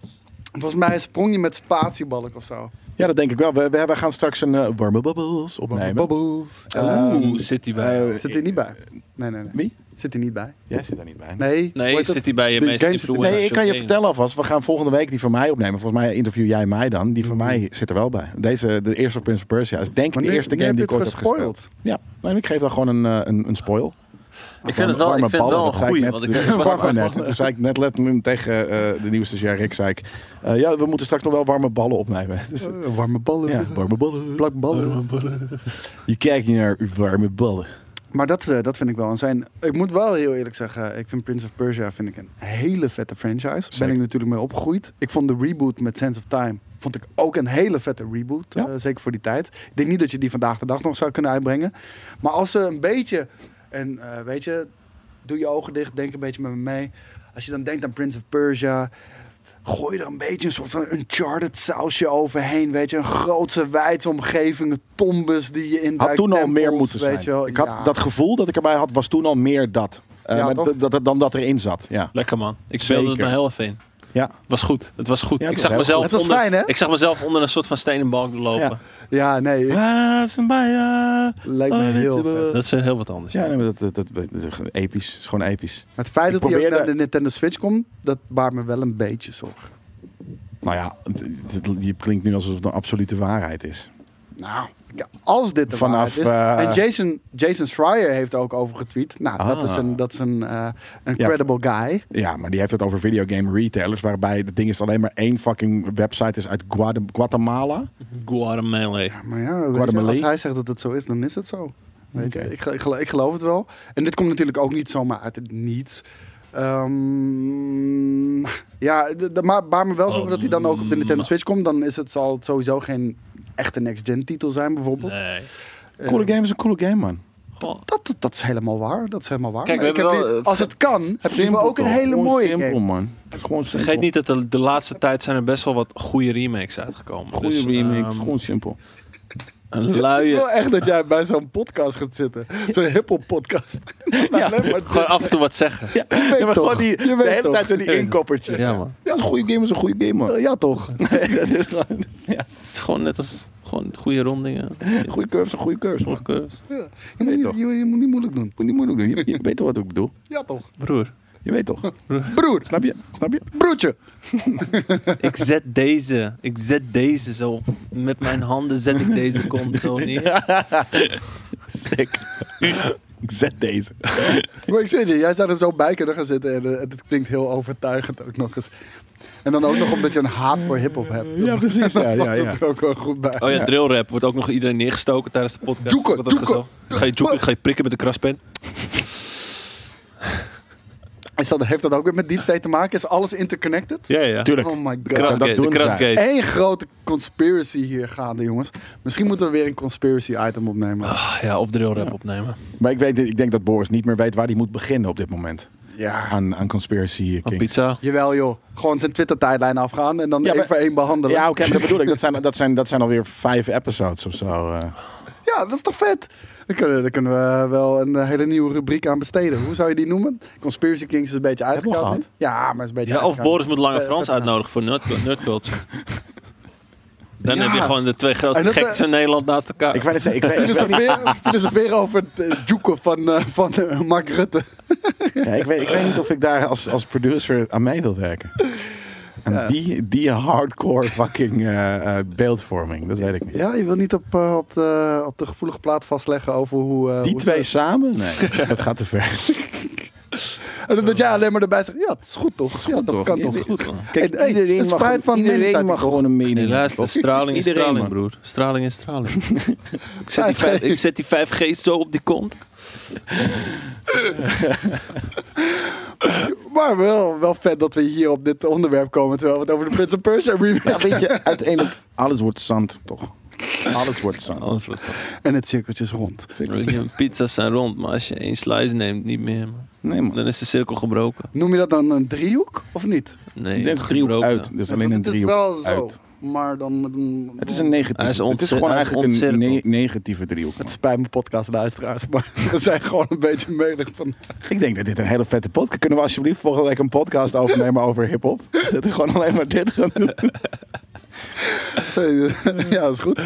S1: volgens mij sprong je met spatiebalk of zo.
S3: Ja, dat denk ik wel. We, we, we gaan straks een eh, warme bubbles opnemen.
S1: Bubbles.
S3: Ehm,
S2: Oeh, zit die bij.
S3: eh,
S1: zit hij niet bij? Nee, nee, nee.
S3: Wie?
S1: Zit hij niet bij?
S3: Jij zit daar niet bij.
S1: Nee. hoe
S2: nee,
S1: heet
S2: zit
S1: het?
S2: die bij je
S1: de
S2: meest
S1: games-
S2: influential
S3: Nee, ik kan je
S2: games.
S3: vertellen alvast. We gaan volgende week die van mij opnemen. Volgens mij interview jij mij dan. Die van mij zit er wel bij. Deze, de eerste Prince of Persia, is denk ik
S1: Wanneer-
S3: de eerste
S1: wanneer
S3: game die
S1: heb
S3: ik
S1: je
S3: ooit
S1: het
S3: heb gespeeld.
S1: gespoild?
S3: Ja, nee, ik geef daar gewoon een, eh, een, een spoil.
S2: Ik vind het wel, ik vind het wel een goeie. Want ik
S3: was
S1: warme
S3: maar net.
S1: ballen.
S3: Toen zei ik net letterlijk tegen eh, de nieuwe stagiair Rick, zei ik... eh, ja, we moeten straks nog wel warme ballen opnemen. Dus, eh,
S1: Eh, warme ballen.
S3: ja, warme ballen.
S1: Plakballen.
S3: Je kijkt naar warme ballen.
S1: Maar dat, eh, dat vind ik wel. En zijn, ik moet wel heel eerlijk zeggen, ik vind Prince of Persia vind ik een hele vette franchise. Daar ben
S3: Zeker.
S1: ik natuurlijk mee opgegroeid. Ik vond de reboot met Sense of Time vond ik ook een hele vette reboot.
S3: Ja.
S1: eh, zeker voor die tijd. Ik denk niet dat je die vandaag de dag nog zou kunnen uitbrengen. Maar als ze een beetje, en eh, weet je, doe je ogen dicht, denk een beetje met me mee. Als je dan denkt aan Prince of Persia, gooi er een beetje een soort van Uncharted sausje overheen. Weet je, een grootse, wijdse omgeving, tombes die je in
S3: Had toen al meer moeten zijn. Ik had, Dat gevoel dat ik erbij had, was toen al meer dat. Eh,
S1: Ja,
S3: maar
S1: toch?
S3: dat- dat- dat- dan dat erin zat. Ja.
S2: Lekker man. Ik
S3: Zeker.
S2: speelde het me heel even in.
S3: ja.
S2: was goed. Het was goed.
S3: Ja, het
S2: ik,
S3: was
S2: zag
S3: heel
S2: mezelf
S1: goed. Het was
S2: onder,
S1: fijn, hè?
S2: ik zag mezelf onder een soort van stenen balk lopen.
S3: Ja.
S1: Ja, nee, ik- lijkt
S3: Oh,
S1: me heel vet.
S2: Dat is eh, heel wat anders.
S3: Ja, nee, maar dat, dat, dat, dat is gewoon episch. Het is gewoon episch.
S1: Het feit
S3: Ik
S1: dat hij ook
S3: probeerde-
S1: naar de Nintendo Switch komt, dat baart me wel een beetje zorgen.
S3: Nou ja, het- het- die klinkt nu alsof het een absolute waarheid is.
S1: Nou, ja, als dit de
S3: Vanaf,
S1: waarheid is.
S3: eh,
S1: en Jason, Jason Schreier heeft er ook over getweet. Nou, dat
S3: Ah.
S1: is een, dat is een, eh, een
S3: Ja.
S1: credible guy.
S3: Ja, maar die heeft het over videogame retailers. Waarbij het ding is alleen maar één fucking website is uit Guada- Guatemala.
S2: Guatemala.
S1: Maar ja, weet je,
S3: Guatemala.
S1: als hij zegt dat het zo is, dan is het zo. Weet
S3: Oké.
S1: je, ik, ge- ik, gel- ik geloof het wel. En dit komt natuurlijk ook niet zomaar uit het niets. Ehm, ja, d- d- maar baar me wel zorgen dat hij dan ook op de Nintendo
S2: Ehm.
S1: Switch komt. Dan is het, zal het sowieso geen echte next-gen titel zijn, bijvoorbeeld.
S2: Nee.
S1: Eh,
S3: Coole game is een coole game, man.
S2: Goh.
S1: Dat, dat, dat is helemaal waar. Dat is helemaal waar.
S2: Kijk, we
S1: Maar ik
S2: hebben
S1: heb
S2: wel,
S1: hier-
S2: eh,
S1: als het kan, heb je
S3: Simpel,
S1: ook een
S3: toch?
S1: hele
S3: Gewoon
S1: mooie
S3: simpel,
S1: game.
S3: man. Het is gewoon simpel.
S2: Vergeet niet dat de, de laatste tijd zijn er best wel wat goede remakes uitgekomen.
S3: Goede
S2: Dus,
S3: remake, het
S2: ehm,
S3: is gewoon simpel.
S2: een
S1: Ik wil
S2: luie...
S1: echt dat jij bij zo'n podcast gaat zitten. Zo'n hiphop podcast.
S3: Ja.
S2: Gewoon af en toe wat zeggen.
S3: Ja,
S1: weet
S3: maar
S1: toch.
S3: gewoon die,
S1: Je
S3: de
S1: weet
S3: hele
S1: toch.
S3: tijd door die
S2: Ja.
S3: inkoppertjes.
S2: Ja, man.
S3: Ja, een goede game is een goede game, man.
S1: Ja, toch?
S3: dat is gewoon, ja,
S2: Het is gewoon net als gewoon goede rondingen.
S3: goede curves, een goede curves, man.
S2: Goede curves.
S1: Je moet,
S3: Nee,
S1: niet,
S3: toch?
S1: je, je moet niet moeilijk doen.
S3: Moet niet moeilijk doen. Je, je weet toch wat ik bedoel?
S1: Ja, toch?
S2: Broer,
S3: Je weet toch?
S1: Broer,
S3: Snap je? Snap je?
S1: broertje.
S2: ik zet deze, ik zet deze zo, met mijn handen zet ik deze kont zo neer.
S3: Ik zet deze.
S1: Maar ik zweer het je, jij zou er zo bij kunnen gaan zitten en eh, het klinkt heel overtuigend ook nog eens. En dan ook nog omdat je een haat voor hiphop hebt.
S3: Ja, precies. Ja,
S1: Dan
S3: ja,
S1: past
S3: ja.
S1: het er ook wel goed bij.
S2: Oh ja, drillrap wordt ook nog iedereen neergestoken tijdens de podcast.
S1: Joeken,
S2: Wat dat
S1: joeken.
S2: gezellig. Ga je joeken, ga je prikken met de kraspen?
S1: Is dat, heeft dat ook weer met deep state te maken? Is alles interconnected?
S2: Ja, ja.
S3: Tuurlijk.
S1: Oh my god.
S3: Kras-
S2: Krasgate, de
S3: doen ze.
S2: krasgate.
S1: Eén grote conspiracy hier gaande, jongens. Misschien moeten we weer een conspiracy item opnemen.
S2: Ah, Ja, of drillrap opnemen.
S3: Maar ik, weet, ik denk dat Boris niet meer weet waar hij moet beginnen op dit moment.
S1: Ja.
S3: Aan, aan Conspiracy
S2: Een
S3: King.
S2: pizza.
S1: Jawel, joh. Gewoon zijn Twitter-tijdlijn afgaan en dan
S3: Ja,
S1: één
S3: maar-
S1: voor één behandelen.
S3: Ja, oké, maar dat bedoel ik. Dat zijn, dat, zijn, dat zijn alweer vijf episodes of zo. eh.
S1: Ja, dat is toch vet? Dan kunnen, dan kunnen we wel een eh, hele nieuwe rubriek aan besteden. Hoe zou je die noemen? Conspiracy Kings is een beetje
S3: we al
S1: uitgekomen.
S3: gehad?
S1: Ja, maar is een beetje
S2: Ja, of
S1: uitgekoud.
S2: Boris moet Lange
S1: Eh,
S2: Frans
S1: vet gedaan.
S2: uitnodigen voor nerd, Nerdculture. Dan
S1: Ja.
S2: heb je gewoon de twee grootste
S1: En dat,
S3: eh,
S2: gekjes in Nederland naast elkaar.
S3: Ik weet het zeggen. Ik weet, ik weet,
S1: Filosoferen, filosoferen over het eh, joeken van, eh, van eh, Mark Rutte.
S3: ja, ik, weet, ik weet niet of ik daar als, als producer aan mee wil werken. Aan die, die hardcore fucking eh, eh, beeldvorming. Dat weet ik niet.
S1: Ja, je wil niet op, eh, op, de, op de gevoelige plaat vastleggen over hoe... eh,
S3: Die
S1: hoe
S3: twee
S1: ze-
S3: samen? Nee, dat gaat te ver.
S1: En dat jij alleen maar erbij zegt, ja, het is goed toch? ja, dat
S3: toch?
S1: kan
S3: Ja,
S1: toch?
S3: het is
S2: goed, man.
S1: Kijk, hey, het is vrijheid van meningsuiting, toch?
S3: een mening.
S2: Nee,
S3: hebben,
S2: luister,
S3: toch?
S2: straling is
S3: Iedereen,
S2: straling,
S3: man.
S2: broer. Straling is straling. ik, zet die
S1: 5G.
S2: vijf- ik zet die 5G zo op die kont.
S1: Maar wel, wel vet dat we hier op dit onderwerp komen, terwijl we het over de Prince of Persia remake
S3: Ja, weet je, uiteindelijk, alles wordt zand, toch? Alles wordt zand.
S2: Alles wat zo.
S1: En het cirkeltje is rond.
S2: Pizza's zijn rond, maar als je één slice neemt, niet meer. man.
S3: Nee, man.
S2: Dan is de cirkel gebroken.
S1: Noem je dat dan een driehoek of niet?
S2: Nee,
S3: Dit is driehoek
S2: gebroken.
S3: uit. Dit is alleen
S1: Want
S3: een
S1: het is
S3: driehoek
S1: wel zo,
S3: uit.
S1: maar dan... met een-
S3: Het is een
S2: Hij is
S3: negatieve. Het is
S2: ontcir-
S3: gewoon
S2: hij is
S3: eigenlijk een ne-
S2: ontcirkeld.
S3: negatieve driehoek. man.
S1: Het spijt mijn podcastluisteraars, maar we zijn gewoon een beetje melig van...
S3: Ik denk dat dit een hele vette podcast. Kunnen we alsjeblieft volgende week een podcast overnemen over hip-hop? Dat we gewoon alleen maar dit gaan doen.
S1: eh, ja, dat is goed.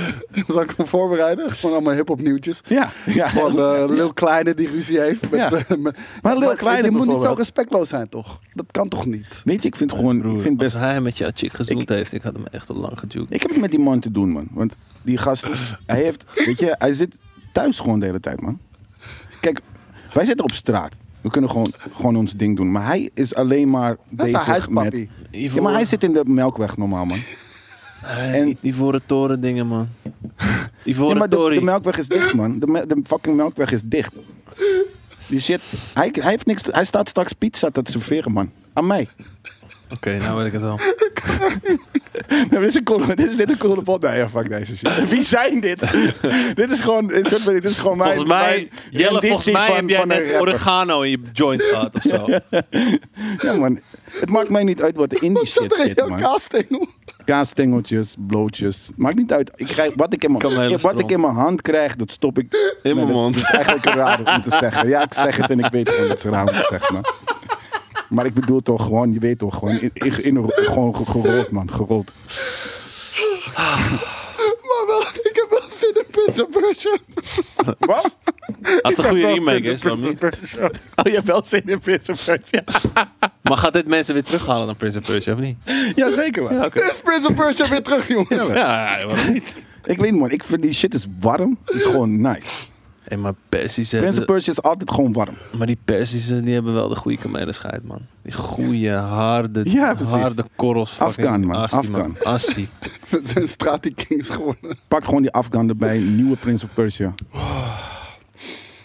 S1: Zal ik me voorbereiden? Gewoon allemaal hip-hop nieuwtjes.
S3: Ja, ja.
S1: Gewoon eh Lil Kleine die ruzie heeft. Met, eh,
S3: Ja.
S1: met-
S3: Maar Lil Kleine
S1: Je moet niet zo
S3: bijvoorbeeld.
S1: respectloos zijn, toch? Dat kan toch niet?
S3: Weet je, ik vind gewoon. Ik vind best.
S2: Als hij met je chick gezoend
S3: Ik-
S2: heeft, ik had hem echt al lang gejukt.
S3: Ik heb het met die man te doen, man. Want die gast, hij heeft, weet je, hij zit thuis gewoon de hele tijd, man. Kijk, wij zitten op straat. We kunnen gewoon, gewoon ons ding doen. Maar hij is alleen maar
S1: Dat is een
S3: bezig met...
S1: huispappie.
S3: Ja, maar hij zit in de Melkweg normaal, man. en-
S2: en Ivoren toren dingen, man.
S3: Ja,
S2: Ivoren
S3: maar de,
S2: toren.
S3: de Melkweg is dicht, man. De, me- de fucking Melkweg is dicht. Die shit. Hij, hij, heeft niks, te- hij staat straks pizza te serveren, man. Aan mij.
S2: Oké, nou weet ik het wel.
S3: Nee, maar dit is een coole, dit is dit een coole pot. Nee, ja, fuck deze shit. Wie zijn dit? dit is gewoon, dit is, dit is gewoon
S2: Volgens
S3: mijn...
S2: mij,
S3: mijn
S2: Jelle,
S3: renditie
S2: volgens mij
S3: van-
S2: heb jij
S3: van een
S2: net
S3: rapper.
S2: oregano in je joint gehad of zo.
S3: Ja, man. Het maakt mij niet uit wat de indie
S1: Wat zat
S3: shit
S1: er in
S3: zit,
S1: jouw
S3: man.
S1: casting?
S3: Kaastengeltjes, blootjes. Maakt niet uit. Ik krijg, wat ik in
S2: Kan mijn
S3: mijn,
S2: hele
S3: wat ik
S2: stroom.
S3: in mijn hand krijg, dat stop ik...
S2: mijn
S3: dat-
S2: mond.
S3: Dat is eigenlijk raar om te zeggen. Ja, ik zeg het en ik weet gewoon dat ze raar om te zeggen, man. Maar ik bedoel toch gewoon, je weet toch gewoon, in, in, in- gewoon ge- gerold, man. Gerold.
S1: Maar wel, ik heb wel zin in Prince of Persia.
S3: Wat?
S2: Als het een
S1: Ik heb wel zin
S2: goede remake
S1: in
S2: is, waarom
S1: Prince
S2: niet?
S1: of Persia.
S3: Oh, je hebt wel zin in Prince of Persia?
S2: Maar gaat dit mensen weer terughalen naar Prince of Persia of niet?
S3: Jazeker, man.
S2: Ja, oké.
S1: Is Prince of Persia weer terug, jongens?
S2: Ja, waarom niet?
S3: Ik weet niet, man. Ik vind die shit is warm. Het is gewoon nice.
S2: En maar Persische...
S3: Prince of Persia is altijd gewoon warm.
S2: Maar die Persische, die hebben wel de goede kamelenscheid, man. Die goede, harde,
S3: Ja, precies.
S2: harde korrels. fucking
S3: Afghan, man.
S2: Assi, man.
S3: Afghan.
S2: Assi.
S1: Met zijn Strati Kings gewonnen.
S3: Pak gewoon die Afghan erbij. Nieuwe Prince of Persia.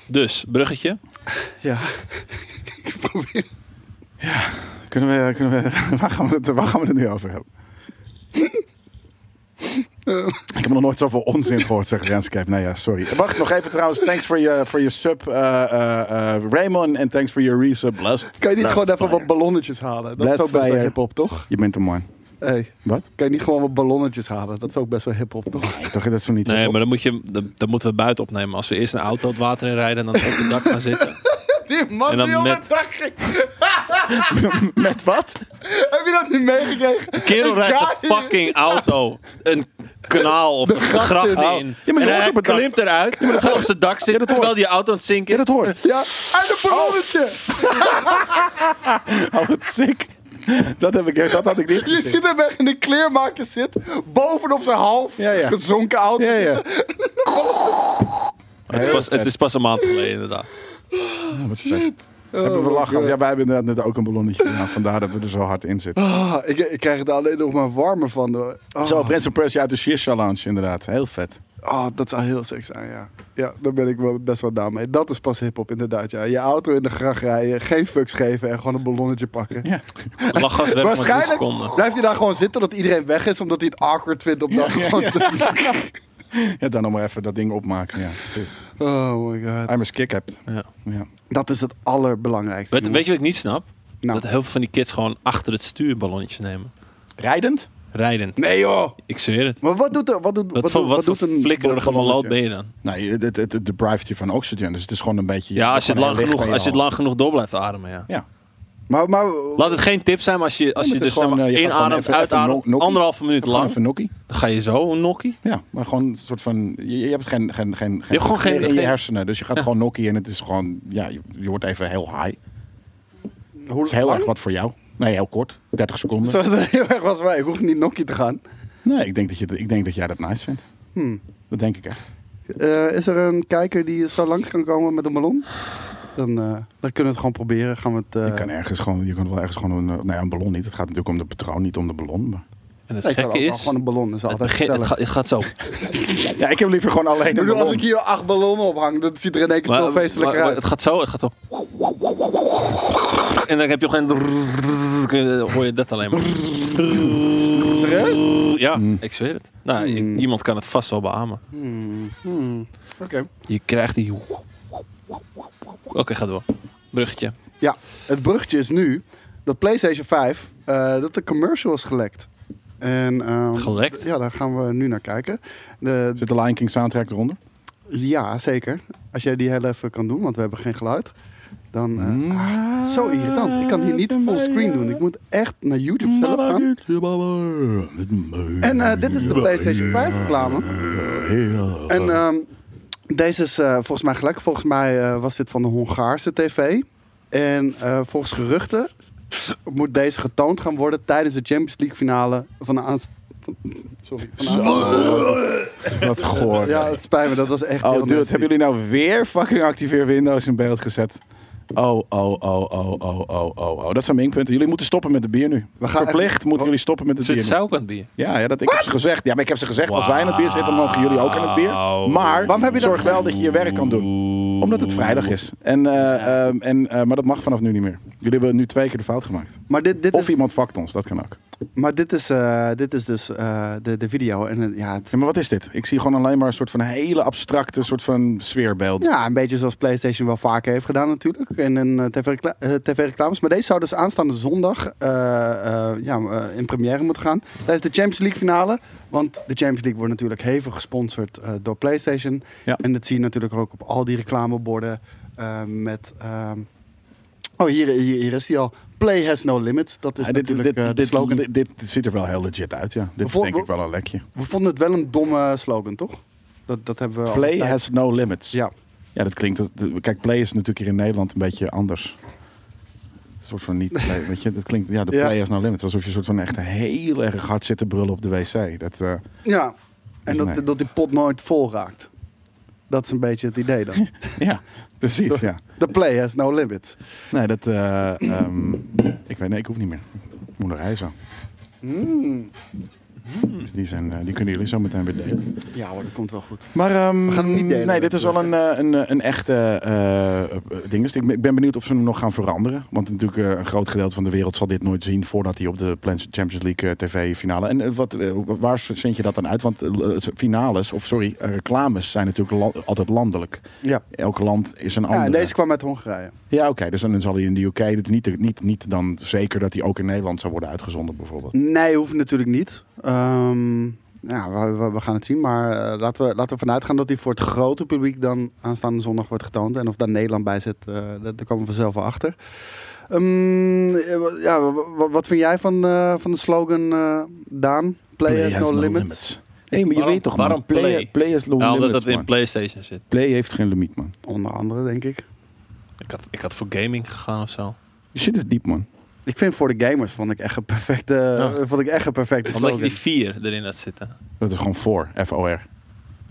S2: Dus, bruggetje.
S1: Ja. ik probeer.
S3: Kunnen we, kunnen we, waar, gaan we het, waar gaan we het nu over hebben? Ik heb nog nooit zoveel onzin gehoord, zegt Renscape. Nou ja, sorry. Wacht nog even trouwens. Thanks voor je voor je sub, eh, eh, eh, Raymond. En thanks voor je resub, Blast.
S1: Kan je niet
S3: Blast
S1: gewoon even
S3: Fire.
S1: wat ballonnetjes halen? Dat
S3: Blast
S1: is ook best wel
S3: Fire.
S1: hip-hop, toch?
S3: Je bent een man.
S1: Hey,
S3: Wat?
S1: kan je niet gewoon wat ballonnetjes halen? Dat is ook best wel hip-hop, toch?
S3: Nee, toch, dat is zo niet.
S2: Nee, maar dan moet je, dan, dan moeten we buiten opnemen. Als we eerst een auto het water in rijden en dan op het dak gaan zitten.
S1: Die man
S2: En dan
S1: die op
S2: met-
S1: het dak ging.
S3: Met wat?
S1: Heb je dat niet meegekregen?
S2: Een kerel rijdt
S1: guy-
S2: een fucking auto. Een kanaal of een
S1: gracht
S2: gracht
S1: in.
S2: in.
S3: Ja, maar je
S2: en
S3: hoort
S2: hij
S3: op het dak.
S2: klimt eruit, gaat op zijn dak zitten, terwijl die auto aan het zinken
S3: Ja,
S2: is.
S3: dat hoort.
S1: Ja, uit een ballonnetje!
S3: Oh, wat sick. Dat, heb ik, dat had ik
S1: Je
S3: niet gezien.
S1: ziet hem echt in de kleermaker zit, bovenop zijn half
S3: Ja, ja.
S1: gezonken auto.
S3: Ja, ja.
S2: Het is, pas, het is pas een maand geleden, inderdaad.
S3: Oh, wat vet. Hebben we
S1: my
S3: lachen.
S1: Oh, God.
S3: Ja, wij hebben inderdaad net ook een ballonnetje gedaan. Vandaar dat we er zo hard in zitten.
S1: Ah, ik, ik krijg er alleen nog maar warmer van. Hoor. Ah,
S3: Zo, Prince of Persia uit de Shisha Lounge, inderdaad. Heel vet.
S1: ah, dat zou heel seks zijn, ja. Ja, daar ben ik wel best wel down mee. Dat is pas hiphop, inderdaad. Ja. Je auto in de gracht rijden, geen fucks geven en gewoon een ballonnetje pakken.
S3: Ja.
S2: Lachgas werkt maar drie
S1: Waarschijnlijk
S2: seconden.
S1: blijft hij daar gewoon zitten dat iedereen weg is, omdat hij het awkward vindt om dat gewoon te-
S3: ja, dan nog maar even dat ding opmaken. Ja, precies.
S1: Oh my god.
S3: I'm a kick hebt.
S2: Ja.
S3: Ja.
S1: Dat is het allerbelangrijkste.
S2: Weet, weet
S1: jongens.
S2: je wat ik niet snap?
S1: Nou.
S2: Dat heel veel van die kids gewoon achter het stuur ballonnetjes nemen.
S3: Rijdend?
S2: Rijden.
S1: Nee joh!
S2: Ik zweer het.
S1: Maar wat doet, er- wat doet,
S2: Wat,
S1: wat
S2: voor,
S1: doet-
S2: wat
S1: wat doet
S2: voor
S1: een
S2: flikkerige
S1: ballonnetje?
S2: malloot ben je dan?
S3: Nee, het, het, het deprived je van oxygen. Dus het is gewoon een beetje...
S2: Ja, als je het
S3: gewoon
S2: lang
S3: heel
S2: genoeg,
S3: licht
S2: als je het
S3: aan
S2: lang genoeg door blijft ademen, ja.
S3: je hand.
S1: Maar, maar
S2: Laat het geen tip zijn, maar als je, als
S3: Ja,
S2: je
S3: maar het
S2: dus
S3: is
S2: zeg
S3: gewoon,
S2: maar
S3: eh, je gaat gewoon
S2: inademt,
S3: even- even
S2: uitademt,
S3: nok- nokkie.
S2: anderhalve
S3: Ja.
S2: minuut
S3: Gewoon
S2: lang,
S3: even nokkie.
S2: dan ga je zo een nokkie.
S3: Ja, maar gewoon een soort van... Je, je hebt geen, geen, geen, je
S2: gewoon geen-
S3: in je
S2: geen-
S3: hersenen. Dus je gaat gewoon nokkie en het is gewoon... Ja, je, je wordt even heel high.
S1: hoe
S3: Het is heel erg wat voor jou. Nee, heel kort. 30 seconden.
S1: Zodat het heel erg was wij. Ik hoef niet nokkie te gaan.
S3: Nee, ik denk dat, je, ik denk dat jij dat nice vindt.
S1: Hmm.
S3: Dat denk ik echt.
S1: Eh, is er een kijker die zo langs kan komen met een ballon? Dan, eh, dan kunnen we het gewoon proberen. Gaan we het, eh,
S3: Je kan ergens gewoon, je kan wel ergens gewoon een, eh, nou ja, een ballon niet. Het gaat natuurlijk om de patroon, niet om de ballon. Maar...
S2: En het
S1: Nee, ik kan
S2: gekke
S1: ook wel
S2: is,
S1: gewoon een ballon. Dat is
S2: het,
S1: altijd
S2: begin, het,
S1: gezellig.
S2: gaat, het gaat zo.
S3: Ja, ik heb liever gewoon alleen een
S1: Ik bedoel, als ik
S3: ballon.
S1: hier acht ballonnen ophang, dat ziet er in één keer veel feestelijker
S2: maar-
S1: uit.
S2: het gaat zo, het gaat zo. En dan heb je op een gegeven moment... hoor je dat alleen maar.
S1: Serieus?
S2: Ja, ik zweer het. Nou, i-
S1: Mm.
S2: iemand kan het vast wel beamen. Mm.
S1: Hmm, Oké.
S2: Je krijgt die... Oké, gaat door. Bruggetje.
S1: Ja, het bruggetje is nu dat PlayStation 5, eh, dat de commercial is gelekt. En, ehm,
S2: Gelekt?
S1: Ja, daar gaan we nu naar kijken. De,
S3: Zit de Lion King soundtrack eronder?
S1: ja, zeker. Als jij die heel even kan doen, want we hebben geen geluid. Dan... eh, Zo irritant. Ik kan hier niet full screen doen. Ik moet echt naar YouTube zelf gaan. En eh, dit is de PlayStation 5 reclame. En ehm, deze is eh, volgens mij gelijk. Volgens mij eh, was dit van de Hongaarse tv. En eh, volgens geruchten moet deze getoond gaan worden tijdens de Champions League finale van de aanst- van- Sorry. Van de aanstaande-
S3: Wat goor.
S1: eh, Ja, het spijt me. Dat was echt
S3: Oh,
S1: heel
S3: dude,
S1: nasty.
S3: hebben jullie nou weer fucking activeer Windows in beeld gezet? Oh, oh, oh, oh, oh, oh, oh, oh. Dat zijn minpunten. Jullie moeten stoppen met de bier nu.
S1: We gaan
S3: Verplicht
S1: echt-
S3: moeten jullie stoppen met het
S2: Zit
S3: bier. nu.
S2: zou ook aan het bier?
S3: Ja, ja, dat ik heb ze gezegd. Ja, maar ik heb ze gezegd. Als wij aan het bier zitten, dan mogen jullie ook aan het bier.
S2: Wauw.
S3: Maar
S1: Waarom heb je dat
S3: zorg wel
S1: gezegd?
S3: dat je je werk kan doen. Omdat het vrijdag is. En, eh, ehm, en, eh, maar dat mag vanaf nu niet meer. Jullie hebben nu twee keer de fout gemaakt.
S1: Maar dit, dit
S3: Of
S1: is,
S3: iemand vakt ons, dat kan ook.
S1: maar dit is, eh, dit is dus eh, de, de video. En eh, ja, het,
S3: Ja, maar wat is dit? Ik zie gewoon alleen maar een soort van hele abstracte soort van sfeerbeeld. Eh,
S1: Ja, een beetje zoals PlayStation wel vaker heeft gedaan natuurlijk. En in eh, TV-recla- eh, tv-reclames. maar deze zou dus aanstaande zondag eh, eh, ja, eh, in première moeten gaan. Tijdens de Champions League finale. Want de Champions League wordt natuurlijk hevig gesponsord eh, door PlayStation.
S3: Ja.
S1: En dat zie je natuurlijk ook op al die reclameborden. eh, met... ehm, oh, hier, hier, hier is die al. Play has no limits. Dat is
S3: Ja, dit, dit,
S1: natuurlijk eh,
S3: dit,
S1: de slogan.
S3: dit, dit- dit ziet er wel heel legit uit, ja. Dit is
S1: Voor-
S3: denk ik wel een lekje.
S1: We vonden het wel een domme slogan, toch? Dat, dat hebben we al een
S3: Play
S1: tijd-
S3: has no limits.
S1: Oh. Ja.
S3: Ja, dat klinkt... dat- Kijk, play is natuurlijk hier in Nederland een beetje anders. Een soort van niet... play, weet je, dat klinkt... Ja, de
S1: Ja.
S3: play has no limits. Alsof je een soort van echt heel erg hard zit te brullen op de wc. Dat, eh,
S1: Ja. En dat,
S3: nee.
S1: dat die pot nooit vol raakt. Dat is een beetje het idee dan.
S3: Ja, precies. Ja.
S1: The play has no limits.
S3: Nee, dat. eh, ehm, ik weet, nee, ik hoef niet meer. Ik moet naar huis aan.
S1: Hmm.
S3: Dus die, zijn, eh, die kunnen jullie zo meteen weer delen.
S1: Ja hoor, dat komt wel goed.
S3: Maar ehm,
S1: We gaan hem niet delen,
S3: Nee, dit is wel
S1: natuurlijk.
S3: een, eh, een, eh, een echte eh, eh, ding. Dus ik ben- ik ben benieuwd of ze hem nog gaan veranderen. Want natuurlijk eh, een groot gedeelte van de wereld zal dit nooit zien voordat hij op de Plan- Champions League eh, tv-finale. En eh, wat, eh, waar zend je dat dan uit? Want eh, finales, of sorry, eh, reclames zijn natuurlijk la- altijd landelijk.
S1: Ja,
S3: Elk land is een
S1: ja
S3: ander.
S1: en deze kwam uit Hongarije.
S3: Ja, oké. dus dan zal hij in de UK het niet, niet, niet dan zeker dat hij ook in Nederland zou worden uitgezonden, bijvoorbeeld.
S1: Nee, hoeft natuurlijk niet. Ehm, ja, we, we- we gaan het zien. Maar eh, laten, we, laten we vanuit gaan dat die voor het grote publiek dan aanstaande zondag wordt getoond. En of daar Nederland bij zit, eh, dat- daar komen we vanzelf wel achter. Ehm, eh, wa- ja, wa- wa- wat vind jij van, eh, van de slogan, eh, Daan? Play, has no, limits.
S3: Nee, maar je
S2: Waarom-
S3: weet toch,
S2: waarom
S3: man. Play,
S2: play?
S3: play has no
S2: Ja, omdat
S3: limits,
S2: dat in
S3: man.
S2: PlayStation zit.
S3: Play heeft geen limiet, man.
S1: Onder andere, denk ik.
S2: Ik had, ik had voor gaming gegaan of zo.
S3: Die shit is diep, man.
S1: Ik vind voor de gamers vond ik echt een perfecte,
S2: Ja.
S1: vond ik echt een perfecte
S2: Omdat je
S1: slogan.
S2: die 4 erin had zitten.
S3: Dat is gewoon voor, F-O-R.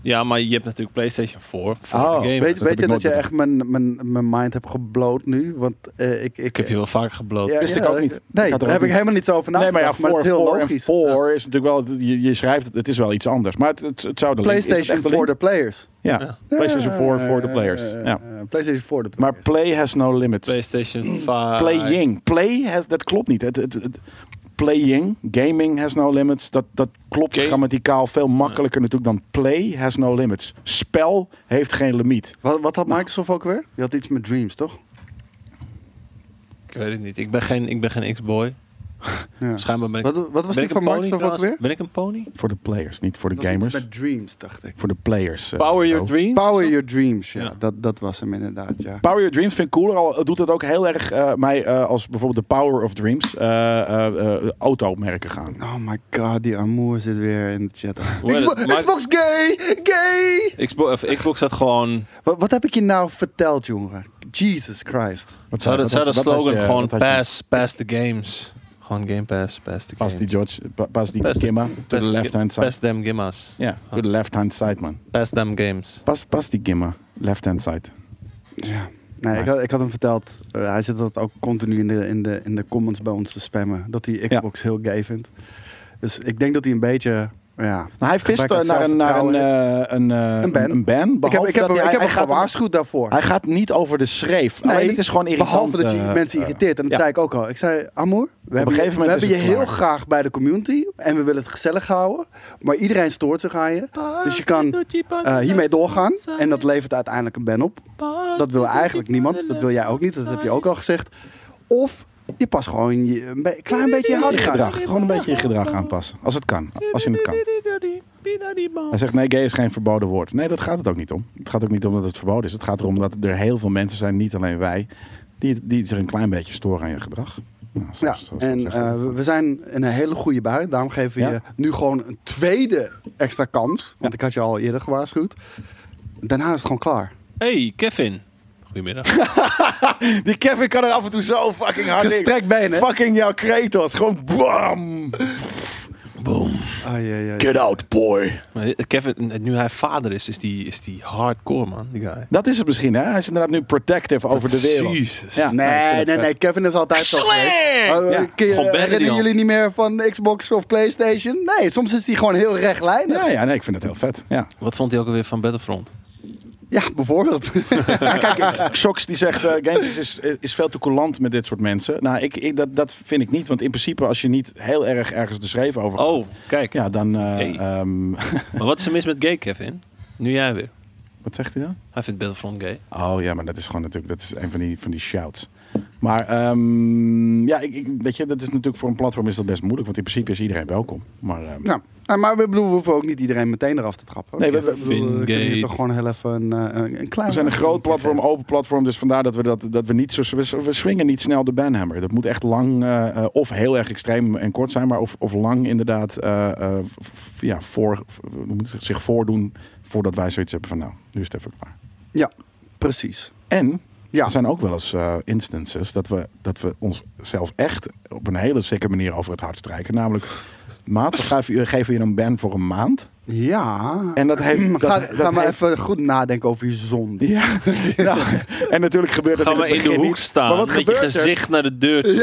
S2: Ja, maar je hebt natuurlijk PlayStation 4 voor
S3: Oh,
S2: de game.
S1: Weet,
S3: heb
S1: weet
S3: ik
S1: je dat
S3: nooit
S1: je
S3: bedacht.
S1: echt mijn, mijn, mijn mind hebt gebloot nu? Want eh, ik, ik,
S2: Ik heb je wel vaak gebloot.
S1: Ja,
S3: Wist ik
S1: ja,
S3: ook niet. Ik
S1: Nee,
S3: had er
S1: daar
S3: ook
S1: heb ik
S3: niet-
S1: helemaal niet zo over
S3: nee, maar ja,
S1: nagedacht.
S3: voor,
S1: Nou, maar het is heel
S3: voor
S1: logisch.
S3: en
S1: Ja.
S3: voor is natuurlijk wel... Je, je schrijft het, het is wel iets anders. Maar het, het, het zou de link- is het
S1: PlayStation
S3: echt de
S1: voor de
S3: link?
S1: players.
S3: Ja, PlayStation 4 voor de players.
S1: Eh,
S3: Ja.
S1: eh, PlayStation voor de
S3: Maar
S1: players.
S3: play has no limits.
S2: PlayStation 5.
S3: Playing. Play, has, dat klopt niet. Het, het, het- playing, gaming has no limits. Dat, dat klopt
S2: Game-
S3: grammaticaal veel makkelijker natuurlijk dan play has no limits. Spel heeft geen limiet.
S1: wat, wat had Microsoft ook weer? Die had iets met Dreams, toch?
S2: Ik weet het niet. Ik ben geen, ik ben geen X-boy.
S1: Ja.
S2: Schijnbaar ben ik...
S1: Wat, wat was
S2: ben
S1: die
S2: ik
S1: van
S2: een pony
S1: Microsoft ook
S2: trouwens?
S1: weer?
S2: Ben ik een pony?
S3: Voor de players, niet voor de
S1: Dat was
S3: gamers.
S1: iets met Dreams, dacht ik.
S3: Voor de players. eh,
S2: Power Your
S3: Bo.
S2: Dreams?
S1: Power Your Dreams, ja.
S2: Ja.
S1: Dat, dat was hem inderdaad, ja.
S3: Power Your Dreams vind ik cooler. Al doet het ook heel erg eh, mij eh, als bijvoorbeeld de Power of Dreams eh, eh, eh, automerken gaan.
S1: Oh my god, die Amour zit weer in de chat.
S2: Well,
S1: Xbox,
S2: maar-
S1: Xbox gay! Gay!
S2: Xbox, of Xbox had gewoon...
S1: Wat, wat heb ik je nou verteld, jongen? Jesus Christ.
S3: Wat
S2: Zou de,
S3: wat
S2: zou de
S3: had- wat had
S2: slogan
S3: je-
S2: gewoon
S3: wat had je-
S2: pass, pass the games. Gewoon Game Pass, pass the games.
S3: Pas die George, pa- pas die
S2: Pass the-
S3: Kimma. To
S2: pass
S3: the
S2: the-
S3: left hand side.
S2: Pass them gimmas.
S3: Ja, to the left hand side man.
S2: Pass them games.
S3: Pas, pas die Gimma. Left hand side.
S1: Ja. Nee, ik, had, ik had hem verteld, eh, hij zit dat ook continu in de, in, de, in de comments bij ons te spammen, dat hij Xbox heel gay vindt. Dus ik denk dat hij een beetje, ja...
S3: Nou, hij vist
S1: Gebrek aan
S3: eh, naar een, naar een, eh, een, eh,
S1: Een ban.
S3: een ban.
S1: Ik heb,
S3: Behalve
S1: ik heb, hem,
S3: dat hij,
S1: ik heb hem
S3: hij gaat
S1: gewaarschuwd daarvoor.
S3: Hij gaat niet over de schreef.
S1: Nee,
S3: Alleen het is gewoon irritant.
S1: Behalve dat je
S3: eh,
S1: mensen
S3: eh,
S1: irriteert. En dat
S3: ja.
S1: zei ik ook al. Ik zei, Amor, we hebben
S3: gegeven
S1: je, we
S3: moment
S1: hebben
S3: is
S1: je
S3: het
S1: heel
S3: klaar.
S1: graag bij de community. En we willen het gezellig houden. Maar iedereen stoort zich aan je. Dus je kan eh, hiermee doorgaan. En dat levert uiteindelijk een ban op. Dat wil eigenlijk niemand. Dat wil jij ook niet. Dat heb je ook al gezegd. Of je past gewoon je, een be- klein beetje je
S3: je
S1: houding aan.
S3: gedrag. Gewoon een beetje je gedrag aanpassen. Als het kan. Als je het kan.
S1: Eh,
S3: Hij zegt nee, gay is geen verboden woord. Nee, dat gaat het ook niet om. Het gaat ook niet om dat het verboden is. Het gaat erom dat er heel veel mensen zijn, niet alleen wij, die, die zich een klein beetje storen aan je gedrag. Nou, zo-
S1: Ja,
S3: zo- zo
S1: en
S3: zegt hij.
S1: eh, we- we zijn in een hele goede bui. Daarom geven we
S3: Ja.
S1: je nu gewoon een tweede extra kans. Want ik had je al eerder gewaarschuwd. Daarna is het gewoon klaar.
S2: Hey, Kevin. Goedemiddag.
S3: Die Kevin kan er af en toe zo fucking hard in.
S1: Gestrekt been, hè?
S3: Fucking jouw Kratos. Gewoon bam.
S1: Ai, ai, ai.
S3: Get out, boy.
S2: Maar eh, Kevin, nu hij vader is, is die, is die hardcore, man. Die guy.
S3: Dat is het misschien, hè? Hij is inderdaad nu protective over de wereld.
S2: Jezus.
S3: Ja. ik
S1: Nee,
S3: vind
S1: nee,
S3: het
S1: nee. Kevin is altijd zo
S2: Slang!
S1: geweest. Oh,
S3: Ja,
S1: kun je-
S2: gewoon bannen die
S1: herinneren
S2: al.
S1: jullie niet meer van Xbox of Playstation? Nee, soms is die gewoon heel rechtlijnig.
S3: Ja,
S1: Ja,
S3: ja, nee, ik vind het heel vet. Ja.
S2: Wat vond hij ook alweer van Battlefront?
S1: bijvoorbeeld.
S3: Shox die zegt, eh GameFix is, is veel te coulant met dit soort mensen. Nou, ik, ik, dat, dat vind ik niet. Want in principe, als je niet heel erg ergens de schreef over gaat,
S2: Oh, kijk.
S3: ja, dan... eh,
S2: Hey.
S3: ehm,
S2: Maar wat is er mis met gay, Kevin? Nu jij weer.
S3: wat zegt hij dan?
S2: Hij vindt Battlefront gay.
S3: Oh ja, maar dat is gewoon natuurlijk, dat is een van die, van die shouts. Maar ehm, ja, ik, ik, weet je, dat is natuurlijk voor een platform is dat best moeilijk. Want in principe is iedereen welkom. Maar ehm,
S1: nou, nou, maar we, bedoelen, we hoeven ook niet iedereen meteen eraf te trappen.
S3: Nee, we- we-
S1: bedoelen, we kunnen hier
S2: Vingate.
S1: toch gewoon heel even een, eh, een, een klein...
S3: we zijn een groot platform, open platform. Dus vandaar dat we, dat, dat we niet zo... We, we swingen niet snel de banhammer. Dat moet echt lang eh, eh, of heel erg extreem en kort zijn. Maar of, of lang inderdaad eh, eh, f- f- ja, voor, f- hoe moet ik zeggen, zich voordoen voordat wij zoiets hebben van... Nou, nu is het even klaar.
S1: Ja, precies.
S3: En
S1: Ja.
S3: er zijn ook wel eens eh, instances dat we, dat we onszelf echt op een hele sikke manier over het hart strijken. Namelijk, maat, we geven, we geven je een ban voor een maand.
S1: Ja.
S3: En dat heeft. Dat,
S1: ga
S3: dat
S1: ga maar
S3: heeft-
S1: even goed nadenken over je zonde.
S3: Ja, nou, en natuurlijk gebeurt dat
S2: Ga
S3: in
S2: maar
S3: het
S2: in de
S3: begin
S2: hoek
S3: niet.
S2: staan.
S3: Maar wat
S2: met je
S3: gebeurt er?
S2: gezicht naar de deur. toe.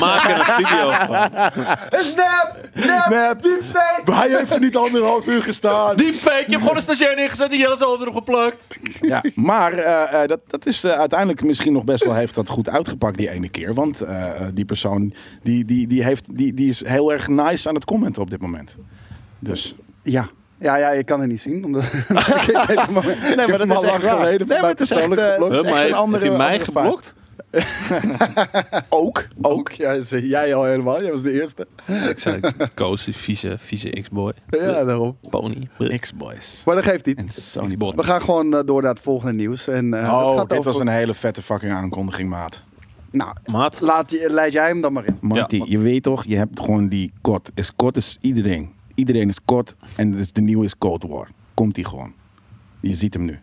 S2: Maak er een video van.
S1: Snap! Snap!
S3: Nep. Hij heeft er niet anderhalf uur gestaan.
S2: Deepfake, je hebt gewoon een stagiair neergezet en Jelle zolder erop geplakt.
S3: Ja, maar eh, eh, dat, dat is eh, uiteindelijk misschien nog best wel heeft dat goed uitgepakt die ene keer. Want eh, eh, die persoon die, die, die heeft, die, die is heel erg nice aan het commenten op dit moment. Dus.
S1: Ja. Ja, ja, je kan het niet zien. Omdat... ik heb hem al- ik heb hem al lang geleden.
S3: Nee, maar het is echt,
S1: persoonlijk
S3: eh,
S1: geblokt.
S3: dat
S2: Huh,
S3: is echt
S2: maar
S3: een andere,
S2: heb je mij
S3: andere vaart.
S2: geblokt?
S3: Ook, ook.
S1: Ja, ze- jij al helemaal. Jij was de eerste.
S2: Ik zei, Koos, die vieze, vieze X-boy.
S1: Ja, daarom.
S2: Pony.
S3: X-Boys.
S1: Maar dat geeft niet.
S3: En Sony
S2: Bot.
S1: We gaan gewoon eh, door naar het volgende nieuws. En, eh, dat
S3: Oh,
S1: gaat
S3: dit
S1: over-
S3: was een hele vette fucking aankondiging, maat.
S1: Nou,
S2: Maat.
S1: laat, je- leid jij hem dan maar in.
S3: Marty, je weet toch, je hebt gewoon die kort. Is kort is iedereen. Iedereen is kort en dus de nieuwe is Cold War. Komt die gewoon. Je ziet hem nu.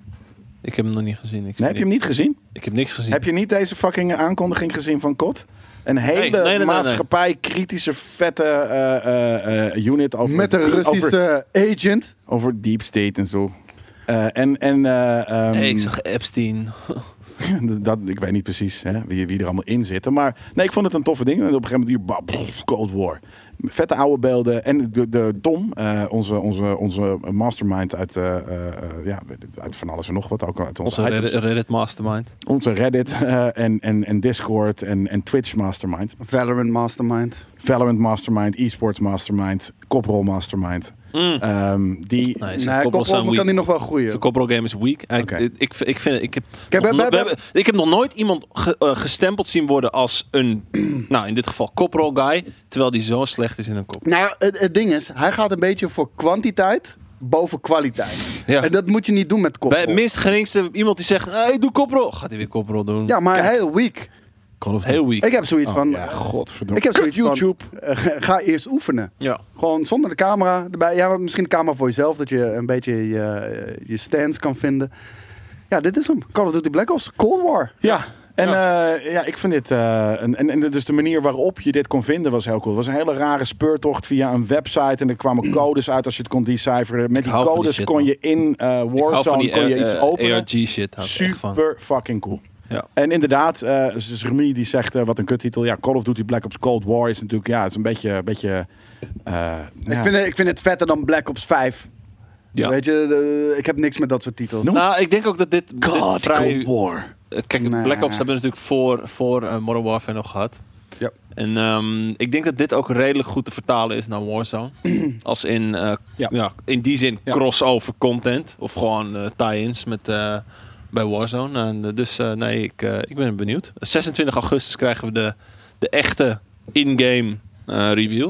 S2: Ik heb hem nog niet gezien. Ik, zie
S3: Nee, heb je hem niet gezien?
S2: ik heb niks gezien.
S3: Heb je niet deze fucking aankondiging gezien van Kot? Een hele
S2: nee, nee, nee.
S3: maatschappij-kritische, vette eh, eh, eh, unit over,
S1: Met een
S3: die- over,
S1: Russische agent.
S3: over deep state en zo. Eh, en en eh, ehm,
S2: Hey, ik zag Epstein.
S3: dat, ik weet niet precies hè, wie, wie er allemaal in zitten. Maar nee, ik vond het een toffe ding. En op een gegeven moment, bah, brrr, Cold War. Vette oude beelden. En de, de Tom, eh, onze, onze, onze mastermind uit, eh, eh, eh, ja, uit van alles en nog wat. Ook uit onze,
S2: Onze
S3: items.
S2: Reddit, Reddit mastermind.
S3: onze Reddit eh, en, en, en Discord en, en Twitch mastermind.
S1: Valorant Mastermind.
S3: Valorant Mastermind, Esports Mastermind, Koprol Mastermind. Ehm, die,
S2: Nee, zijn
S1: Nee,
S2: koprol
S1: Koppel
S2: zijn
S1: kan
S2: weak.
S1: die nog wel groeien.
S2: Zijn koprol game is weak. Hij-
S3: Oké.
S2: Ik, ik, ik vind ik heb,
S1: Kijk,
S2: nog,
S1: we- we-
S2: no- we
S1: we-
S2: hebben- ik heb nog nooit iemand ge- eh, gestempeld zien worden als een, nou in dit geval koprol guy, terwijl die zo slecht is in een kop.
S1: Nou, het, het ding is, hij gaat een beetje voor kwantiteit boven kwaliteit.
S2: Ja.
S1: En dat moet je niet doen met
S2: Bij
S1: koprol.
S2: het minst geringste iemand die zegt, hey, doe koprol, gaat hij weer koprol doen.
S1: Ja, maar heel weak.
S2: Call of heel weak.
S1: Ik heb zoiets
S3: Oh,
S1: van...
S3: ja, godverdomme.
S1: Ik heb zoiets
S3: Kut YouTube.
S1: van, eh, ga eerst oefenen.
S2: Ja.
S1: Gewoon zonder de camera erbij. Ja, maar misschien de camera voor jezelf, dat je een beetje je, je stance kan vinden. Ja, dit is hem. Call of Duty Black Ops, Cold War.
S3: Ja. En ja. ja, ik vind dit. eh, en, en, en dus de manier waarop je dit kon vinden was heel cool. Het was een hele rare speurtocht via een website. En er kwamen codes uit als je het kon deciphereren. Met die
S2: Mm. hou van die
S3: codes
S2: shit,
S3: kon
S2: man.
S3: je in eh,
S2: Ik hou van
S3: Warzone
S2: die
S3: kon je
S2: eh,
S3: iets
S2: eh,
S3: openen.
S2: ARG shit. hou ik echt van.
S3: Super fucking cool.
S2: Ja.
S3: En inderdaad, eh dus Remy die zegt, eh, wat een kuttitel. Ja, Call of Duty Black Ops Cold War is natuurlijk, ja, het is een beetje, een beetje eh, ja.
S1: Ik, vind, het- ik vind het vetter dan Black Ops 5.
S2: Ja.
S1: Weet je, de- ik heb niks met dat soort titels.
S3: Noem-
S2: Nou, ik denk ook dat dit, dit
S3: God,
S2: vrij-
S3: Cold War.
S2: het- Kijk,
S1: Nee.
S2: Black Ops hebben we natuurlijk voor, voor eh, Modern Warfare nog gehad.
S1: Ja.
S2: En ehm, ik denk dat dit ook redelijk goed te vertalen is naar Warzone. Als in, eh,
S3: Ja.
S2: ja. in die zin
S3: Ja.
S2: crossover content. Of gewoon eh, tie-ins met, eh, bij Warzone. En, eh, dus eh, nee, ik, eh, ik ben benieuwd. 26 augustus krijgen we de, de echte in-game eh, review.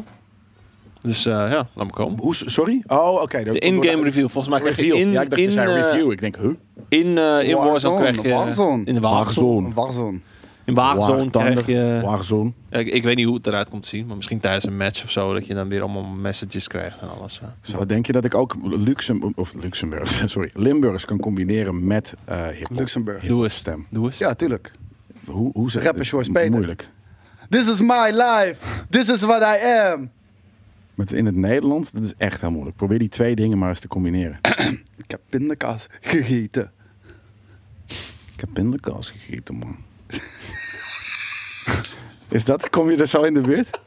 S2: Dus eh, ja, laat me komen.
S3: Hoe, sorry? Oh, oké.
S2: De in-game review, volgens mij krijg je
S3: review.
S2: in,
S3: ja, ik dacht, je
S2: in,
S3: zei
S2: eh,
S3: review. Ik denk, huh?
S2: in, eh, in Warzone
S1: Warzone,
S2: krijg je...
S1: Warzone.
S2: In de Warzone.
S3: Warzone.
S1: Warzone.
S2: In Warzone
S3: Waagtander.
S2: krijg je...
S3: Warzone.
S2: Ja, Ik, ik weet niet hoe het eruit komt te zien, maar misschien tijdens een match of zo, dat je dan weer allemaal messages krijgt en alles. eh. hè.
S3: Zo denk je dat ik ook Luxem of Luxemburg, sorry, Limburgs kan combineren met eh hip
S1: Luxemburg.
S2: Doe eens.
S3: stem?
S2: Doe eens.
S1: Ja, tuurlijk.
S3: Hoe, hoe ze
S1: Rapper Joyce Peter.
S3: Moeilijk.
S1: This is my life. This is what I am.
S3: Met in het Nederlands, dat is echt heel moeilijk. Probeer die twee dingen maar eens te combineren.
S1: Ik heb pindakaas gegeten.
S3: ik heb pindakaas gegeten, man. is dat, kom je er zo in de buurt?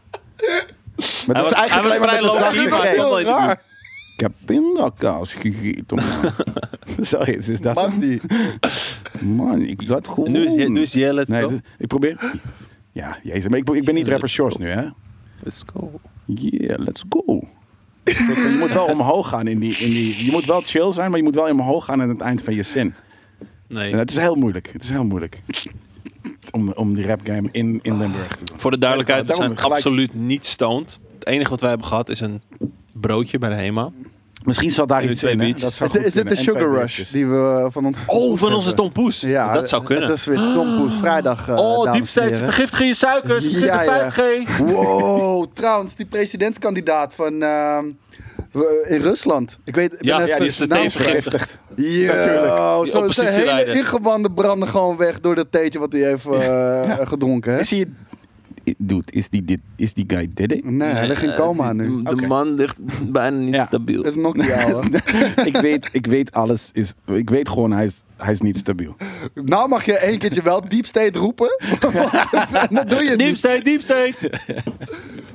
S3: Maar dat
S2: was-
S3: is
S2: hij was
S3: eigenlijk alleen maar
S2: vrij
S3: met een
S2: low
S3: zachte
S2: key, maar
S3: G.
S2: hij wil-
S1: Heel raar.
S3: Ik heb pindakaas gegeten, man. sorry, het is dat
S1: Man, die.
S3: Man, ik zat gewoon...
S2: En nu is, Je- nu is Jelle, let's
S3: Nee,
S2: go.
S3: dit- ik probeer... Ja, jezus. Maar ik, ik ben niet rapper Shores nu, hè?
S2: Let's go.
S3: Yeah, let's go. je moet wel omhoog gaan in die, in die... Je moet wel chill zijn, maar je moet wel omhoog gaan aan het eind van je zin.
S2: Nee.
S3: En het is heel moeilijk. Het is heel moeilijk. Om, om die rap game in, in Limburg te doen.
S2: Voor de duidelijkheid, we
S3: Daarom
S2: zijn
S3: gelijk-
S2: absoluut niet stoned. Het enige wat wij hebben gehad is een broodje bij de HEMA.
S3: Misschien zat daar
S2: Nu
S3: iets
S2: twee
S3: in, hè?
S2: biertjes.
S3: Dat zou
S1: Is, dit-
S3: goed
S1: is dit de
S3: kunnen. En
S1: Sugar
S3: twee
S1: Rush
S3: biertjes.
S1: die we eh, van ons...
S2: Oh, van onze Tom Poes.
S1: Ja,
S2: dat zou kunnen.
S1: Het is weer Tom Poes vrijdag, eh,
S2: oh,
S1: dames en
S2: diepsteeds,
S1: heren.
S2: vergiftige je suikers,
S1: Ja,
S2: vergiftige
S1: ja.
S2: 5G.
S1: Wow, trouwens, die presidentskandidaat van... ehm, we- in Rusland. Ik weet... Ik
S2: Ja,
S1: ben
S2: ja, die is
S1: de
S2: steeds
S1: vergeten.
S2: vergiftigd.
S1: Yo,
S2: Die
S1: zo, zijn hele
S2: oppositieleider.
S1: ingewanden branden gewoon weg door dat theetje wat hij heeft eh, gedronken. Hè?
S3: Is hij
S5: dude, is die, dit, is die guy dead? eh?
S1: Nee, hij ligt in coma nu.
S2: De
S5: Oké.
S2: man ligt bijna niet
S5: Ja.
S2: stabiel.
S1: Dat is nog niet ouwe.
S5: ik, weet, ik weet alles. Is, ik weet gewoon, hij is, hij is niet stabiel.
S1: Nou mag je één keertje wel deep state roepen. dat doe je niet.
S2: Deep state, deep state.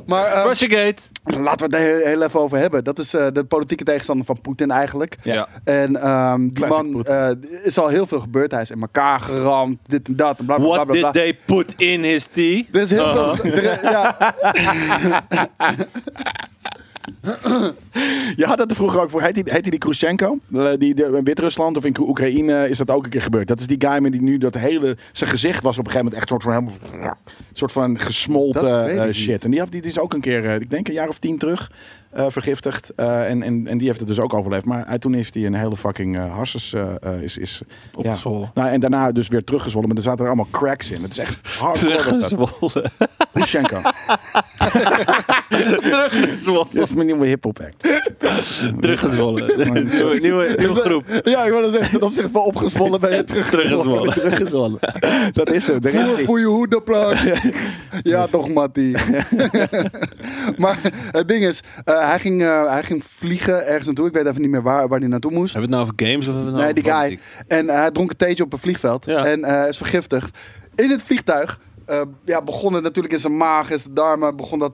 S1: Maar ehm,
S2: Russiagate.
S1: laten we het er heel- heel even over hebben. Dat is eh, de politieke tegenstander van Poetin eigenlijk.
S2: Ja.
S1: En ehm, die
S5: Classic
S1: man
S5: Poetin.
S1: eh, is al heel veel gebeurd. Hij is in elkaar geramd, dit en dat. En bla, bla, bla,
S2: What
S1: bla, bla.
S2: did they Uh-huh. put in his tea?
S1: Er is heel veel... er is- ja,
S3: Je had dat er vroeger ook voor. Heet die, heet die, die Khrushchenko? Eh, Die, die- in Wit-Rusland of in Oek- Oekraïne is dat ook een keer gebeurd. Dat is die guy met die nu dat hele. Zijn gezicht was op een gegeven moment echt soort van. helemaal- soort van gesmolten
S1: Dat weet ik
S3: eh,
S1: niet.
S3: shit. En die, had- die, die is ook een keer, eh, ik denk een jaar of tien terug, eh, vergiftigd. Eh, en, en, en die heeft het dus ook overleefd. Maar eh, toen heeft hij een hele fucking eh harses. eh, eh, is, is,
S2: Opgezwollen.
S3: Ja. Nou, en daarna dus weer teruggezwollen. Maar er zaten er allemaal cracks in. Het is echt hardcore. was dat.
S2: Teruggezwollen.
S3: Khrushchenko.
S2: Teruggezwollen.
S5: Dat is mijn nieuwe hip-hop act.
S2: Teruggezwollen. Nieuwe, nieuwe, nieuwe groep.
S1: ja, ik wil dat zeggen. Ten opzichte van opgezwollen ben je terug.
S2: Teruggezwollen.
S1: Teruggezwollen.
S5: Dat is zo. De rest
S1: Voer
S5: is-
S1: voor je hoed op Ja, toch, Mattie. maar het ding is, eh, hij, ging, eh, hij ging vliegen ergens naartoe. Ik weet even niet meer waar, waar hij naartoe moest.
S2: Hebben we het nou over games of hebben we het nou
S1: Nee, die
S2: over
S1: guy.
S2: politiek?
S1: En eh, hij dronk een theetje op een vliegveld.
S2: Ja.
S1: En eh, is vergiftigd. In het vliegtuig eh, ja, begon het natuurlijk in zijn maag, in zijn darmen, begon dat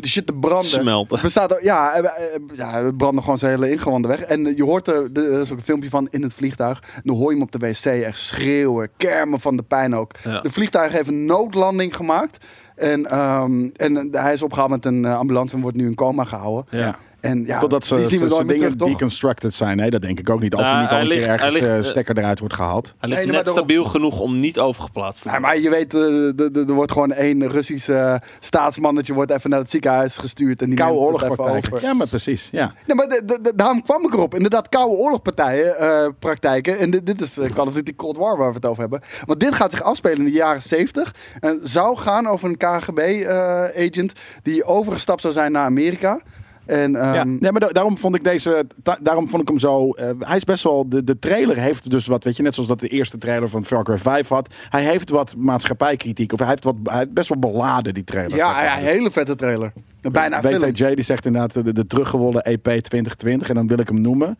S1: de shit te branden.
S2: Smelten.
S1: Bestaat er, ja, eh, eh, ja, het brandde gewoon zijn hele ingewanden weg. En eh, je hoort er, er is ook een filmpje van in het vliegtuig. En dan hoor je hem op de wc echt schreeuwen, kermen van de pijn ook.
S2: Ja.
S1: De vliegtuig heeft een noodlanding gemaakt. En, ehm, en hij is opgehaald met een eh, ambulance en wordt nu in coma gehouden.
S2: Ja.
S1: En ja,
S3: Totdat ze,
S1: die zien we
S3: ze- ze
S1: nooit meer
S3: dingen
S1: terug, toch?
S3: deconstructed zijn. Nee, dat denk ik ook niet. Als
S2: Nou,
S3: er niet al
S2: hij
S3: een keer
S2: ligt-
S3: ergens
S2: hij ligt,
S3: eh,
S2: eh,
S3: stekker eruit wordt gehaald.
S2: Hij
S1: Nee,
S2: ligt
S1: maar
S2: net
S1: daarom.
S2: stabiel genoeg om niet overgeplaatst te
S1: Ja,
S2: worden.
S1: maar je weet, eh, de- de- er wordt gewoon één Russisch eh, staatsmannetje wordt even naar het ziekenhuis gestuurd. En die
S3: Koude
S1: neemt het even
S3: oorlogpraktijk.
S1: over. Ehm,
S3: Ja, maar precies. Ja.
S1: Nee, maar de- de- de- daarom kwam ik erop. Inderdaad, koude oorlogpartijen, eh, praktijken. En dit, dit is eh, Call of Duty Cold War waar we het over hebben. Want dit gaat zich afspelen in de jaren 70. En zou gaan over een KGB-agent eh, die overgestapt zou zijn naar Amerika. En,
S3: Ja,
S1: ehm,
S3: nee, maar da- daarom vond ik deze. da- daarom vond ik hem zo. eh, hij is best wel. De, de trailer heeft dus wat. Weet je, net zoals dat de eerste trailer van Far Cry 5 had. Hij heeft wat maatschappijkritiek. Of hij heeft wat. Hij heeft best wel beladen, die trailer.
S1: ja,
S3: zeg maar.
S1: ja, hele vette trailer. Bijna film.
S3: WTJ die zegt inderdaad eh, de, de teruggewonnen EP 2020. En dan wil ik hem noemen.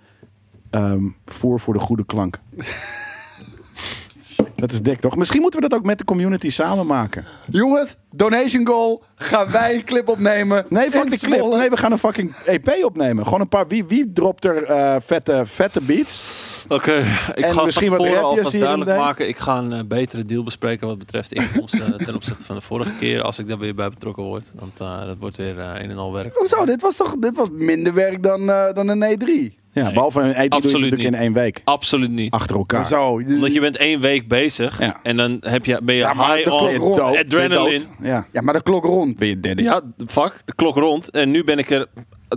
S3: ehm, voor voor de goede klank. dat is dik, toch? Misschien moeten we dat ook met de community samen maken.
S1: Jongens, donation goal. Gaan wij een clip opnemen.
S3: Nee, fuck
S1: In
S3: de clip.
S1: Zwolle.
S3: Nee, we gaan een fucking EP opnemen. Gewoon een paar. Wie, wie dropt er eh, vette, vette beats?
S2: Oké, ik
S3: En
S2: ga
S3: misschien
S2: misschien
S3: wat
S2: van tevoren
S3: rapjes
S2: alvast
S3: hier en
S2: duidelijk
S3: daar.
S2: maken. Ik ga een eh, betere deal bespreken wat betreft inkomsten ten opzichte van de vorige keer. Als ik daar weer bij betrokken word. Want eh, dat wordt weer eh, een en al werk.
S1: Hoezo? Dit was toch dit was minder werk dan, eh, dan een E3?
S3: Ja,
S2: Nee,
S3: behalve een EP doe je
S2: absoluut
S3: natuurlijk
S2: niet.
S3: in één week.
S2: Absoluut niet.
S3: Achter elkaar.
S1: Zo.
S2: Omdat je bent één week bezig.
S3: Ja.
S2: En dan heb je, ben je
S1: Ja, maar
S2: high
S1: de klok
S2: on
S1: rolt.
S3: Dood, weer
S2: adrenaline.
S3: dood. Ja.
S1: Ja, maar de klok rond.
S5: Ben je dead? eh?
S2: Ja, fuck. De klok rond. En nu ben ik er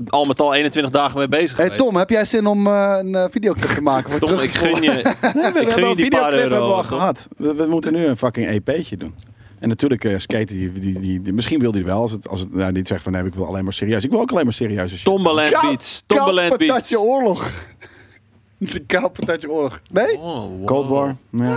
S2: al met al 21 dagen mee bezig
S1: Hey
S2: geweest.
S1: Tom, heb jij zin om eh, een eh, videoclip te maken? Voor
S2: Tom, ik gun je,
S3: We
S2: ik
S3: hebben
S2: gun
S3: al
S2: je
S3: een
S2: die paar
S3: videoclip hebben we
S2: euro.
S3: al gehad. We, we moeten nu een fucking EP'tje doen. En natuurlijk, eh Skate, die, die, die, die- misschien wil hij wel. Als het, als het nou, niet zegt van nee, ik wil alleen maar serieus. Ik wil ook alleen maar serieuze shit.
S2: Tombaland Beats. Tombaland Beats.
S1: Patatje oorlog. De kaalpatatje oorlog. Nee?
S2: Oh, wow.
S3: Cold War, ja,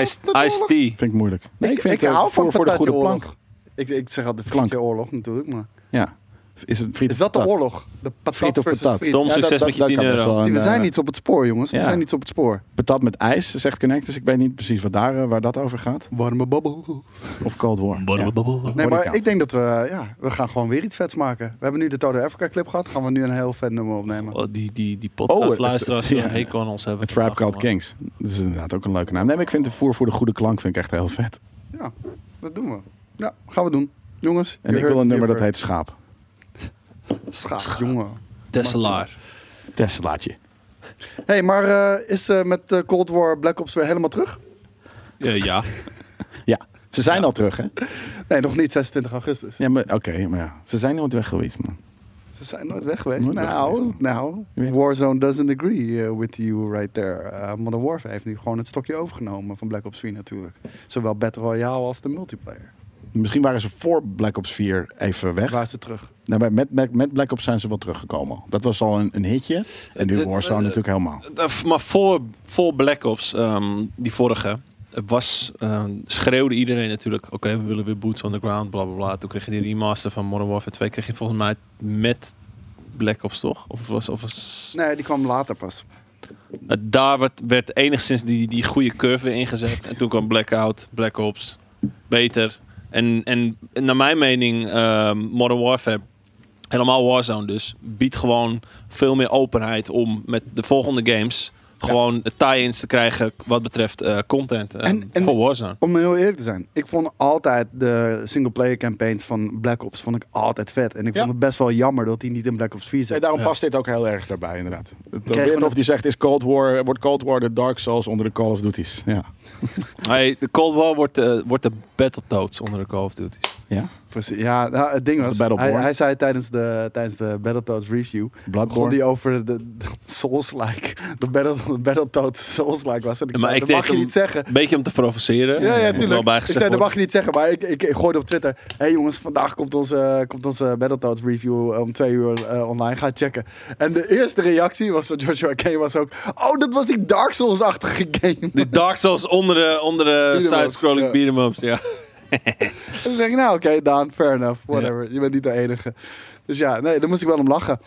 S2: Ice, Ice Tea.
S3: vind ik moeilijk. Nee, ik vind het eh, voor, voor de
S1: patatje
S3: goede
S1: oorlog.
S3: plank.
S1: Ik, ik zeg altijd de frietje oorlog natuurlijk, maar...
S3: Ja. Is het friet
S1: Is
S3: of
S1: dat de
S3: patat?
S1: oorlog? De
S3: Friet
S1: patat
S3: of
S1: versus
S3: patat?
S1: friet.
S2: Tom,
S3: Ja, dat-
S2: succes
S3: dat-
S2: met je
S3: dat
S2: 10
S3: kan best
S2: euro.
S3: wel.
S1: Zie, we
S3: eh,
S1: zijn niet op het spoor, jongens. We
S3: ja.
S1: zijn niet op het spoor.
S3: Patat met ijs, zegt Connect. Dus ik weet niet precies wat daar, eh, waar dat over gaat.
S1: Warme babbels.
S3: Of Cold War. Ja.
S1: Nee, maar
S3: Bodycount.
S1: ik denk dat we... Ja, we gaan gewoon weer iets vets maken. We hebben nu de Todo Africa clip gehad. Gaan we nu een heel vet nummer opnemen.
S2: Oh, die, die, die
S3: Oh, het-
S2: podcastluisteraars die
S3: ja.
S2: een hekel aan ons hebben.
S3: Het Tribe Called
S2: King.
S3: Kings. Dat is inderdaad ook een leuke naam. Nee, maar ik vind de voer voor de goede klank vind ik echt heel vet.
S1: Ja, dat doen we. Ja, gaan we doen. Jongens,
S3: En
S1: je
S3: ik wil
S1: hoort
S3: een nummer
S1: hier
S3: dat
S1: voor.
S3: heet Schaap.
S1: Schaap, jongen.
S2: Tesselaar.
S3: Teslaatje.
S1: hey, maar eh, is eh, met eh, Cold War Black Ops weer helemaal terug?
S2: Ja, ja.
S3: Ja, ze zijn al terug, hè?
S1: Nee, nog niet 26 augustus.
S3: Ja, maar oké, maar ja. Ze zijn nooit weg geweest, man.
S1: Ze zijn nooit weg geweest.
S3: Nooit weg
S1: nou,
S3: geweest,
S1: nou,
S3: Je weet-
S1: Warzone doesn't agree eh, with you right there. Eh, Modern Warfare heeft nu gewoon het stokje overgenomen van Black Ops 4 natuurlijk. Zowel Battle Royale als de multiplayer.
S3: Misschien waren ze voor Black Ops 4 even weg.
S1: Waar is ze terug?
S3: Nou, maar met, met, met Black Ops zijn ze wel teruggekomen. Dat was al een, een hitje. En nu
S2: Het-
S3: Warzone
S2: eh,
S3: natuurlijk helemaal.
S2: Eh, Maar voor, voor Black Ops, ehm, die vorige, was, eh, schreeuwde iedereen natuurlijk, oké, we willen weer Boots on the Ground, bla bla bla. Toen kreeg je die remaster van Modern Warfare 2, kreeg je volgens mij met Black Ops, toch? Of was... Of was
S1: Nee, die kwam later pas.
S2: Eh, daar werd, werd enigszins die, die goede curve weer ingezet. En toen kwam Blackout, Black Ops, beter. En, en naar mijn mening, eh, Modern Warfare, helemaal Warzone dus, biedt gewoon veel meer openheid om met de volgende games gewoon tie-ins te krijgen wat betreft eh, content eh,
S1: En- en-
S2: voor Warzone.
S1: Om heel eerlijk te zijn, ik vond altijd de single-player campaigns van Black Ops vond ik altijd vet. En ik
S3: Ja.
S1: vond het best wel jammer dat die niet in Black Ops 4
S3: Nee,
S1: zit.
S3: daarom
S2: Ja.
S3: past dit ook heel erg daarbij, inderdaad.
S1: Krijgen we
S3: Weet of
S1: nog-
S3: die zegt, is Cold War, wordt Cold War de Dark Souls onder de Call of Duties? Ja.
S2: Hey, de Cold War wordt, eh, wordt de Battletoads onder de Call of Duty.
S3: ja.
S1: Precies. Ja, nou, het ding
S3: Of
S1: was,
S3: de Battleborn.
S1: hij, hij zei tijdens de, tijdens de Battletoads review, begon
S3: Bloodborne.
S1: die over de, de Souls-like, de, battle, de Battletoads Souls-like was. En ik
S2: Maar
S1: zei,
S2: ik
S1: dat
S2: denk
S1: mag je
S2: hem-
S1: niet zeggen.
S2: Een beetje om te provoceren.
S1: Ja, ja,
S2: Moet wel
S1: tuurlijk. Ik
S2: bijgezegd
S1: zei, dat
S2: worden.
S1: mag je niet zeggen, maar ik, ik, ik gooide op Twitter. Hé hey jongens, vandaag komt onze, eh, komt onze Battletoads review eh, om twee uur eh, online. Ga checken. En de eerste reactie was van Joshua K. was ook... Oh, dat was die Dark Souls-achtige game.
S2: Die Dark Souls onder de, onder de
S1: Beat 'em ups,
S2: side-scrolling
S1: ja.
S2: beat'em ups, ja.
S1: En toen zeg ik, nou oké, Daan, fair enough. Whatever, je bent niet de enige. Dus ja, nee, daar moest ik wel om lachen.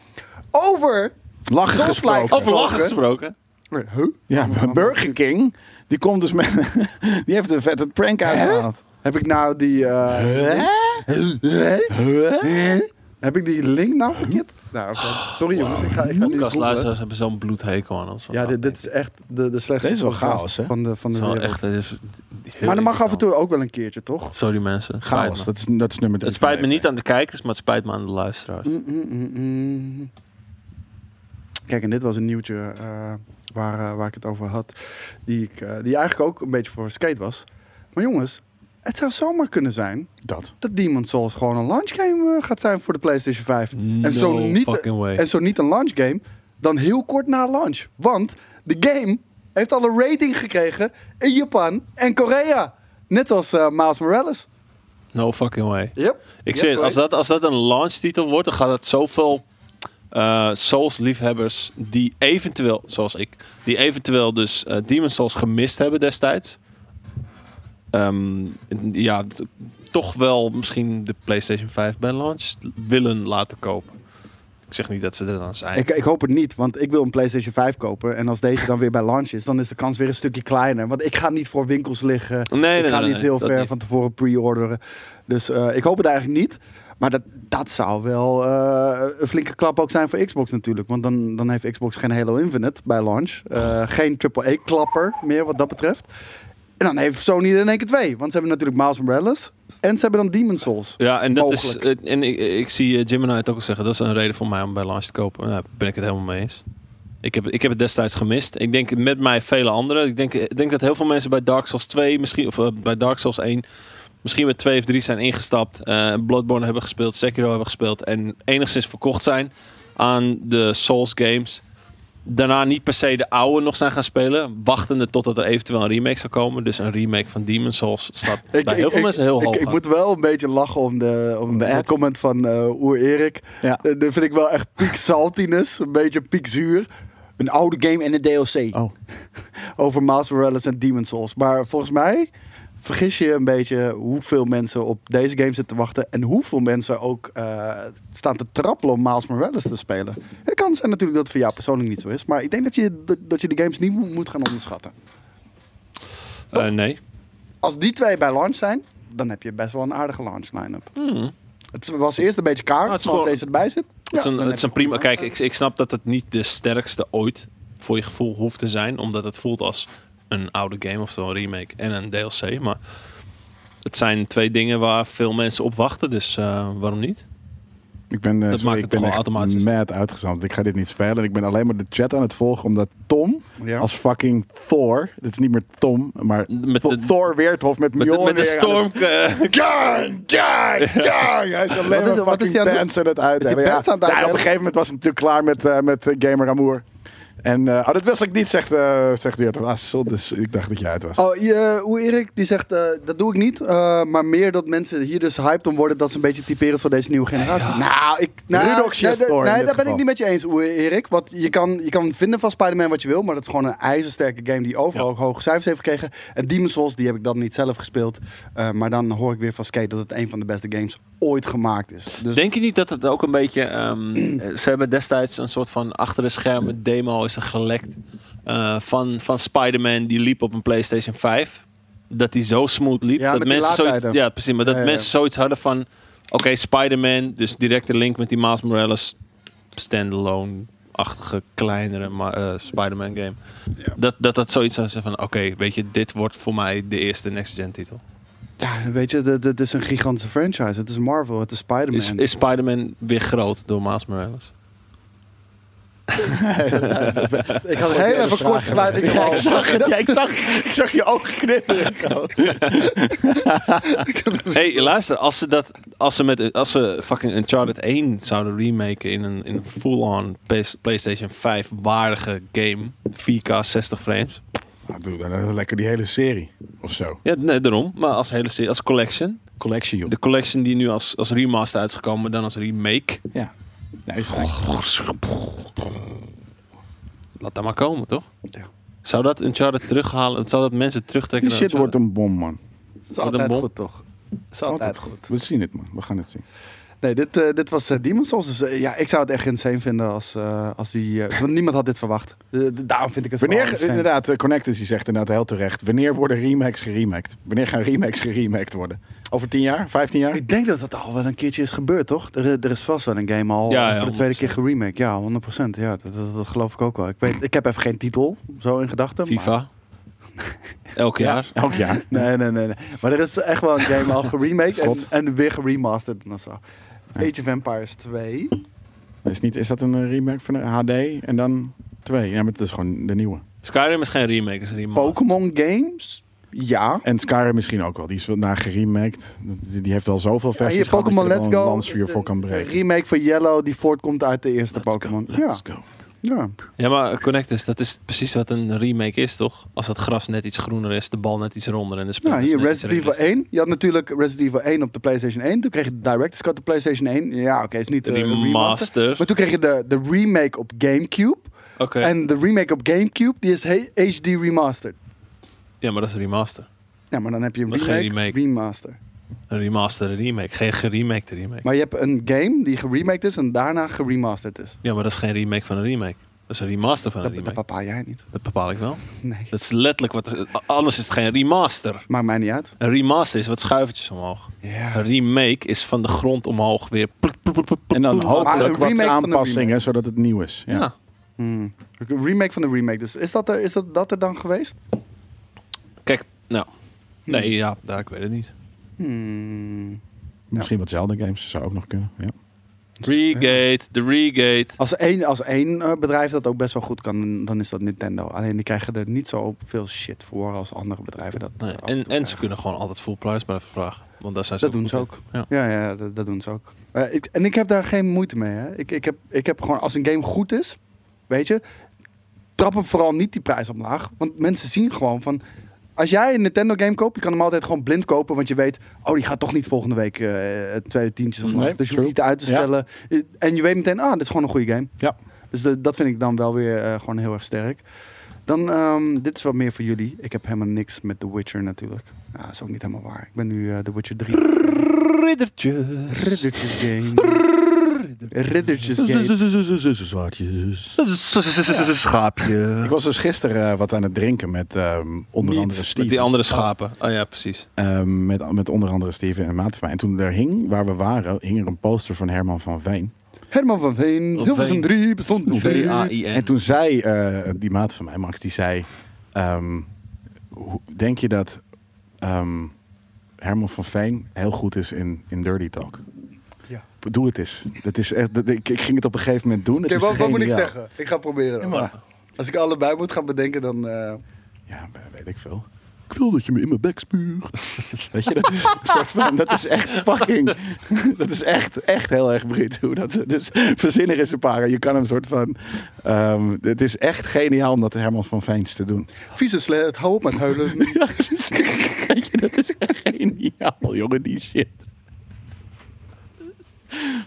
S1: Over...
S3: Lachen
S1: Souls-like.
S3: gesproken.
S2: Over lachen
S1: Gesproken.
S2: gesproken.
S1: Huh?
S3: Ja, maar Burger King, die komt dus met... die heeft een vette prank uitgehaald.
S1: Heb ik nou die... eh, Hè? Hè? Heb ik die link nou verkeerd? Nou, oké. Sorry jongens, ik ga, ik ga die googlen.
S2: Podcastluisteraars hebben zo'n bloedhekel aan ons.
S1: Ja, dit, dit is echt de, de slechtste
S3: Dit is wel
S1: podcast
S3: chaos, hè?
S1: van de, van
S2: Het
S1: de
S2: is wel
S1: wereld.
S2: echt... het is heel
S1: maar dat mag af en
S2: irritant.
S1: toe ook wel een keertje, toch?
S2: Sorry mensen. Het spijt
S3: Chaos,
S2: me.
S3: dat is, dat is nummer drie.
S2: Het spijt me
S3: van
S2: niet aan de kijkers, maar het spijt me aan de luisteraars.
S1: Mm, mm, mm, mm. Kijk, en dit was een nieuwtje eh, waar, eh, waar ik het over had. Die, ik, eh, die eigenlijk ook een beetje voor skate was. Maar jongens, het zou zomaar kunnen zijn
S3: Dat.
S1: dat Demon's Souls gewoon een launch game eh, gaat zijn voor de PlayStation 5.
S2: No
S1: en zo niet,
S2: fucking way.
S1: En zo niet een launch game, dan heel kort na launch. Want de game heeft al een rating gekregen in Japan en Korea. Net als eh, Miles Morales.
S2: No fucking way.
S1: Yep.
S2: Ik zeg, als dat, als dat een launchtitel wordt, dan gaat het zoveel eh, Souls-liefhebbers die eventueel, zoals ik, die eventueel dus eh Demon's Souls gemist hebben destijds. ehm, ja, t- toch wel misschien de PlayStation 5 bij launch willen laten kopen. Ik zeg niet dat ze er dan zijn.
S1: Ik, ik hoop het niet, want ik wil een PlayStation 5 kopen. En als deze dan weer bij launch is, dan is de kans weer een stukje kleiner. Want ik ga niet voor winkels liggen.
S2: Nee, nee,
S1: ik ga
S2: nee, nee,
S1: niet heel
S2: dat
S1: ver
S2: niet.
S1: van tevoren pre-orderen. Dus eh, ik hoop het eigenlijk niet. Maar dat, dat zou wel eh, een flinke klap ook zijn voor Xbox natuurlijk. Want dan, dan heeft Xbox geen Halo Infinite bij launch. Eh, geen AAA-klapper meer wat dat betreft. En dan heeft Sony er in één keer twee. Want ze hebben natuurlijk Miles Morales. En ze hebben dan Demon's Souls.
S2: Ja, en, dat is,
S1: Mogelijk.
S2: eh, en ik, ik zie eh, Gemini het ook al zeggen. Dat is een reden voor mij om bij Launch te kopen. Daar ben ik het helemaal mee eens. Ik heb, ik heb het destijds gemist. Ik denk met mij vele anderen. Ik denk, ik denk dat heel veel mensen bij Dark Souls 2, misschien, of eh, bij Dark Souls 1, misschien met 2 of 3 zijn ingestapt. eh, Bloodborne hebben gespeeld, Sekiro hebben gespeeld. En enigszins verkocht zijn aan de Souls games. Daarna niet per se de oude nog zijn gaan spelen. Wachtende totdat er eventueel een remake zou komen. Dus een remake van Demon's Souls staat bij heel veel mensen heel
S1: ik-
S2: hoog.
S1: Ik,
S2: aan.
S1: moet wel een beetje lachen om de, om
S3: De
S1: de,
S3: ad.
S1: comment van eh Oer Erik.
S3: Ja.
S1: Eh, dat vind ik wel echt piek saltiness. Een beetje piek zuur. Een oude game en een DLC.
S3: Oh.
S1: Over Miles Morales en Demon's Souls. Maar volgens mij vergis je een beetje hoeveel mensen op deze game zitten te wachten. En hoeveel mensen ook eh, staan te trappelen om Miles Morales te spelen. Het kan zijn natuurlijk dat het voor jou persoonlijk niet zo is. Maar ik denk dat je, dat, dat je de games niet mo- moet gaan onderschatten.
S2: Eh, nee.
S1: Als die twee bij launch zijn, dan heb je best wel een aardige launch line-up. Het was eerst een beetje kaart,
S2: Nou, Hmm. het is
S1: maar als
S2: gewoon-
S1: deze erbij zit...
S2: Het is
S1: ja,
S2: een,
S1: dan
S2: het is
S1: heb
S2: een
S1: je
S2: prima.
S1: gewoon-
S2: Kijk, ik, ik snap dat het niet de sterkste ooit voor je gevoel hoeft te zijn, omdat het voelt als een oude game, oftewel een remake en een DLC. Maar het zijn twee dingen waar veel mensen op wachten, dus eh, waarom niet?
S5: Ik ben, eh,
S2: Dat
S5: sorry,
S2: maakt
S5: ik
S2: het
S5: ben
S2: toch wel
S5: echt
S2: automatisch.
S5: mad uitgezand. Ik ga dit niet spelen. En ik ben alleen maar de chat aan het volgen. Omdat Tom
S1: Ja.
S5: als fucking Thor... Dit is niet meer Tom, maar
S2: Met
S5: Tho-
S2: de-
S5: Thor Weerthof met
S2: Met, de-
S5: Mjolnir.
S2: met de storm. eh,
S5: Gang, gang, gang. Hij is alleen
S1: Wat
S5: maar
S1: is- wat is
S5: fucking
S1: die aan het-
S5: pants aan het uit.
S1: Is die pants aan het
S5: ja,
S1: uitdelen?
S5: op een gegeven moment was het natuurlijk klaar met, eh, met eh, Gamer Amour.
S3: En eh, oh, dat wist ik niet, zegt, eh zegt Weert. Ah, zo, dus ik dacht dat je uit was.
S1: Oh, je- hoe Erik die zegt, eh, dat doe ik niet. eh, maar meer dat mensen hier dus hyped om worden, dat ze een beetje typerend voor deze nieuwe generatie. Nou, ik, nou,
S3: Rudox
S1: nee, da-
S3: shitstorm in
S1: nee,
S3: dit
S1: daar ben ik
S3: geval.
S1: niet met je eens, hoe Erik. Want je kan, je kan vinden van Spider-Man wat je wil, maar dat is gewoon een ijzersterke game die overal hoge cijfers heeft gekregen. En Demon's Souls, die heb ik dan niet zelf gespeeld. Eh, maar dan hoor ik weer van Skate dat het een van de beste games ooit gemaakt is. Dus
S2: Denk je niet dat het ook een beetje... ehm, ze hebben destijds een soort van achter de schermen demo is er gelekt eh, van, van Spider-Man die liep op een PlayStation 5. Dat die zo smooth liep.
S1: Ja,
S2: dat
S1: met die
S2: mensen zoiets,
S1: laadtijden.
S2: ja, precies. Maar dat
S1: Ja, ja, ja.
S2: mensen zoiets hadden van... Oké, Spider-Man, dus directe link met die Miles Morales standalone-achtige, kleinere ma- eh, Spider-Man game. Dat, dat dat zoiets zou zijn van... Oké, weet je, dit wordt voor mij de eerste next-gen titel.
S1: ja, weet je, dit, dit is een gigantische franchise. Het is Marvel, het is Spider-Man.
S2: Is, is Spider-Man weer groot door Miles Morales?
S1: Ik had heel even kort sluiting. Ja, ik zag het. Ja, ik zag
S3: ik zag je ogen knippen.
S2: Hey, luister, als ze dat, als ze met, als ze fucking Uncharted 1 zouden remaken in een, in een full-on PS- PlayStation 5 waardige game, 4K 60 frames.
S5: Ah,
S3: Nou, doe
S5: eh,
S3: dan lekker die hele serie. Of zo.
S2: Ja, nee, daarom. Maar als hele serie, als collection.
S3: Collection, joh.
S2: De collection die nu als, als remaster uit is gekomen, dan als remake.
S3: Ja. Nee, is
S2: Oh, Laat dat maar komen, toch? Zou dat Uncharted terughalen? Zou dat mensen terugtrekken?
S5: Die shit
S2: naar
S5: wordt
S2: Uncharted?
S5: een bom, man.
S1: Het is
S2: Wat een
S1: altijd
S2: bom.
S1: goed, toch? Het is altijd goed.
S5: We zien het, man. We gaan het zien.
S1: Nee, dit, eh, dit was eh, Demon's Souls. Dus eh, ja, ik zou het echt insane vinden als, eh, als die... eh, want niemand had dit verwacht. Eh, d- daarom vind ik het vooral
S3: Wanneer,
S1: insane.
S3: inderdaad, eh, Connectus die zegt inderdaad heel terecht. Wanneer worden remakes geremaked? Wanneer gaan remakes geremaked worden? Over 10 jaar? 15 jaar?
S1: Ik denk dat dat al wel een keertje is gebeurd, toch? Er, eh, er is vast wel een game al
S2: Ja,
S1: eh,
S2: ja,
S1: voor de tweede keer geremake. Ja, 100%. Ja, dat, dat, dat geloof ik ook wel. Ik, weet, ik heb even geen titel, zo in gedachten. maar-
S2: FIFA. Elk jaar.
S3: Elk jaar.
S1: Nee, nee, nee, nee. Maar er is echt wel een game al geremaked en, en weer geremasterd. En zo. Age of Empires 2.
S5: Is, niet, is dat een eh, remake van een HD en dan twee? Ja, maar het is gewoon de nieuwe.
S2: Skyrim is geen remake, is een remaster.
S1: Pokémon games? Ja.
S5: En Skyrim misschien ook wel. Die is wel na geremaked. Die, die heeft wel zoveel
S1: Ja,
S5: versies
S1: hier
S5: gehad dat
S1: Pokémon
S5: je er wel
S1: Let's
S5: een
S1: Go.
S5: lansvuur
S1: is een-
S5: voor kan
S1: is een
S5: breken.
S1: remake van Yellow die voortkomt uit de eerste Pokémon. Ja.
S5: Let's go.
S1: ja.
S2: Ja, maar Connectus, dat is precies wat een remake is, toch? Als het gras net iets groener is, de bal net iets ronder en de spelers
S1: Nou, hier
S2: net iets
S1: Resident Evil
S2: realistisch.
S1: 1. Je had natuurlijk Resident Evil 1 op de PlayStation 1. Toen kreeg je de Director's Cut op de PlayStation 1. Ja, oké, is niet de eh, remaster.
S2: Remaster.
S1: Maar toen kreeg je de, de remake op Gamecube.
S2: Oké,
S1: En de remake op Gamecube, die is he- HD remastered.
S2: ja, maar dat is een remaster.
S1: Ja, maar dan heb je een
S2: Dat is
S1: remake,
S2: geen remake.
S1: remaster.
S2: Een remaster, een remake. Geen geremakte remake.
S1: Maar je hebt een game die geremaked is en daarna geremasterd is.
S2: Ja, maar dat is geen remake van een remake. Dat is een remaster van een
S1: Dat, dat
S2: remake.
S1: papa jij niet.
S2: Dat bepaal ik wel.
S1: Nee.
S2: Dat is letterlijk wat... Anders is het geen remaster.
S1: Maakt mij niet uit.
S2: Een remaster is wat schuivertjes omhoog.
S1: Ja.
S2: Een remake is van de grond omhoog weer... pluk, pluk, pluk, pluk, pluk,
S5: En dan
S2: pluk.
S1: Maar
S5: hopelijk
S1: een remake
S5: wat
S1: van de remake.
S5: aanpassingen, zodat het nieuw is. Ja.
S2: Ja.
S1: Hmm. Een remake van de remake. Dus is dat er, is dat, dat er dan geweest?
S2: Kijk, nou...
S1: Hm.
S2: Nee, ja, daar, ik weet het niet.
S1: Hmm.
S5: Misschien wat Zelda games zou ook nog kunnen. Ja.
S2: Regate, de regate.
S1: Als één, als één eh, bedrijf dat ook best wel goed kan, dan is dat Nintendo. Alleen die krijgen er niet zo veel shit voor als andere bedrijven dat
S2: Nee,
S1: eh, af toe
S2: en, en ze
S1: krijgen.
S2: kunnen gewoon altijd full price blijven vragen. Want daar zijn ze
S1: Dat doen ze
S2: goed
S1: ook.
S2: in. Ja.
S1: Ja, ja dat, dat doen ze ook. Eh, ik, en ik heb daar geen moeite mee. Hè. Ik, ik, heb, ik heb gewoon, als een game goed is, weet je, trap hem vooral niet die prijs omlaag. Want mensen zien gewoon van. Als jij een Nintendo game koopt, je kan hem altijd gewoon blind kopen. Want je weet, oh, die gaat toch niet volgende week eh, twee tientjes omlaag.
S5: Nee,
S1: dus je
S5: true.
S1: hoeft niet uit te stellen. Eh, En je weet meteen, ah, dit is gewoon een goede game.
S5: Ja.
S1: Dus de- dat vind ik dan wel weer eh, gewoon heel erg sterk. Dan, ehm, dit is wat meer voor jullie. Ik heb helemaal niks met The Witcher natuurlijk. Ja, dat is ook niet helemaal waar. Ik ben nu eh, The Witcher 3.
S2: Riddertjes.
S1: Riddertjes game. Riddertjes game.
S5: Zwaardjes.
S2: Schaapje.
S3: Ik was dus gisteren eh, wat aan het drinken met
S5: eh,
S3: ehm, onder andere Steve.
S2: Met die andere schapen. Oh ja, precies.
S5: Ehm, met, met onder andere Steven en een maat van mij. En toen er hing, waar we waren, hing er een poster van Herman van Veen.
S1: Herman van Veen.
S2: Van
S1: Hilversum
S2: Veen.
S1: 3 bestond nog niet.
S5: En toen zei eh, die maat van mij, Max, die zei... ehm, hoe- denk je dat ehm, Herman van Veen heel goed is in, in Dirty Talk?
S1: Ja.
S5: Doe het eens. Dat is echt, dat- ik, ik ging het op een gegeven moment doen. Het
S1: Oké,
S5: is
S1: wat, wat moet ik
S5: geniaal.
S1: zeggen? Ik ga proberen. dan. Als ik allebei moet gaan bedenken, dan... eh,
S5: Ja, weet ik veel.
S3: Ik wil dat je me in mijn bek spuugt. Weet je, dat is, een soort van, dat is echt fucking... Dat is echt, echt heel erg Brit. Hoe dat, dus verzin er eens een paar. Je kan hem soort van... ehm, het is echt geniaal om dat Herman van Veens te doen.
S1: Vieze slet, hou op met huilen.
S3: Ja, dat is, kijk je, dat is geniaal, jongen, die shit.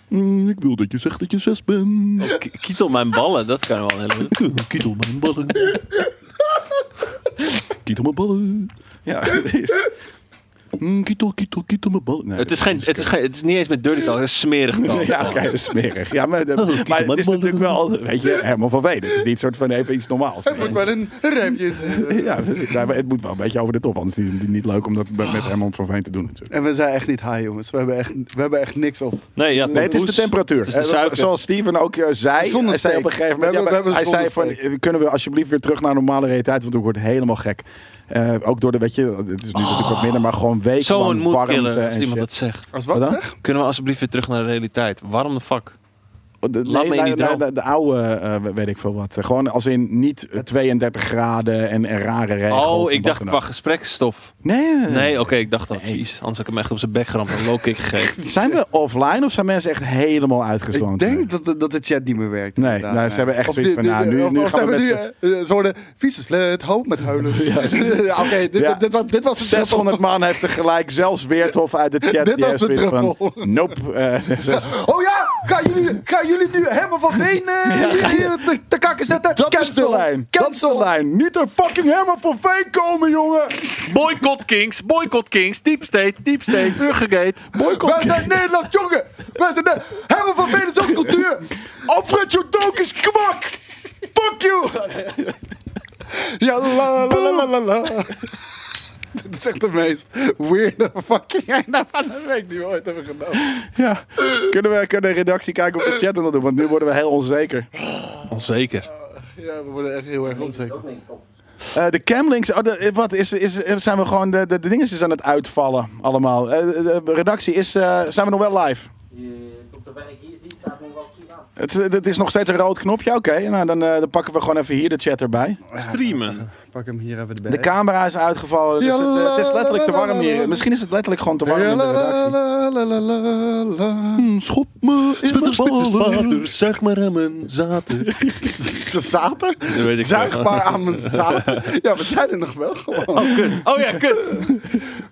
S3: Mm, ik wil dat je zegt dat je zes bent.
S2: K- Kietel mijn ballen, dat kan wel heel goed.
S3: Kietel mijn ballen. Kietel mijn ballen. Ja, het is... Mm, Kietel, kietel, kietel mijn ballen. Nee,
S2: Het is, geen, het, is geen, het is niet eens met dirty talk, het is smerig talk.
S3: Ja, oké, dat is Oh, smerig. Ja, maar, de- maar
S5: mijn
S3: het is
S5: ballen.
S3: natuurlijk wel, weet je, Herman van Veen. Het is niet soort van even iets normaals.
S1: Het moet wel een rijmpje.
S3: Ja, precies. Nee, maar het moet wel een beetje over de top. Anders is het niet leuk om dat met Herman van Veen te doen natuurlijk.
S1: En we zijn echt niet high, jongens. We hebben echt, we hebben echt niks op.
S2: Nee, ja,
S3: Nee, het is de
S2: tompoes.
S3: temperatuur. Eh,
S2: Het is de suiker.
S3: Zoals Steven ook eh, zei,
S1: Zonder
S3: hij zei
S1: steek.
S3: op een gegeven moment,
S1: We hebben-
S3: ja, maar
S1: we
S3: hij
S1: hebben
S3: zei
S1: zonder
S3: van, eh, kunnen we alsjeblieft weer terug naar normale realiteit, want ik word helemaal gek. Eh, ook door de, weet je, het is nu natuurlijk wat minder, maar gewoon weken
S2: Oh. Zo'n
S3: lang warmte
S2: moedkiller
S3: en
S2: als iemand
S3: shit.
S2: dat zegt.
S1: Als
S3: Wat
S1: wat,
S3: dan?
S1: zeg?
S2: Kunnen we alsjeblieft weer terug naar de realiteit? Waarom de fuck?
S3: Oh, De,
S2: Laat
S3: nee,
S2: me in
S3: nee,
S2: die
S3: nee,
S2: droom.
S3: de, de oude, eh, weet ik veel wat. Eh, Gewoon als in niet eh, 32 graden en, en rare regels. en
S2: Oh,
S3: wat
S2: ik dacht
S3: dan
S2: qua
S3: ook.
S2: gespreksstof.
S3: Nee, nee, nee.
S2: Nee, oké, ik dacht dat. Jeez, anders had ik hem echt op zijn bek geramd en een low kick gegeven.
S3: Zijn we offline of zijn mensen echt helemaal uitgezoond?
S1: Ik denk dat, de- dat de chat niet meer werkt.
S3: Nee,
S1: inderdaad.
S3: nou, ze hebben echt
S1: Of
S3: zoiets
S1: die-
S3: van, nou,
S1: die-
S3: nu-
S1: of-
S3: nu
S1: of
S3: gaan
S1: ze
S3: we
S1: hebben
S3: met
S1: nu, eh, eh, Ze worden vieze slet, hou op met huilen. Ja, Oké, dit-
S3: Ja.
S1: dit- dit was- dit was de druppel.
S3: 600 man heeft tegelijk, zelfs Weerthof uit de chat.
S1: Dit
S3: die
S1: was
S3: heeft
S1: de
S3: zoiets van,
S1: druppel.
S3: Nope. eh, zes-
S1: Oh ja, gaan jullie, gaan jullie nu helemaal van heen eh, hier- hier te, te kakken zetten?
S3: Dat is de lijn. Dat is de lijn. Niet er fucking Herman van Veen komen, jongen.
S2: Boycott Kings, Boycott Kings, Deep State, Deep State, Burgergate.
S1: Wij zijn Nederland, jongen. Wij zijn de, helemaal van vele zo'n cultuur.
S3: Alfred Jodok is kwak. Fuck you.
S1: Ja, la la la la la la. Dat is echt de meest weirde fucking einde van de week die we ooit hebben gedaan.
S3: Ja. Kunnen we kunnen de redactie kijken of de chat dat doen? Want nu worden we heel onzeker.
S2: Onzeker.
S1: Ja, we worden echt heel erg onzeker.
S3: Eh, de camlinks. Oh, de- wat is, is, is- zijn we gewoon de, de, de dingen is aan het uitvallen allemaal. Eh, de, de redactie is. eh, zijn we nog wel live?
S6: Je, tot zover ik hier zie, staat nog wel goed aan.
S3: Het, het is nog steeds een rood knopje. Oké, nou, dan, eh, dan pakken we gewoon even hier de chat erbij.
S2: Streamen.
S1: Pak hem hier even erbij.
S3: De camera is uitgevallen. Dus
S1: Ja,
S3: het, eh, het is letterlijk te warm
S1: lalalala.
S3: hier. Misschien is het letterlijk gewoon te warm
S1: Ja,
S3: in de
S1: la la
S3: redactie.
S1: la la la la la.
S3: Hm, Schop me in
S5: Spitter, spitter,
S3: ballen.
S5: spader, zeg maar hem een zaten.
S1: De zater?
S2: Dat weet ik
S1: Zuig
S2: wel.
S1: maar aan mijn zater. Ja, we zijn er nog wel gewoon.
S2: Oh ja, kut.
S1: We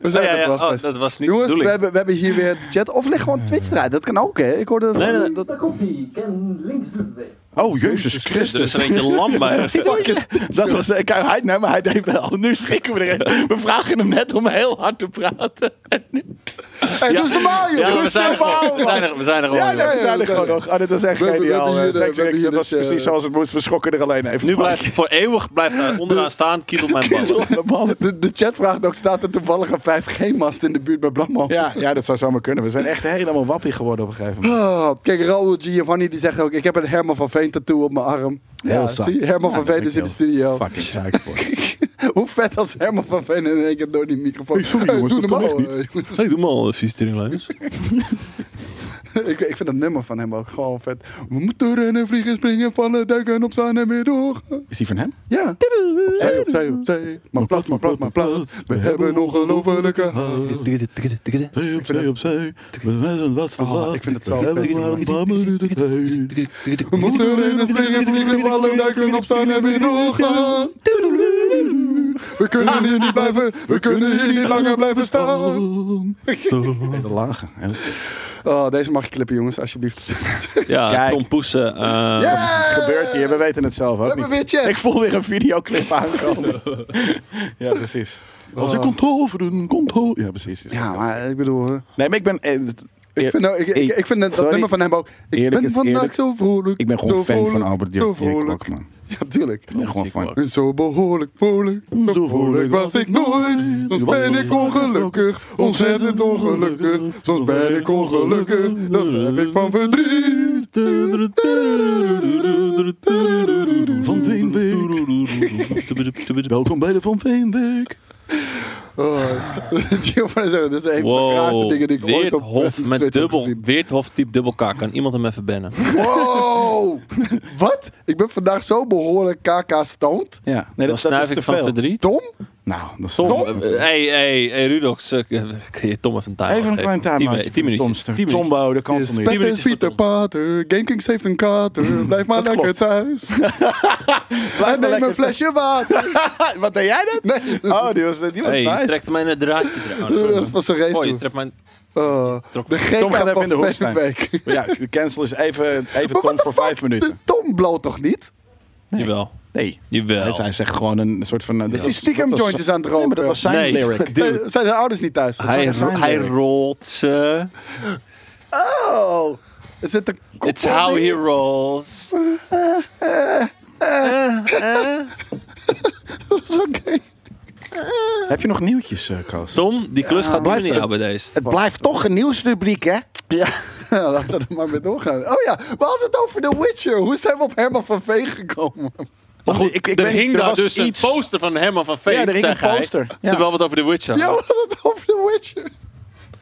S2: Oh,
S1: zijn
S2: ja,
S1: er
S2: ja.
S1: wel
S2: Oh,
S1: geweest.
S2: dat was niet de
S1: Jongens, we
S2: bedoeling.
S1: hebben, we hebben hier weer de chat. Of leg gewoon Twitch eruit. Dat kan ook, hè? Ik hoorde
S2: Nee, nee,
S1: dat...
S6: Daar komt hij, Ken links doet het
S3: Oh, Jezus
S2: Er is
S3: Christus.
S2: er eentje lam bij.
S3: Fuck is dit? dat was,
S1: eh,
S3: ik hij, nee, maar hij deed wel. Nu schrikken we erin. We vragen hem net om heel hard te praten.
S1: Hey, doe eens normaal, joh.
S2: Ja,
S1: Doe
S2: we
S1: eens
S2: zijn er
S1: normaal,
S2: gewoon. We
S1: man.
S2: zijn er, we zijn er
S3: Ja,
S2: gewoon.
S3: nee, we
S2: weer.
S3: zijn er gewoon nog. Oh, dit was echt
S1: We hebben- we
S3: geniaal.
S1: hebben hier
S3: eh.
S1: de-
S3: Thanks,
S1: we hebben hier
S3: Rick. Dat was
S1: dit, eh,
S3: precies zoals het moest. We schrokken er alleen even
S2: Nu
S3: van.
S2: blijft voor eeuwig blijft daar onderaan staan, kietel mijn ballen.
S3: Op de ballen.
S1: De, de chat vraagt ook, staat er toevallig een 5G-mast in de buurt bij Bramman?
S3: Ja, ja, dat zou zomaar kunnen. We zijn echt helemaal wappie geworden op een gegeven moment.
S1: Ah, kijk, Raoul Giovanni die zegt ook, ik heb een Herman van Veen tattoo op mijn arm. ja,
S3: Heel saai.
S1: zie, Herman
S3: Ja,
S1: van
S3: dat
S1: Veen
S3: vind
S1: is in de
S3: ik
S1: studio.
S3: Fucking zeik voor.
S1: Hoe vet als Herman van Veen in één keer door die microfoon...
S3: Hey, sorry,
S1: Eh,
S3: jongens,
S1: doe
S3: dat kan
S1: normaal,
S3: echt
S1: eh, jongens.
S2: Zeg, doe maar al, vieze teringlijns.
S1: ik, ik vind dat nummer van hem ook gewoon vet. We moeten rennen, vliegen, springen, vallen, duiken, opstaan en weer door.
S3: Is die van hem?
S1: Ja. Opzij, opzij, opzij. Maar plat, maar plat, maar plat. We hebben ongelofelijke haast.
S5: Twee opzij, opzij. We zijn wat
S1: Oh, ik vind het zo
S5: We hebben
S1: vet,
S5: maar een paar minuten tijd.
S1: We moeten rennen, springen, vliegen, vallen, duiken, opstaan en weer doorgaan. We kunnen hier niet blijven, we kunnen hier niet langer blijven staan.
S3: De lage. Ja, dat is-
S1: Oh, deze mag je klippen, jongens, alsjeblieft.
S2: Ja,
S3: Kijk.
S2: Tom Poesen. eh,
S3: gebeurt hier. We weten het zelf
S1: We
S3: ook
S1: hebben
S3: niet.
S1: weer chat.
S3: Ik voel weer een videoclip aankomen. ja, precies.
S5: Als ik kon toveren, kon toveren. Ja, precies.
S1: Ja, maar ik bedoel... hè.
S3: Nee, maar ik ben... eh,
S1: Ik vind, nou, ik, ik, ik vind dat, dat
S3: Sorry.
S1: nummer van hem ook... Ik
S3: Eerlijk
S1: ben
S3: is
S1: vandaag
S3: eerlijk.
S1: zo vrolijk.
S3: Ik ben gewoon
S1: zo
S3: fan
S1: vrolijk,
S3: van Albert
S1: Zo
S3: Dirk
S1: vrolijk.
S3: Dirk man.
S1: Ja, tuurlijk.
S3: Ik ben gewoon fan.
S1: Ik ben Zo behoorlijk vrolijk, zo vrolijk was ik nooit. Soms ben ik ongelukkig, ontzettend ongelukkig. Soms ben ik ongelukkig, dan sterf ik van verdriet.
S5: Van Veenbeek. Welkom bij de Van Veenbeek.
S1: Oh, Giovanni zegt, dit is een van de raarste
S2: Wow,
S1: dingen die ik ooit op eh,
S2: Weerthof
S1: Twitter
S2: met
S1: heb
S2: dubbel,
S1: gezien.
S2: Weerthof type dubbel K. Kan iemand hem even bannen?
S1: Wow! Wat? Ik ben vandaag zo behoorlijk KK stoned.
S3: Ja, nee,
S2: Dan
S3: dat, dat
S2: snuif
S3: is
S2: ik
S3: te
S2: van
S3: veel.
S2: verdriet.
S1: Tom?
S3: Nou, dat is
S2: Tom,
S3: toch-
S2: eh, hey, hey, hey, Rudox, eh, kun je Tom even een time
S3: Even een klein
S2: eh, Tien
S3: timeout.
S2: minuten. Tien minuutjes.
S3: Domster.
S2: Tien minuutjes.
S3: Tombo, de kans
S1: Yes,
S3: van
S1: Pet is
S2: minuutjes voor
S1: Pieter
S2: Tom.
S1: Pater, GameKings heeft een kater, blijf maar lekker
S7: klopt.
S1: thuis. en neem
S7: lekker
S1: een flesje water.
S7: Wat deed jij dat?
S1: Nee,
S7: Oh, die was, die was
S2: Hey, je
S7: nice.
S2: trekt mij een draadje trouwens.
S1: dat was een race.
S2: Mooi, je
S1: hoor.
S2: trekt mijn...
S1: Oh,
S2: trok-
S1: de
S3: Tom gaat
S1: GK
S3: even
S1: van
S3: in de hoek staan.
S1: Fashion Week.
S3: Ja, de cancel is even, even
S1: Maar
S3: Tom
S1: wat
S3: voor
S1: de
S3: vijf
S1: fuck?
S3: minuten.
S1: De Tom bloot toch niet?
S2: Jawel.
S3: Nee. Hij,
S2: Jawel.
S3: hij zegt gewoon een soort van... eh, dit
S1: Die
S3: was-
S1: stiekem
S3: dat was-
S1: jointjes aan het
S3: Nee,
S1: roken.
S3: maar dat was zijn
S2: Nee.
S3: lyric.
S1: Zijn- Zijn zijn ouders niet thuis?
S2: Hij,
S3: dat zijn
S2: hij
S3: lyrics.
S2: rolt ze.
S1: Oh, is dit een
S2: It's how he rolls.
S1: Oké.
S3: Heb je nog nieuwtjes, eh, Koos?
S2: Tom, die klus gaat
S7: blijft
S2: blijven jou
S7: het.
S2: bij deze.
S7: Het blijft toch een nieuwsrubriek, hè?
S1: Ja, Nou, laten we er maar mee doorgaan. Oh ja, we hadden het over The Witcher. Hoe zijn we op Herman van Veen gekomen?
S2: Maar goed,
S3: ik- ik
S2: er
S3: weet-
S2: hing
S3: er
S2: daar
S3: was
S2: dus
S3: iets-
S2: een poster van Herman van Veen,
S3: Ja, er hing
S2: zeg
S3: een
S2: hij,
S3: poster. Ja.
S2: Terwijl we het over de Witcher
S1: Ja,
S2: hadden.
S1: we hadden het over The Witcher.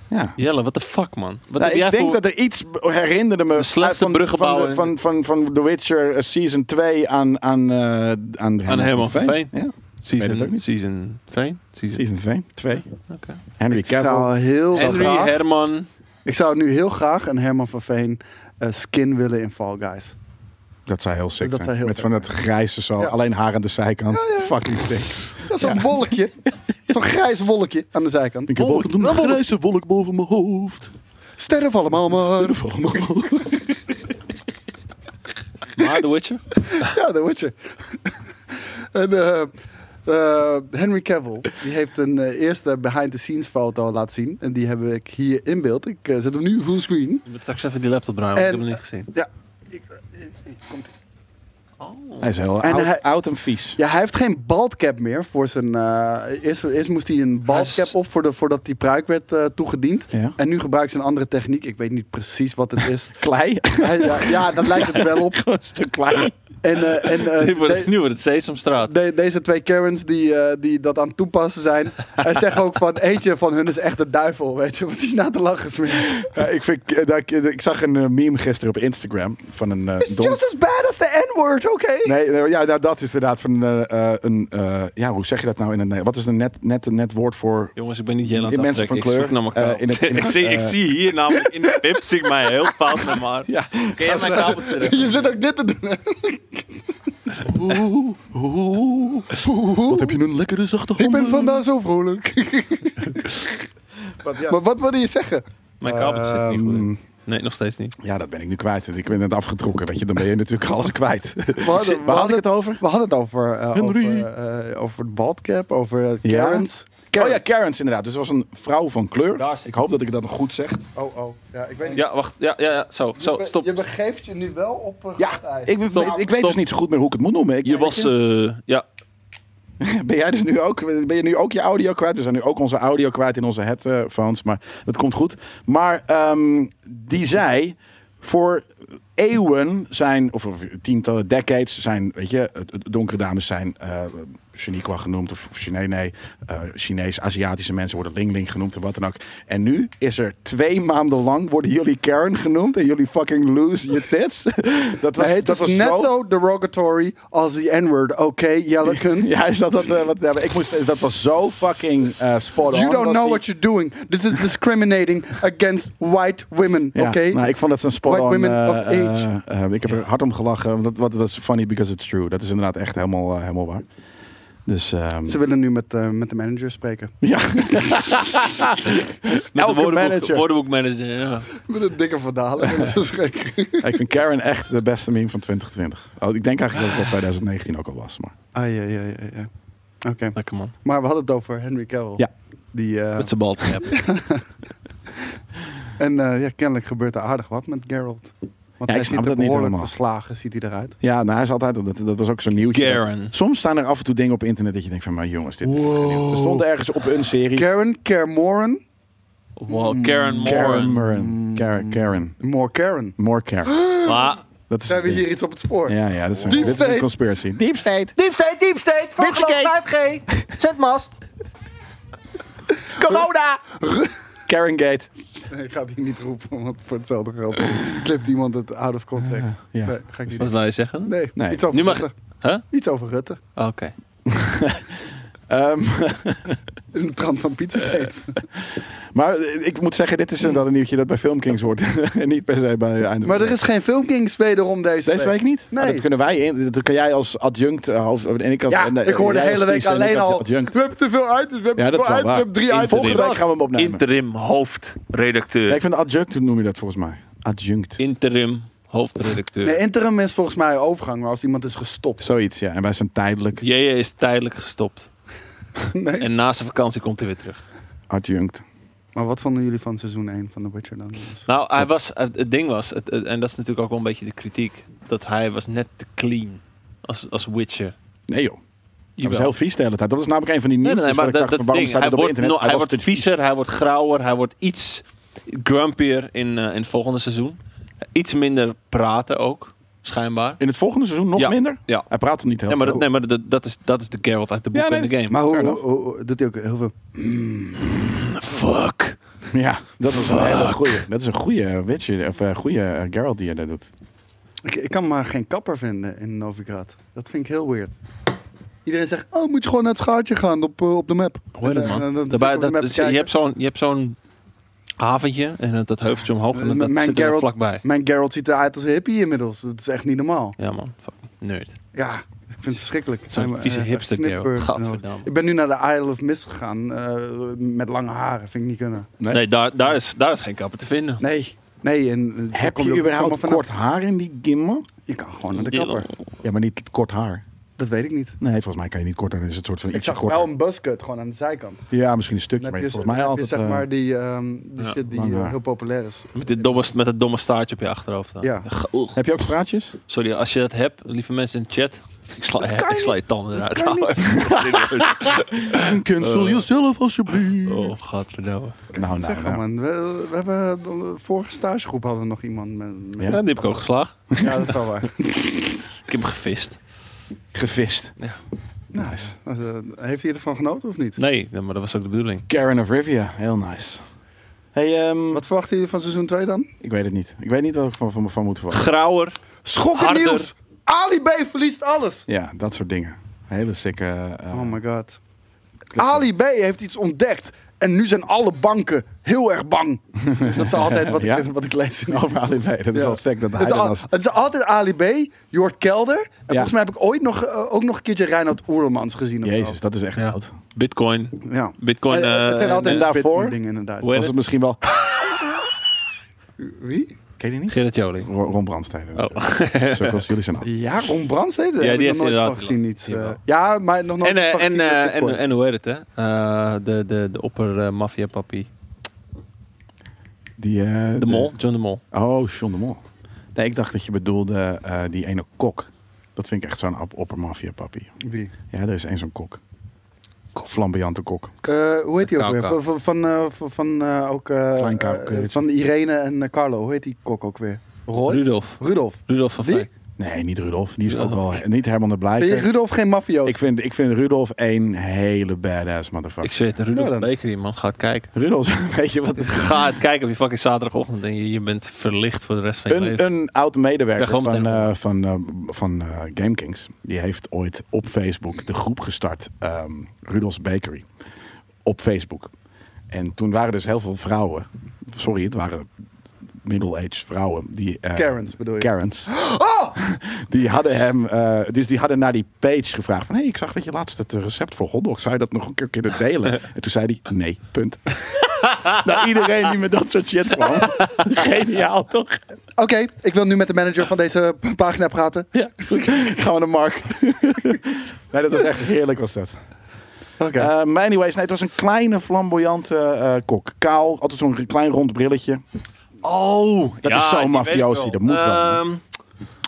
S3: Ja.
S2: Jelle, what the fuck, man? Wat
S3: Nou,
S2: heb jij
S3: ik denk
S2: voor-
S3: dat er iets b- herinnerde me
S2: slechtste
S3: van, van,
S2: bruggenbouwer.
S3: de- van, van, van The Witcher eh, Season 2 aan, aan, eh, aan
S2: Aan Herman van Veen.
S3: Ja, weet het ook
S2: Season,
S3: niet.
S2: season Veen? Season,
S3: Season 2. 2.
S2: Oké.
S3: Henry
S1: Ik zou,
S3: Cavill.
S1: heel
S2: Henry,
S1: graag-
S2: Herman.
S1: ik zou nu heel graag een Herman van Veen eh, skin willen in Fall Guys.
S3: Dat zou heel sick
S1: Dat
S3: zijn.
S1: zou heel
S3: Met van
S1: vet
S3: dat grijze zo.
S1: Ja.
S3: Alleen haar aan de zijkant. Fucking sick.
S1: Dat is zo'n wolkje. Zo'n grijs wolkje aan de zijkant.
S3: Ik heb
S1: Wolk.
S3: altijd een grijze wolk boven mijn hoofd.
S1: Sterf allemaal eh. maar.
S2: Maar The Witcher?
S1: Ja, The Witcher. en eh, eh, Henry Cavill, die heeft een eh, eerste behind-the-scenes foto laten zien. En die heb ik hier in beeld. Ik eh, zet hem nu full screen.
S2: Je moet straks even die laptop draaien, want ik
S1: En-
S2: heb hem niet gezien.
S1: Ja, ik, eh, ik- ik- komt
S3: Hij is heel
S1: En
S3: oud,
S1: hij-
S3: oud en vies.
S1: Ja, hij heeft geen bald cap meer voor zijn. eh, eerst, eerst moest hij een
S2: Hij
S1: bald
S2: is-
S1: cap op voor de, voordat die pruik werd eh, toegediend.
S3: Ja.
S1: En nu gebruikt ze een andere techniek. Ik weet niet precies wat het is.
S3: Klei.
S1: Hij- ja, ja, dat lijkt het wel op.
S3: Een stuk klei.
S1: En, eh, en, eh,
S2: Nu wordt
S1: de-
S2: het- Nu wordt het Sesamstraat.
S1: de- deze twee Karens die, eh, die dat aan het toepassen zijn. Hij zegt ook van eentje van hun is echt de duivel. Weet je, want die is na te lachen smeer.
S3: Ja, ik, vind, eh, dat ik, ik zag een eh, meme gisteren op Instagram van een eh, don-
S1: Just as bad as the N-word, oké?
S3: Nee, nee, ja, nou, dat is inderdaad van eh, eh, een. eh, ja, hoe zeg je dat nou in het Nederlands? Wat is een net, net, net woord voor.
S2: Jongens, ik ben niet Jelle aan
S3: Die
S2: het
S3: mensen
S2: aftrekken.
S3: van
S2: Ik zoek naar mijn
S3: kleur,
S2: kabel.
S3: eh, in het- in
S2: ik,
S3: het,
S2: zie, ik
S3: eh,
S2: zie hier namelijk in de pip zie ik mij heel fout naar maar.
S3: Ja,
S2: Kun jij mijn kabel terug?
S1: Je zit ook dit te doen. hè?
S3: wat heb je een lekkere zachte hond?
S1: Ik ben vandaag zo vrolijk.
S3: Wat, ja.
S1: Maar wat wilde je zeggen?
S2: Mijn kabel zit niet goed.
S3: Ehm.
S2: in. Nee, nog steeds niet.
S3: ja, dat ben ik nu kwijt. Ik ben net afgetrokken. Weet je, dan ben je natuurlijk alles kwijt.
S1: We hadden, we
S3: Waar had ik
S1: hadden-
S3: het over?
S1: we hadden het over, eh
S3: Henry.
S1: over, eh, over het baldcap, over eh,
S3: Ja.
S1: Karens.
S3: Oh ja, Karens inderdaad. Dus er was een vrouw van
S2: Daar
S3: kleur.
S2: zit-
S3: Ik hoop dat ik dat nog goed zeg.
S1: Oh, oh. Ja, ik weet niet.
S2: Ja, wacht. Ja, ja, ja. Zo, zo,
S1: Je be-
S2: stop.
S1: Je begeeft je nu wel op eh, glad
S3: Ja,
S1: ijs.
S3: ik,
S2: Stop,
S3: ik, ik weet
S2: stop.
S3: dus niet zo goed meer hoe ik het moet noemen. Ik,
S2: Je was, eh, ja,
S3: Ben jij dus nu ook, ben je nu ook je audio kwijt? We zijn nu ook onze audio kwijt in onze headphones, maar dat komt goed. Maar ehm, die zei, voor eeuwen zijn, of of tientallen decades zijn, weet je, eh, donkere dames zijn eh Shaniqua genoemd, of Chine, nee, eh, Chinees, Aziatische mensen worden Ling Ling genoemd en wat dan ook. En nu is er twee maanden lang, worden jullie Karen genoemd en jullie fucking lose your tits. dat was,
S1: Maar het
S3: dat was
S1: is net zo derogatory als die N-word, oké, Jellekens?
S3: ja, is dat wat, eh, wat ja, maar ik moest, dat was zo fucking eh spot on.
S1: You don't
S3: was
S1: know
S3: die-
S1: what you're doing. This is discriminating against white women,
S3: Ja,
S1: oké?
S3: nou, ik vond dat een spot
S1: White
S3: on.
S1: women
S3: eh,
S1: of age.
S3: eh, eh, ik heb er hard om gelachen. want Dat, wat, dat is funny because it's true. Dat is inderdaad echt helemaal, eh, helemaal waar. Dus ehm,
S1: Ze willen nu met, eh, met de manager spreken.
S3: ja,
S2: met
S3: Elke
S2: de woordenboek,
S3: manager.
S2: woordenboekmanager. Ja.
S1: Met een dikke verdalen. willen ze spreken.
S3: ik vind Karen echt de beste meme van 2020. Oh, ik denk eigenlijk dat het wel 2019 ook al was. Maar
S1: Ai, ai, ai, ai, ai. Oké,
S2: Lekker man.
S1: maar we hadden het over Henry Cavill.
S3: Ja.
S1: Die, eh,
S2: Met zijn bal. Ja.
S1: en eh, ja, kennelijk gebeurt er aardig wat met Geralt. Want hij
S3: ik snap
S1: ziet er
S3: dat niet
S1: behoorlijk
S3: helemaal.
S1: verslagen, ziet hij eruit.
S3: ja, nou, hij is altijd, dat, dat was ook zo'n nieuwtje.
S2: Karen.
S3: Soms staan er af en toe dingen op internet dat je denkt van, maar jongens, dit is echt
S1: Wow.
S3: nieuw. Er stond ergens op een serie.
S1: Karen, Kermoren,
S2: Wow, Karen
S3: Mm, Karen.
S2: Moore.
S3: Karen. Karen. Karen.
S1: more Karen.
S3: More Karen.
S2: Maar
S3: Dat is
S1: Zijn we
S3: het ding.
S1: hier iets op het spoor?
S3: Ja, ja, dat is een,
S1: Deep
S3: dit is een
S1: state.
S3: conspiracy. Deep state.
S6: Deep state, deep state. Voor
S3: Bitchgate.
S6: geloof 5G. Zendmast.
S3: Corona. Karen Gate.
S1: Nee, ik ga het hier niet roepen, want voor hetzelfde geld klipt iemand het out of context.
S3: Ah, Ja.
S1: Nee, ga ik niet
S2: wat
S1: doen.
S2: wil je zeggen?
S1: Nee,
S3: Nee.
S1: iets over
S2: Nu mag-
S1: Rutte.
S2: Huh?
S1: Iets over Rutte.
S2: Oké.
S3: Ehm,
S1: In de trant van Pizzagate.
S3: maar eh, ik moet zeggen, dit is inderdaad een nieuwtje dat bij Filmkings hoort. en niet per se bij Einde.
S1: Maar er is geen Filmkings wederom deze,
S3: Deze week niet?
S1: Nee.
S3: Ah, dat kunnen wij in. Dat kan jij als adjunct eh, hoofd. En ik als,
S1: Ja,
S3: en, eh,
S1: ik hoor de
S3: jij als
S1: hele week
S3: priester en ik
S1: alleen
S3: als
S1: al. We
S3: Adjunct.
S1: hebben te veel items, we hebben
S3: Ja,
S1: te
S3: dat is
S1: veel items,
S3: wel
S1: we
S3: waar.
S1: hebben drie
S3: In
S1: items.
S3: volgende week gaan we hem opnemen.
S8: Interim hoofdredacteur.
S3: Nee, ik vind adjunct, hoe noem je dat volgens mij? Adjunct.
S2: Interim hoofdredacteur.
S1: Nee, interim is volgens mij overgang, maar als iemand is gestopt.
S3: Zoiets, ja. En wij zijn tijdelijk
S2: JJ is tijdelijk gestopt.
S1: Nee.
S2: En na zijn vakantie komt hij weer terug.
S3: adjunct.
S1: Maar wat vonden jullie van seizoen 1 van The Witcher dan? Dus-
S2: Nou, hij was, het, het ding was, het- het- en dat is natuurlijk ook wel een beetje de kritiek, dat hij was net te clean als, als Witcher.
S3: Nee joh. Dat was
S2: Jawel.
S3: heel vies de hele tijd. Dat is namelijk een van die nieuws.
S2: Nee, nee, nee, maar dat, dat is het
S3: waarom
S2: ding.
S3: staat
S2: Hij
S3: het op
S2: wordt, nog-
S3: internet?
S2: hij
S3: was
S2: wordt
S3: te vies.
S2: viezer, hij wordt grauwer, hij wordt iets grumpier in, eh, in het volgende seizoen. Iets minder praten ook, schijnbaar.
S3: In het volgende seizoen nog
S2: Ja.
S3: minder?
S2: Ja.
S3: Hij praat er niet heel
S2: Ja, maar, dat,
S3: veel.
S2: nee, maar dat, dat, is, dat is de Geralt uit de boek
S3: Ja,
S2: en
S3: nee.
S2: de game.
S1: Maar hoe,
S3: fair
S1: hoe, hoe- doet hij ook heel veel?
S2: fuck.
S3: Ja, dat is een hele goeie. Dat is een goede witje, of eh goede eh, Geralt die je daar doet.
S1: Ik, ik kan maar geen kapper vinden in Novigrad. Dat vind ik heel weird. Iedereen zegt, oh, moet je gewoon naar het schaartje gaan op, eh, op de map.
S2: Hoe heet dat,
S1: En, eh,
S2: man?
S1: dan zit ik
S2: Daarbij,
S1: op de
S2: dat
S1: map
S2: is,
S1: te
S2: je
S1: kijken.
S2: hebt zo'n je hebt zo'n haventje en dat- dat heuveltje omhoog en
S1: Eh,
S2: dat, dat
S1: mijn
S2: zit er
S1: Geralt-
S2: vlakbij.
S1: Mijn Geralt ziet eruit als een hippie inmiddels. Dat is echt niet normaal.
S2: Ja man, fuck. nerd.
S1: Ja, ik vind het verschrikkelijk.
S2: Zo'n
S1: Hij-
S2: vieze
S1: hij-
S2: hipster
S1: hij knippert
S2: Geralt.
S1: en al.
S2: Gadverdamme.
S1: Ik ben nu naar de Isle of Mist gegaan eh, met lange haren. Vind ik niet kunnen.
S2: Nee, daar, daar, is, daar is geen kapper te vinden.
S1: Nee. Nee, en eh, daar
S3: Heb
S1: kom
S3: je
S1: ook niet
S3: überhaupt
S1: zomaar vanaf.
S3: kort haar in die gimma?
S1: Je kan gewoon naar de kapper.
S3: Ja, maar niet kort haar.
S1: Dat weet ik niet.
S3: Nee, volgens mij kan je niet korter. Dat is het soort van
S1: Ik
S3: iets
S1: zag
S3: korter.
S1: wel een buscut gewoon aan de zijkant.
S3: Ja, misschien een stukje,
S1: Dan
S3: maar
S1: heb je,
S3: volgens mij
S1: dan heb
S3: altijd...
S1: je zeg
S3: eh,
S1: maar die, ehm, die
S2: Ja,
S1: shit die
S3: lang
S1: eh,
S3: haar.
S1: heel populair is.
S2: Met, dit domme, met dat domme staartje op je achterhoofd. Dan.
S1: Ja.
S2: Oeh.
S3: Heb je ook straatjes?
S2: Sorry, als je dat hebt, lieve mensen in de chat. Ik sla,
S1: kan
S2: ik sla je tanden eruit.
S1: kan niet.
S3: Cancel jezelf alsjeblieft.
S2: oh, godverdomme.
S3: Nou, nou,
S1: Zeg
S3: nou.
S1: man, we, we hebben de vorige stagegroep hadden we nog iemand met. met-
S2: Ja, die heb ik ook geslagen.
S1: Ja, dat is wel waar.
S2: Ik heb hem gevist.
S3: Gevist.
S1: nice. Eh, heeft hij ervan genoten of niet?
S2: Nee, nee, maar dat was ook de bedoeling.
S3: Karen of Rivia, heel nice. Hey, ehm,
S1: Wat verwachten jullie van seizoen 2 dan?
S3: ik weet het niet. Ik weet niet wat ik van, van, van moet verwachten.
S2: Grauwer.
S1: Schokkend
S2: Harder.
S1: nieuws! Ali B verliest alles!
S3: Ja, dat soort dingen. Hele sikke... eh,
S1: Oh my god.
S3: klussen.
S1: Ali B heeft iets ontdekt. En nu zijn alle banken heel erg bang. Dat is altijd wat,
S3: Ja?
S1: ik, wat ik lees. in die
S3: Over Ali B. Dat is
S1: Ja.
S3: wel gek dat hij
S1: Het is,
S3: dan
S1: al-
S3: als...
S1: het is altijd Ali B, Jort Kelder. En volgens
S3: Ja.
S1: mij heb ik ooit nog, eh, ook nog een keertje Reinhard Oerlemans gezien. of zo.
S3: Jezus, dat is echt oud.
S2: Bitcoin.
S1: Ja.
S2: Bitcoin.
S1: Eh, eh, het zijn
S2: eh,
S1: altijd
S2: en
S3: daarvoor-
S1: Bitcoin dingen inderdaad.
S2: Hoe heet
S3: Was het misschien wel...
S1: Wie?
S3: Ken je die niet?
S2: Gerrit Joling.
S3: Ro- Ron Brandstede.
S2: Oh.
S3: natuurlijk. Cirkels, jullie zijn oud.
S1: Ja, Ron Brandstede.
S2: Ja,
S1: heb
S2: die
S1: ik nog nooit
S2: heeft inderdaad
S1: van gezien. Niet,
S2: Jawel.
S1: eh, ja, maar nog nooit
S2: En, eh,
S1: van
S2: en,
S1: gezien met
S2: eh, en,
S1: Bitcoin.
S2: en hoe heet het, hè? Eh, de, de, de opper-maffia-papi.
S3: Die, eh,
S2: de Mol, John de Mol.
S3: Oh, John de Mol. Nee, ik dacht dat je bedoelde eh, die ene kok. Dat vind ik echt zo'n op oppermafia papi.
S1: Wie?
S3: Ja, er is één zo'n kok. Flamboyante kok.
S1: Eh, hoe heet die ook weer?
S2: Kauka.
S1: Van, van, van, eh, van, van, eh, ook, eh,
S3: Klein Kauka,
S1: eh,
S3: weet je.
S1: van Irene en eh, Carlo. Hoe heet die kok ook weer? Roy?
S2: Rudolf.
S1: Rudolf.
S2: Rudolf van
S1: Wie?
S2: Veen.
S3: Nee, niet Rudolf. Die is ook wel...
S2: Rudolf.
S3: Niet Herman de
S1: Ben je
S3: Blijker.
S1: Rudolf geen mafioos?
S3: Ik vind, ik vind Rudolf één hele badass motherfucker.
S2: Ik zweer het, Rudolf
S1: Nou dan.
S2: Bakery, man. Ga het kijken.
S3: Rudolf, weet je wat? het-
S2: Ga het kijken op je fucking zaterdagochtend en je, je bent verlicht voor de rest van je
S3: Een,
S2: leven.
S3: een oud medewerker
S2: Ja, gewoon
S3: van,
S2: meteen.
S3: eh, van, eh, van eh, GameKings, die heeft ooit op Facebook de groep gestart, ehm Rudolf's Bakery, op Facebook. En toen waren dus heel veel vrouwen, sorry, het waren middle-aged vrouwen. Die, eh,
S1: Karens bedoel je? Oh!
S3: Karens. Die hadden hem, eh, dus die hadden naar die page gevraagd van, hey, ik zag dat je laatst het recept voor hotdog, zou je dat nog een keer kunnen delen? en toen zei hij, nee, punt. nou, iedereen die met dat soort shit kwam. Geniaal, toch?
S1: Oké, ik wil nu met de manager van deze p- pagina praten.
S3: Ja, gaan we naar Mark. nee, dat was echt heerlijk was dat.
S1: Oké.
S3: Eh, maar anyways, nee, het was een kleine flamboyante eh, kok. Kaal, altijd zo'n klein rond brilletje.
S2: Oh,
S3: dat is zo'n mafiosi, dat moet wel, Eh, hè?
S2: Ehm,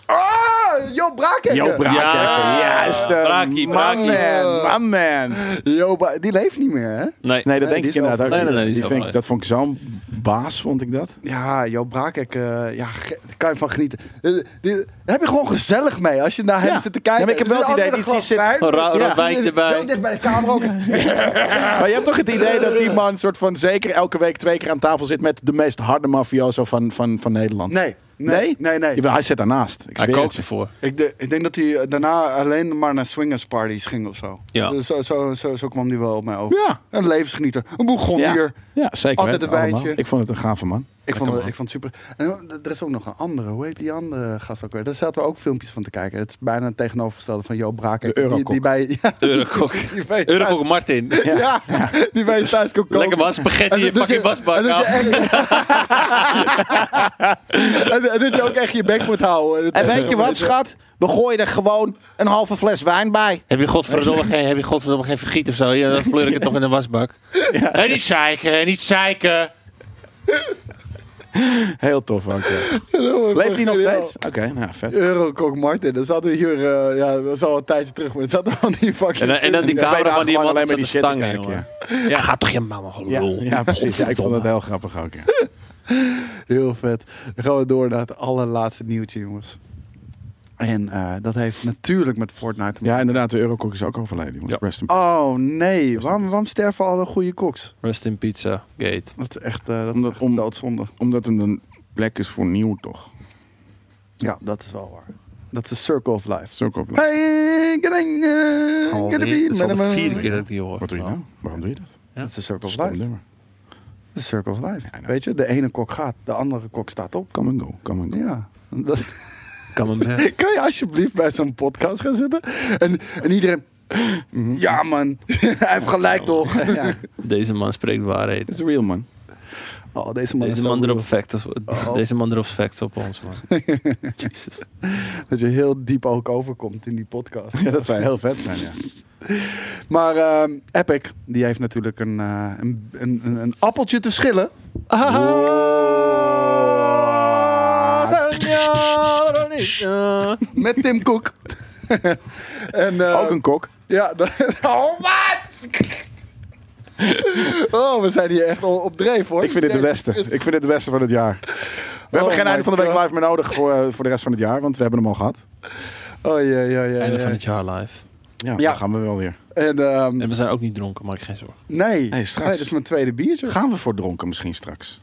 S1: Ah, Jo Braakhekken!
S3: Jo Braakhekken,
S2: Ja.
S3: juist. eh,
S2: Braakie,
S3: man,
S2: Braakie.
S3: man, man, man.
S1: Jo Bra- die leeft niet meer, hè?
S2: nee,
S3: Nee, dat
S1: die
S3: denk ik
S1: is
S3: inderdaad ook
S1: overleden.
S2: Nee, nee, nee, die is
S3: niet. Die vind ik,
S2: overleden.
S3: dat vond ik zo'n baas, vond ik dat.
S1: Ja, Jo Braakhekken, eh, ja, ge- daar kan je van genieten. Eh, die- daar heb je gewoon gezellig mee als je naar hem
S3: Ja.
S1: zit te kijken.
S3: Ja, maar ik heb
S1: Er
S3: wel
S1: zit
S3: het idee,
S1: altijd
S3: die-
S1: een
S3: die
S1: glas
S3: zit-
S2: Een ra-
S1: wijn.
S2: rood wijntje erbij.
S1: Heel dicht bij de camera ook.
S3: Maar je hebt toch het idee dat die man soort van zeker elke week twee keer aan tafel zit met de meest harde mafioso van, van, van Nederland.
S1: Nee, Nee? Nee, nee.
S3: Jawel, Hij zit daarnaast. Ik
S2: Hij
S3: zweer
S2: kookt
S3: het je.
S2: ervoor.
S1: Ik, de- ik denk dat hij eh, daarna alleen maar naar swingersparties ging of zo.
S2: Ja.
S1: Dus Zo, zo, zo, zo kwam hij wel op mij over.
S3: Ja,
S1: Een levensgenieter. Een bourgondier.
S3: ja, zeker.
S1: Altijd
S3: weten,
S1: een wijntje.
S3: allemaal. Ik vond het een gave man.
S1: Ik, vond, het- ik vond het super. En eh, er is ook nog een andere. Hoe heet die andere gast ook weer? Daar zaten we ook filmpjes van te kijken. Het is bijna het tegenovergestelde van Jo Braak.
S3: De
S1: Die, die
S3: Eurokok.
S1: bij, ja,
S2: Eurokok.
S1: die bij je thuis-
S2: Eurokok Martin.
S1: Ja, die bij je thuis kon koken.
S2: Lekker was
S1: En
S2: spaghetti in
S1: dat- dat
S2: fucking
S1: je-
S2: wasbak.
S1: en dat je
S2: nou.
S1: echt- en, en dat je ook echt je bek moet houden.
S9: En weet je wat, schat? We gooien er gewoon een halve fles wijn bij.
S2: Heb je godverdomme geen, heb je godverdomme geen vergiet of zo? Ja, dan fleur ik het toch in de wasbak. Hé, niet zeiken, niet zeiken.
S3: Heel tof ook. ja. Leeft hij nog steeds? Oké, nou vet.
S1: Eurokok Martin. Dan zaten we hier, eh, ja, dat is al een tijdje terug, maar dat zaten we aan die fucking...
S2: En, dan- en dan die
S1: Ja.
S2: kamer van die
S3: lang
S2: man
S3: alleen
S2: met
S3: maar die
S2: die
S3: shit te
S2: stangen,
S3: kijken,
S2: jongen. Ja, gaat toch je mama
S3: Ja,
S2: gelul.
S3: ja, precies. Ja, ik vond het heel grappig ook. Ja.
S1: Heel vet. Dan gaan we door naar het allerlaatste nieuwtje, jongens. En eh, dat heeft natuurlijk met Fortnite te
S3: ja,
S1: maken.
S3: inderdaad, de Eurokok is ook overleden. jongens.
S2: Ja.
S3: Rest in
S1: Oh nee, waarom, waarom sterven alle goede koks?
S2: Rest in pizza, gate.
S1: Dat is echt, eh, dat is
S3: Omdat
S1: echt
S3: om-
S1: doodzonde.
S3: Omdat het een plek is voor nieuw, toch?
S1: Ja, dat is wel waar. Dat is de circle of
S3: Dat
S1: life.
S3: is ook wel blij.
S1: Hey, gonna, uh, gonna be-
S2: Het is al de
S1: manama.
S2: vierde keer dat ik die hoor.
S3: Wat doe je nou? Waarom doe je dat?
S1: Dat is de circle of
S3: Stom
S1: life.
S3: nummer.
S1: De circle of life.
S3: nou.
S1: Weet je, de ene kok gaat, de andere kok staat op.
S3: Come and go, come and go.
S1: Ja. Dat,
S2: Kan hem weg.
S1: kan je alsjeblieft bij zo'n podcast gaan zitten? En, en iedereen...
S2: Mhm.
S1: Ja man, hij heeft gelijk
S2: Nou.
S1: toch?
S2: Deze man spreekt waarheid.
S3: It's real, man.
S1: Oh, deze man, is
S2: Deze
S1: zo
S2: man,
S1: real.
S2: erop facts, deze man erop facts op ons, man. Jezus.
S1: Dat je heel diep ook overkomt in die podcast.
S3: Ja, dat zou heel vet zijn, ja.
S1: Maar ehm, Epic, die heeft natuurlijk een, eh, een, een, een- een appeltje te schillen. Ah, Met Tim Cook. en, eh,
S3: Ook een kok.
S1: Ja, dat- oh wat! Oh, we zijn hier echt al op dreef hoor.
S3: Ik vind dit de beste. Ik vind dit de beste van het jaar. We hebben geen
S1: Oh, my
S3: einde van de week
S1: God.
S3: live meer nodig voor, eh, voor de rest van het jaar, want we hebben hem al gehad.
S1: Oh ja, ja, ja.
S2: Einde van
S1: ja.
S2: het jaar live.
S3: Ja,
S1: Ja.
S3: dan gaan we wel weer.
S1: En, ehm,
S2: En we zijn ook niet dronken, maak je geen zorgen.
S1: nee.
S3: Hey, straks.
S1: nee, dat is mijn tweede biertje.
S3: Gaan we voor dronken misschien straks?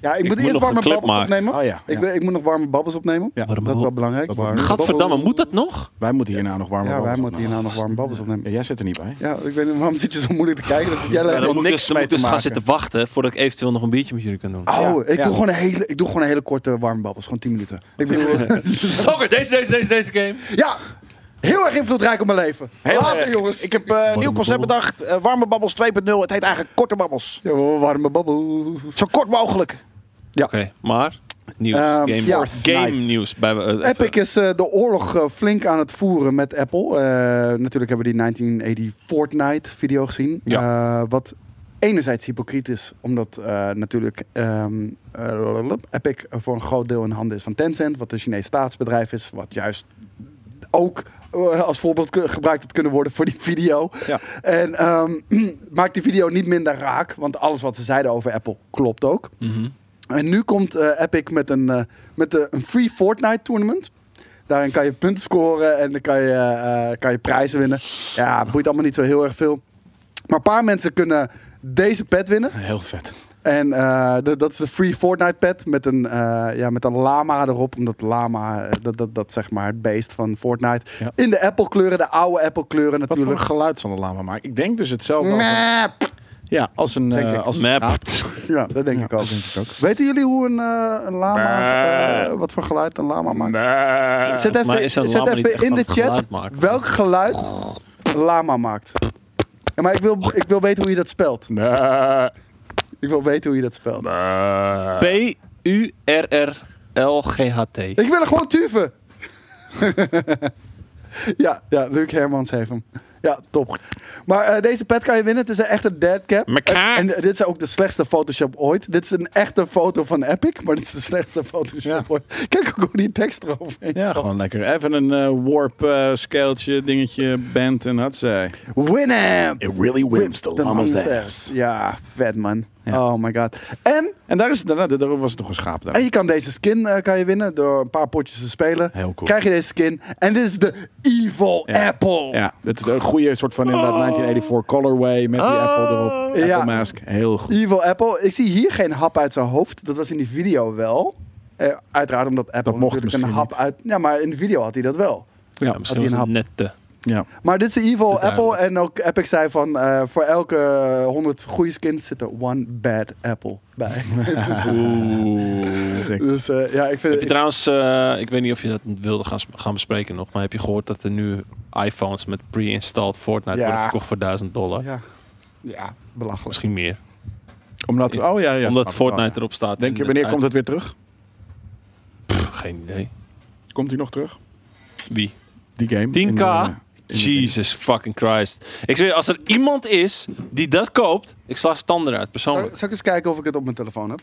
S1: Ja, ik, moet
S2: moet
S1: eerst
S2: nog
S1: warme
S2: een clip
S1: babbels
S2: maken.
S1: opnemen.
S3: Oh ja,
S1: Ik,
S3: ja.
S1: wil- ik moet nog warme babbels opnemen.
S3: Ja.
S1: Dat is wel belangrijk.
S3: Dat wordt-
S1: Warme
S2: Gadverdamme,
S1: babbels.
S2: moet dat nog?
S3: Wij moeten hierna nog warm
S1: Ja, wij moeten hierna nog warme babbels opnemen.
S3: Ja, jij zit er niet bij.
S1: Ja, ik weet niet, waarom zit je zo moeilijk te kijken? Dat jij
S2: Ja,
S1: lijkt
S2: dan
S1: wel
S2: moet ik
S1: niks
S2: dus, dan
S1: mee
S2: moet ik dus
S1: te
S2: gaan
S1: maken.
S2: zitten wachten voordat ik eventueel nog een biertje met jullie kan doen.
S1: Oh, ik,
S3: Ja.
S1: Doe gewoon een hele, ik doe gewoon een hele korte warme babbels. Gewoon 10 minuten. Ik bedoel,
S2: Sokker, deze, deze, deze, deze game.
S1: ja, heel erg invloedrijk op mijn leven.
S3: Heel
S1: Later,
S3: erg.
S1: jongens.
S3: Ik heb eh, een nieuw concept
S2: babbel.
S3: bedacht. eh, warme babbels 2.0. Het heet eigenlijk korte babbels.
S1: Ja, warme babbels.
S3: Zo kort mogelijk.
S2: Oké, maar nieuws.
S1: Ehm,
S2: game
S1: ja.
S2: game nieuws. Bij, eh, even-
S1: Epic is eh, de oorlog eh, flink aan het voeren met Apple. Eh, natuurlijk hebben we die 1980 Fortnite video gezien. Eh, wat enerzijds hypocriet is, omdat eh, natuurlijk ehm, eh, Epic voor een groot deel in handen is van Tencent, wat een Chinees staatsbedrijf is, wat juist ook eh, als voorbeeld ku- gebruikt had kunnen worden voor die video.
S3: Ja.
S1: En ehm, maakt die video niet minder raak, want alles wat ze zeiden over Apple klopt ook.
S2: Mhm.
S1: En nu komt eh, Epic met, een, eh, met eh, een free Fortnite tournament. Daarin kan je punten scoren en dan kan je, eh, eh, kan je prijzen winnen. Ja, boeit allemaal niet zo heel erg veel. Maar een paar mensen kunnen deze pet winnen.
S3: Heel vet.
S1: En eh, d- dat is de Free Fortnite pet met een, eh, ja, met een lama erop. Omdat lama, eh, dat, dat, dat zeg maar het beest van Fortnite.
S3: Ja.
S1: In de Apple kleuren, de oude Apple kleuren
S3: Wat voor een
S1: natuurlijk.
S3: geluid zal de lama maken? Ik denk dus hetzelfde als een,
S1: Map.
S3: ja, als een,
S1: Denk
S3: eh,
S1: ik.
S3: als een
S2: Map.
S3: aap.
S1: Ja, dat denk
S3: Ja,
S1: ik ook.
S3: dat denk ik ook.
S1: Weten jullie hoe een, eh, een lama, eh, wat voor geluid een lama maakt? Zet
S2: Volgens mij
S1: even,
S2: is een
S1: zet
S2: lama niet
S1: even
S2: echt
S1: in
S2: van
S1: de
S2: het
S1: chat
S2: geluid maken.
S1: welk geluid een lama maakt. Ja, maar ik wil, ik wil weten hoe je dat spelt. Ik wil weten hoe je dat spelt.
S2: P-U-R-R-L-G-H-T.
S1: Ik wil er gewoon tuven. ja, ja, Luc Hermans heeft hem. Ja, top. Maar eh, deze pet kan je winnen. Het is een echte dead cap.
S2: Mekaar.
S1: En, en dit is ook de slechtste Photoshop ooit. Dit is een echte foto van Epic, maar dit is de slechtste Photoshop
S3: Ja.
S1: ooit. Kijk ook hoe die tekst eroverheen
S3: Ja, gewoon lekker. Even een eh, warp eh scaletje, dingetje, band en had zij.
S1: Win hem!
S9: It really wimps the llama's ass.
S1: Ja, vet man.
S3: Ja.
S1: Oh my god. En,
S3: En daar, is, daar, daar was het nog een schaap daar.
S1: en je kan deze skin eh, kan je winnen door een paar potjes te spelen.
S3: Heel cool.
S1: Krijg je deze skin. En dit is de Evil
S3: Ja.
S1: Apple.
S3: Ja, dat is een goede soort van inderdaad 1984 colorway met die Apple erop. Apple
S1: Ja.
S3: mask, heel goed.
S1: Evil Apple. Ik zie hier geen hap uit zijn hoofd. Dat was in die video wel. Eh, uiteraard omdat Apple
S3: mocht
S1: natuurlijk een
S3: misschien
S1: hap uit... Ja, maar in de video had hij dat wel.
S2: Ja, misschien
S1: had
S2: was
S1: hij
S2: het
S1: een
S2: net te.
S3: Ja.
S1: Maar dit is in ieder geval
S2: Te
S1: Apple.
S2: duidelijk.
S1: En ook Epic zei van... eh, voor elke 100 goede skins zit er one bad apple bij.
S2: Oeh.
S1: dus eh, ja, ik vind...
S2: Heb je trouwens, eh, ik weet niet of je dat wilde gaan, gaan bespreken nog, maar heb je gehoord dat er nu iPhones met pre-installed Fortnite
S1: Ja.
S2: worden verkocht voor 1000 dollar?
S1: ja. ja, belachelijk.
S2: Misschien meer.
S3: Omdat,
S2: Is-
S3: oh ja, ja.
S2: Omdat
S3: snap ik
S2: Fortnite erop staat.
S3: wel. Denk je, wanneer komt het weer terug?
S2: het? Geen idee.
S3: Komt hij nog terug?
S2: Wie?
S3: Die game?
S2: 10k?
S3: In eh, de- in de-
S2: Jesus fucking Christ. Ik zweer, als er iemand is die dat koopt, ik sla zijn tanden uit,
S1: Zal,
S2: persoonlijk.
S1: zal ik eens kijken of ik het op mijn telefoon heb?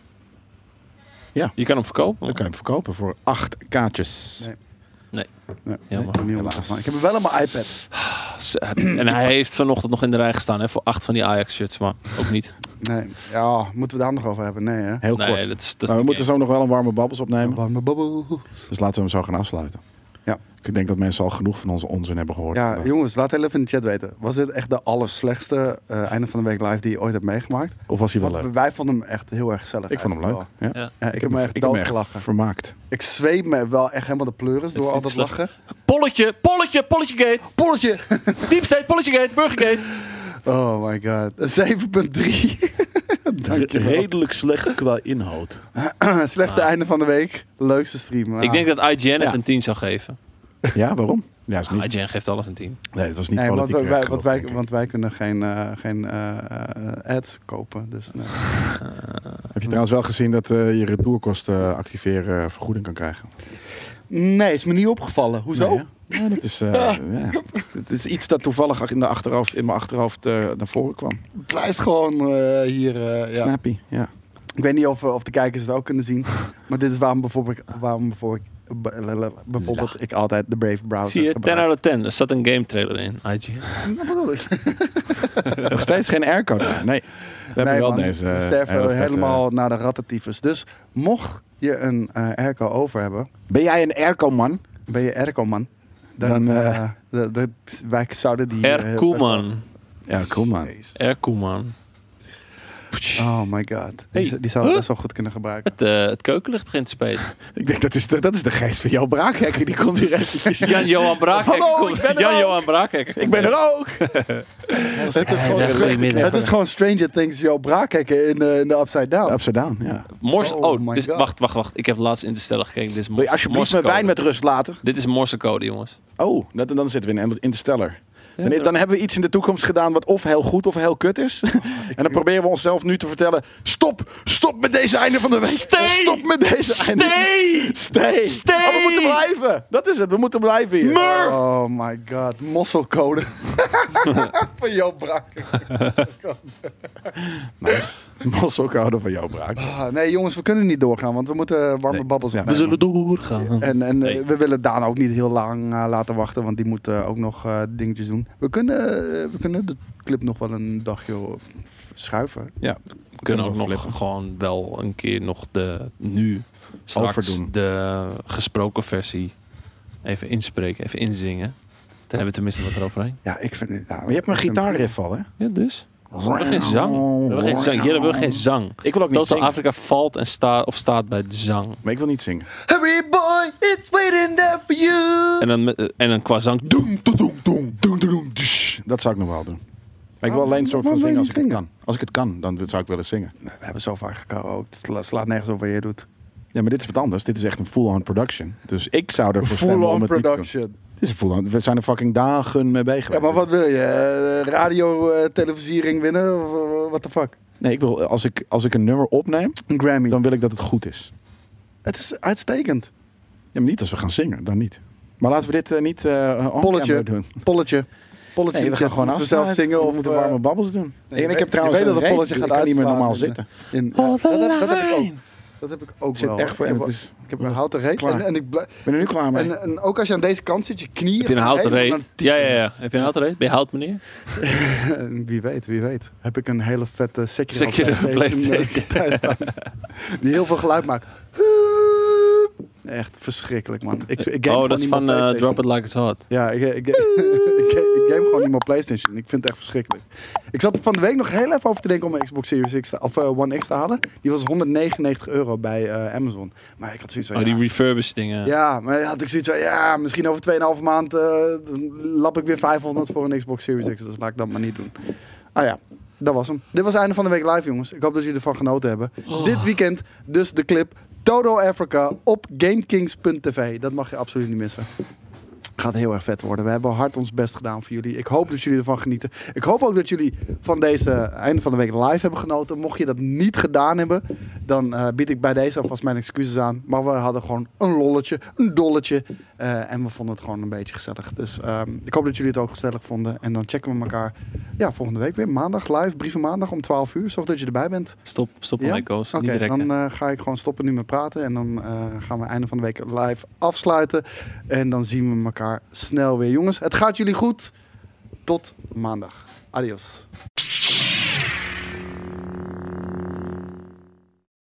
S2: Je kan hem verkopen.
S3: Dan kan je hem verkopen voor 8 kaartjes.
S1: Nee.
S3: Nee.
S2: Jammer.
S1: Niet op mijn telefoon. Ik heb hem wel op mijn iPad.
S2: En hij heeft vanochtend nog in de rij gestaan hè, voor acht van die Ajax-shirts, maar ook niet.
S1: Nee. Ja, moeten we daar nog over hebben? Nee, hè?
S3: Heel kort.
S2: Nee, dat is, dat is
S3: Nou, we
S2: niet
S3: moeten zo nog wel een warme babbels opnemen.
S1: Warme babbel.
S3: Dus laten we hem zo gaan afsluiten.
S1: Ja.
S3: Ik denk dat mensen al genoeg van onze onzin hebben gehoord.
S1: Ja,
S3: vandaag.
S1: jongens, laat heel even in de chat weten. Was dit echt de allerslechtste eh einde van de week live die je ooit hebt meegemaakt?
S3: Of was hij wel
S1: Want
S3: leuk?
S1: wij vonden hem echt heel erg gezellig.
S3: Ik vond hem leuk.
S1: eigenlijk
S3: Ja.
S2: Ja.
S1: wel. Ja, ik heb me echt
S3: ik heb me echt
S1: doodgelachen.
S3: vermaakt.
S1: Ik zweep me wel echt helemaal de pleuris door
S2: is
S1: al
S2: niet
S1: dat
S2: slecht.
S1: lachen.
S2: echt. Polletje, polletje, polletje gate.
S1: Polletje!
S2: Deep state, polletje gate, burgergate.
S1: Oh my god. 7.3. Dankjewel.
S3: Redelijk slecht qua inhoud.
S1: Slechtste einde van de week. Leukste stream.
S2: Ik denk dat IGN het
S3: Ja.
S2: een 10 zou geven. Ah,
S3: Ja, waarom? Ja, is niet,
S2: IGN geeft alles een 10.
S3: nee, dat was niet
S1: Ah, Nee, want
S3: politiek
S1: wij,
S3: correct
S1: want,
S3: genoeg,
S1: wij,
S3: denk ik.
S1: want wij kunnen geen, eh, geen eh, eh, ads kopen. Dus, nee.
S3: Heb je trouwens wel gezien dat eh, je retourkosten activeren eh, vergoeding kan krijgen?
S1: nee, is me niet opgevallen. Hoezo?
S3: Nee, hè? ja, dat is, eh, ja. Het is iets dat toevallig in, de achterhoofd, in mijn achterhoofd eh, naar voren kwam.
S1: Het blijft gewoon eh, hier. eh, ja.
S3: Snappy, ja.
S1: Ik weet niet of, eh, of de kijkers het ook kunnen zien. Maar dit is waarom bijvoorbeeld, waarom bijvoorbeeld, bijvoorbeeld ik altijd de Brave browser
S2: Zie je, 10
S1: gebruik.
S2: out of 10. Er zat een game trailer in, IGN.
S3: Nog steeds geen airco daar. Nee, we hebben
S1: Nee,
S3: wel
S1: man,
S3: deze.
S1: we
S3: eh,
S1: sterven
S3: hele vette-
S1: helemaal naar de rattentyfus. Dus mocht je een eh airco over hebben,
S3: Ben jij een airco-man?
S1: ben je airco man. Dan,
S3: Dan, eh,
S1: eh, de- de- wij zouden die... eh,
S2: R.
S1: heel best
S2: Koeman.
S3: Ja, cool
S1: wel-
S3: man.
S1: Jezus.
S2: R. Koeman.
S1: Oh my god. Die,
S2: Hey.
S1: z- die zou ik
S2: Huh?
S1: best wel goed kunnen gebruiken.
S2: Het, eh, het keukenlicht begint te spelen.
S3: Ik denk dat is de, dat is de geest van jouw braakhekker. Die komt hier eventjes.
S2: Jan-Johan Braakhekker.
S3: Hallo,
S2: komt-
S3: ik ben er
S2: Jan-Johan Braakhekker.
S3: Ik ben er ook! Eh,
S1: Het is gewoon, het is gewoon Stranger Things, jouw braakkijken in, eh, in de Upside Down.
S3: Upside down, ja.
S2: Morse.
S1: Oh
S2: Oh,
S1: my
S2: dit is-
S1: God.
S2: wacht, wacht, wacht. Ik heb laatst in de stellen gekeken. Dit is
S3: Wil je
S2: Morse-
S3: alsjeblieft mijn
S2: Morsecode.
S3: wijn met rust laten?
S2: Dit is Morsecode, jongens.
S3: Oh, dat, dan zitten we in een interstellar. Dan, dan hebben we iets in de toekomst gedaan wat of heel goed of heel kut is. en dan proberen we onszelf nu te vertellen... Stop! Stop met deze einde van de week!
S2: Stay!
S3: Stop met deze einde!
S2: Nee!
S3: Stay!
S2: Stay!
S3: Oh, we moeten blijven! Dat is het, we moeten blijven hier.
S2: Murph!
S1: Oh my god, mosselcode. Van jouw braak.
S3: Mosselkoude van jouw braak.
S1: Ah, nee, jongens, we kunnen niet doorgaan, want we moeten eh, warme babbels
S3: Ja,
S1: opnemen.
S2: doorgaan.
S1: En, en eh,
S2: Nee.
S1: we willen Daan ook niet heel lang eh, laten wachten, want die moet eh, ook nog eh, dingetjes doen. We kunnen, eh, we kunnen de clip nog wel een dagje eh, schuiven.
S2: We kunnen ook
S3: Kunnen
S2: nog
S3: we flippen.
S2: gewoon wel een keer nog de nu straks
S3: Overdoen.
S2: de gesproken versie even inspreken, even inzingen. Dan hebben we tenminste wat eroverheen.
S1: Ja, ik vind het. ja,
S3: Maar je hebt mijn
S1: ik vind-
S3: gitaarriff al, hè?
S2: Ja, dus. We hebben geen zang. We hebben geen zang. Hier hebben we geen zang.
S3: Ik wil ook niet
S2: Totaal
S3: zingen.
S2: Afrika valt en staat of staat bij de zang.
S3: Maar ik wil niet zingen.
S1: Hurry boy, it's waiting there for you.
S2: En dan, met- eh, en dan qua zang.
S3: Doem, doem, doem, doem, doem, doem, doem, tsch. Dat zou ik nog wel doen. Maar ik wil alleen een soort van
S1: Waarom wil
S3: zingen
S1: je
S3: als
S1: niet
S3: ik het
S1: zingen?
S3: kan. Als ik het kan, dan zou ik willen zingen.
S1: We hebben zo vaak gekaraoke. Het sla- slaat nergens op wat je doet.
S3: Ja, maar dit is wat anders. Dit is echt een full-on production. Dus ik zou ervoor
S1: Full
S3: stemmen om
S1: on
S3: het niet te doen.
S1: production.
S3: Dit is een full-on. We zijn er fucking dagen mee bezig.
S1: Ja, maar wat wil je? Eh, radio, eh, televisiering winnen? Of, eh, What the fuck?
S3: Nee, ik wil, als ik, als ik een nummer opneem,
S1: Een Grammy.
S3: dan wil ik dat het goed is.
S1: Het is uitstekend.
S3: Ja, maar niet als we gaan zingen. Dan niet. Maar laten we dit eh, niet eh on
S1: Polletje.
S3: camera doen.
S1: Polletje. Polletje.
S3: Nee, we gaan gewoon
S1: Moeten
S3: af.
S1: we zelf zingen
S3: We
S1: of
S3: moeten
S1: eh,
S3: warme babbels doen.
S1: nee,
S3: en ik
S1: weet-
S3: heb trouwens
S1: je weet
S3: een
S1: dat dat polletje
S3: reet, dus
S1: gaat
S3: ik kan niet meer normaal
S1: uitslaan
S3: zitten.
S1: in, eh, dat, heb, dat heb ik ook. Dat heb ik ook
S3: Het zit
S1: wel.
S3: echt voor-
S1: ik, heb,
S3: het
S1: wel-
S3: is-
S1: ik heb een houten reet.
S3: Klaar.
S1: En, en, ik blij-
S3: Ik ben er nu klaar mee.
S1: en, en ook als je aan deze kant zit, je knieën.
S2: Heb je een houten
S1: helemaal
S2: reet? Ja, ja, ja. Heb je een houten reet? Ben je hout, meneer?
S1: naar- Wie weet, wie weet. Heb ik een hele vette Sekiro,
S2: Sekiro
S1: PlayStation, eh,
S2: PlayStation.
S1: thuis staan. Die heel veel geluid maakt. Echt verschrikkelijk, man. Ik, ik game
S2: Oh,
S1: gewoon
S2: dat is
S1: niet meer
S2: van eh,
S1: PlayStation.
S2: Drop It Like It's Hot.
S1: Ja, ik, ik, ik, ik game gewoon niet meer PlayStation. Ik vind het echt verschrikkelijk. Ik zat er van de week nog heel even over te denken om mijn Xbox Series X te, of eh, One X te halen. Die was 199 euro bij eh, Amazon. Maar ik had zoiets van.
S2: Oh,
S1: ja,
S2: die refurbished dingen.
S1: ja, maar had ik zoiets van, ja, misschien over 2,5 maand eh, dan lap ik weer 500 voor een Xbox Series X. Dus laat ik dat maar niet doen. Ah ja, dat was hem. Dit was het einde van de week live, jongens. Ik hoop dat jullie ervan genoten hebben.
S2: Oh.
S1: Dit weekend dus de clip Toto Africa op GameKings.tv. Dat mag je absoluut niet missen. Gaat heel erg vet worden. We hebben hard ons best gedaan voor jullie. Ik hoop dat jullie ervan genieten. Ik hoop ook dat jullie van deze einde van de week live hebben genoten. Mocht je dat niet gedaan hebben, dan eh, bied ik bij deze alvast mijn excuses aan. Maar we hadden gewoon een lolletje, een dolletje. eh, en we vonden het gewoon een beetje gezellig. Dus ehm, ik hoop dat jullie het ook gezellig vonden. En dan checken we elkaar ja, volgende week weer. Maandag live, brieven maandag om 12 uur. Zorg dat je erbij bent.
S2: Stop, stop
S1: Ja?
S2: ermee, Koos.
S1: Oké,
S2: Niet direct.
S1: dan
S2: hè.
S1: eh, ga ik gewoon stoppen nu met praten. En dan eh, gaan we einde van de week live afsluiten. En dan zien we elkaar snel weer. Jongens, het gaat jullie goed. Tot maandag. Adios.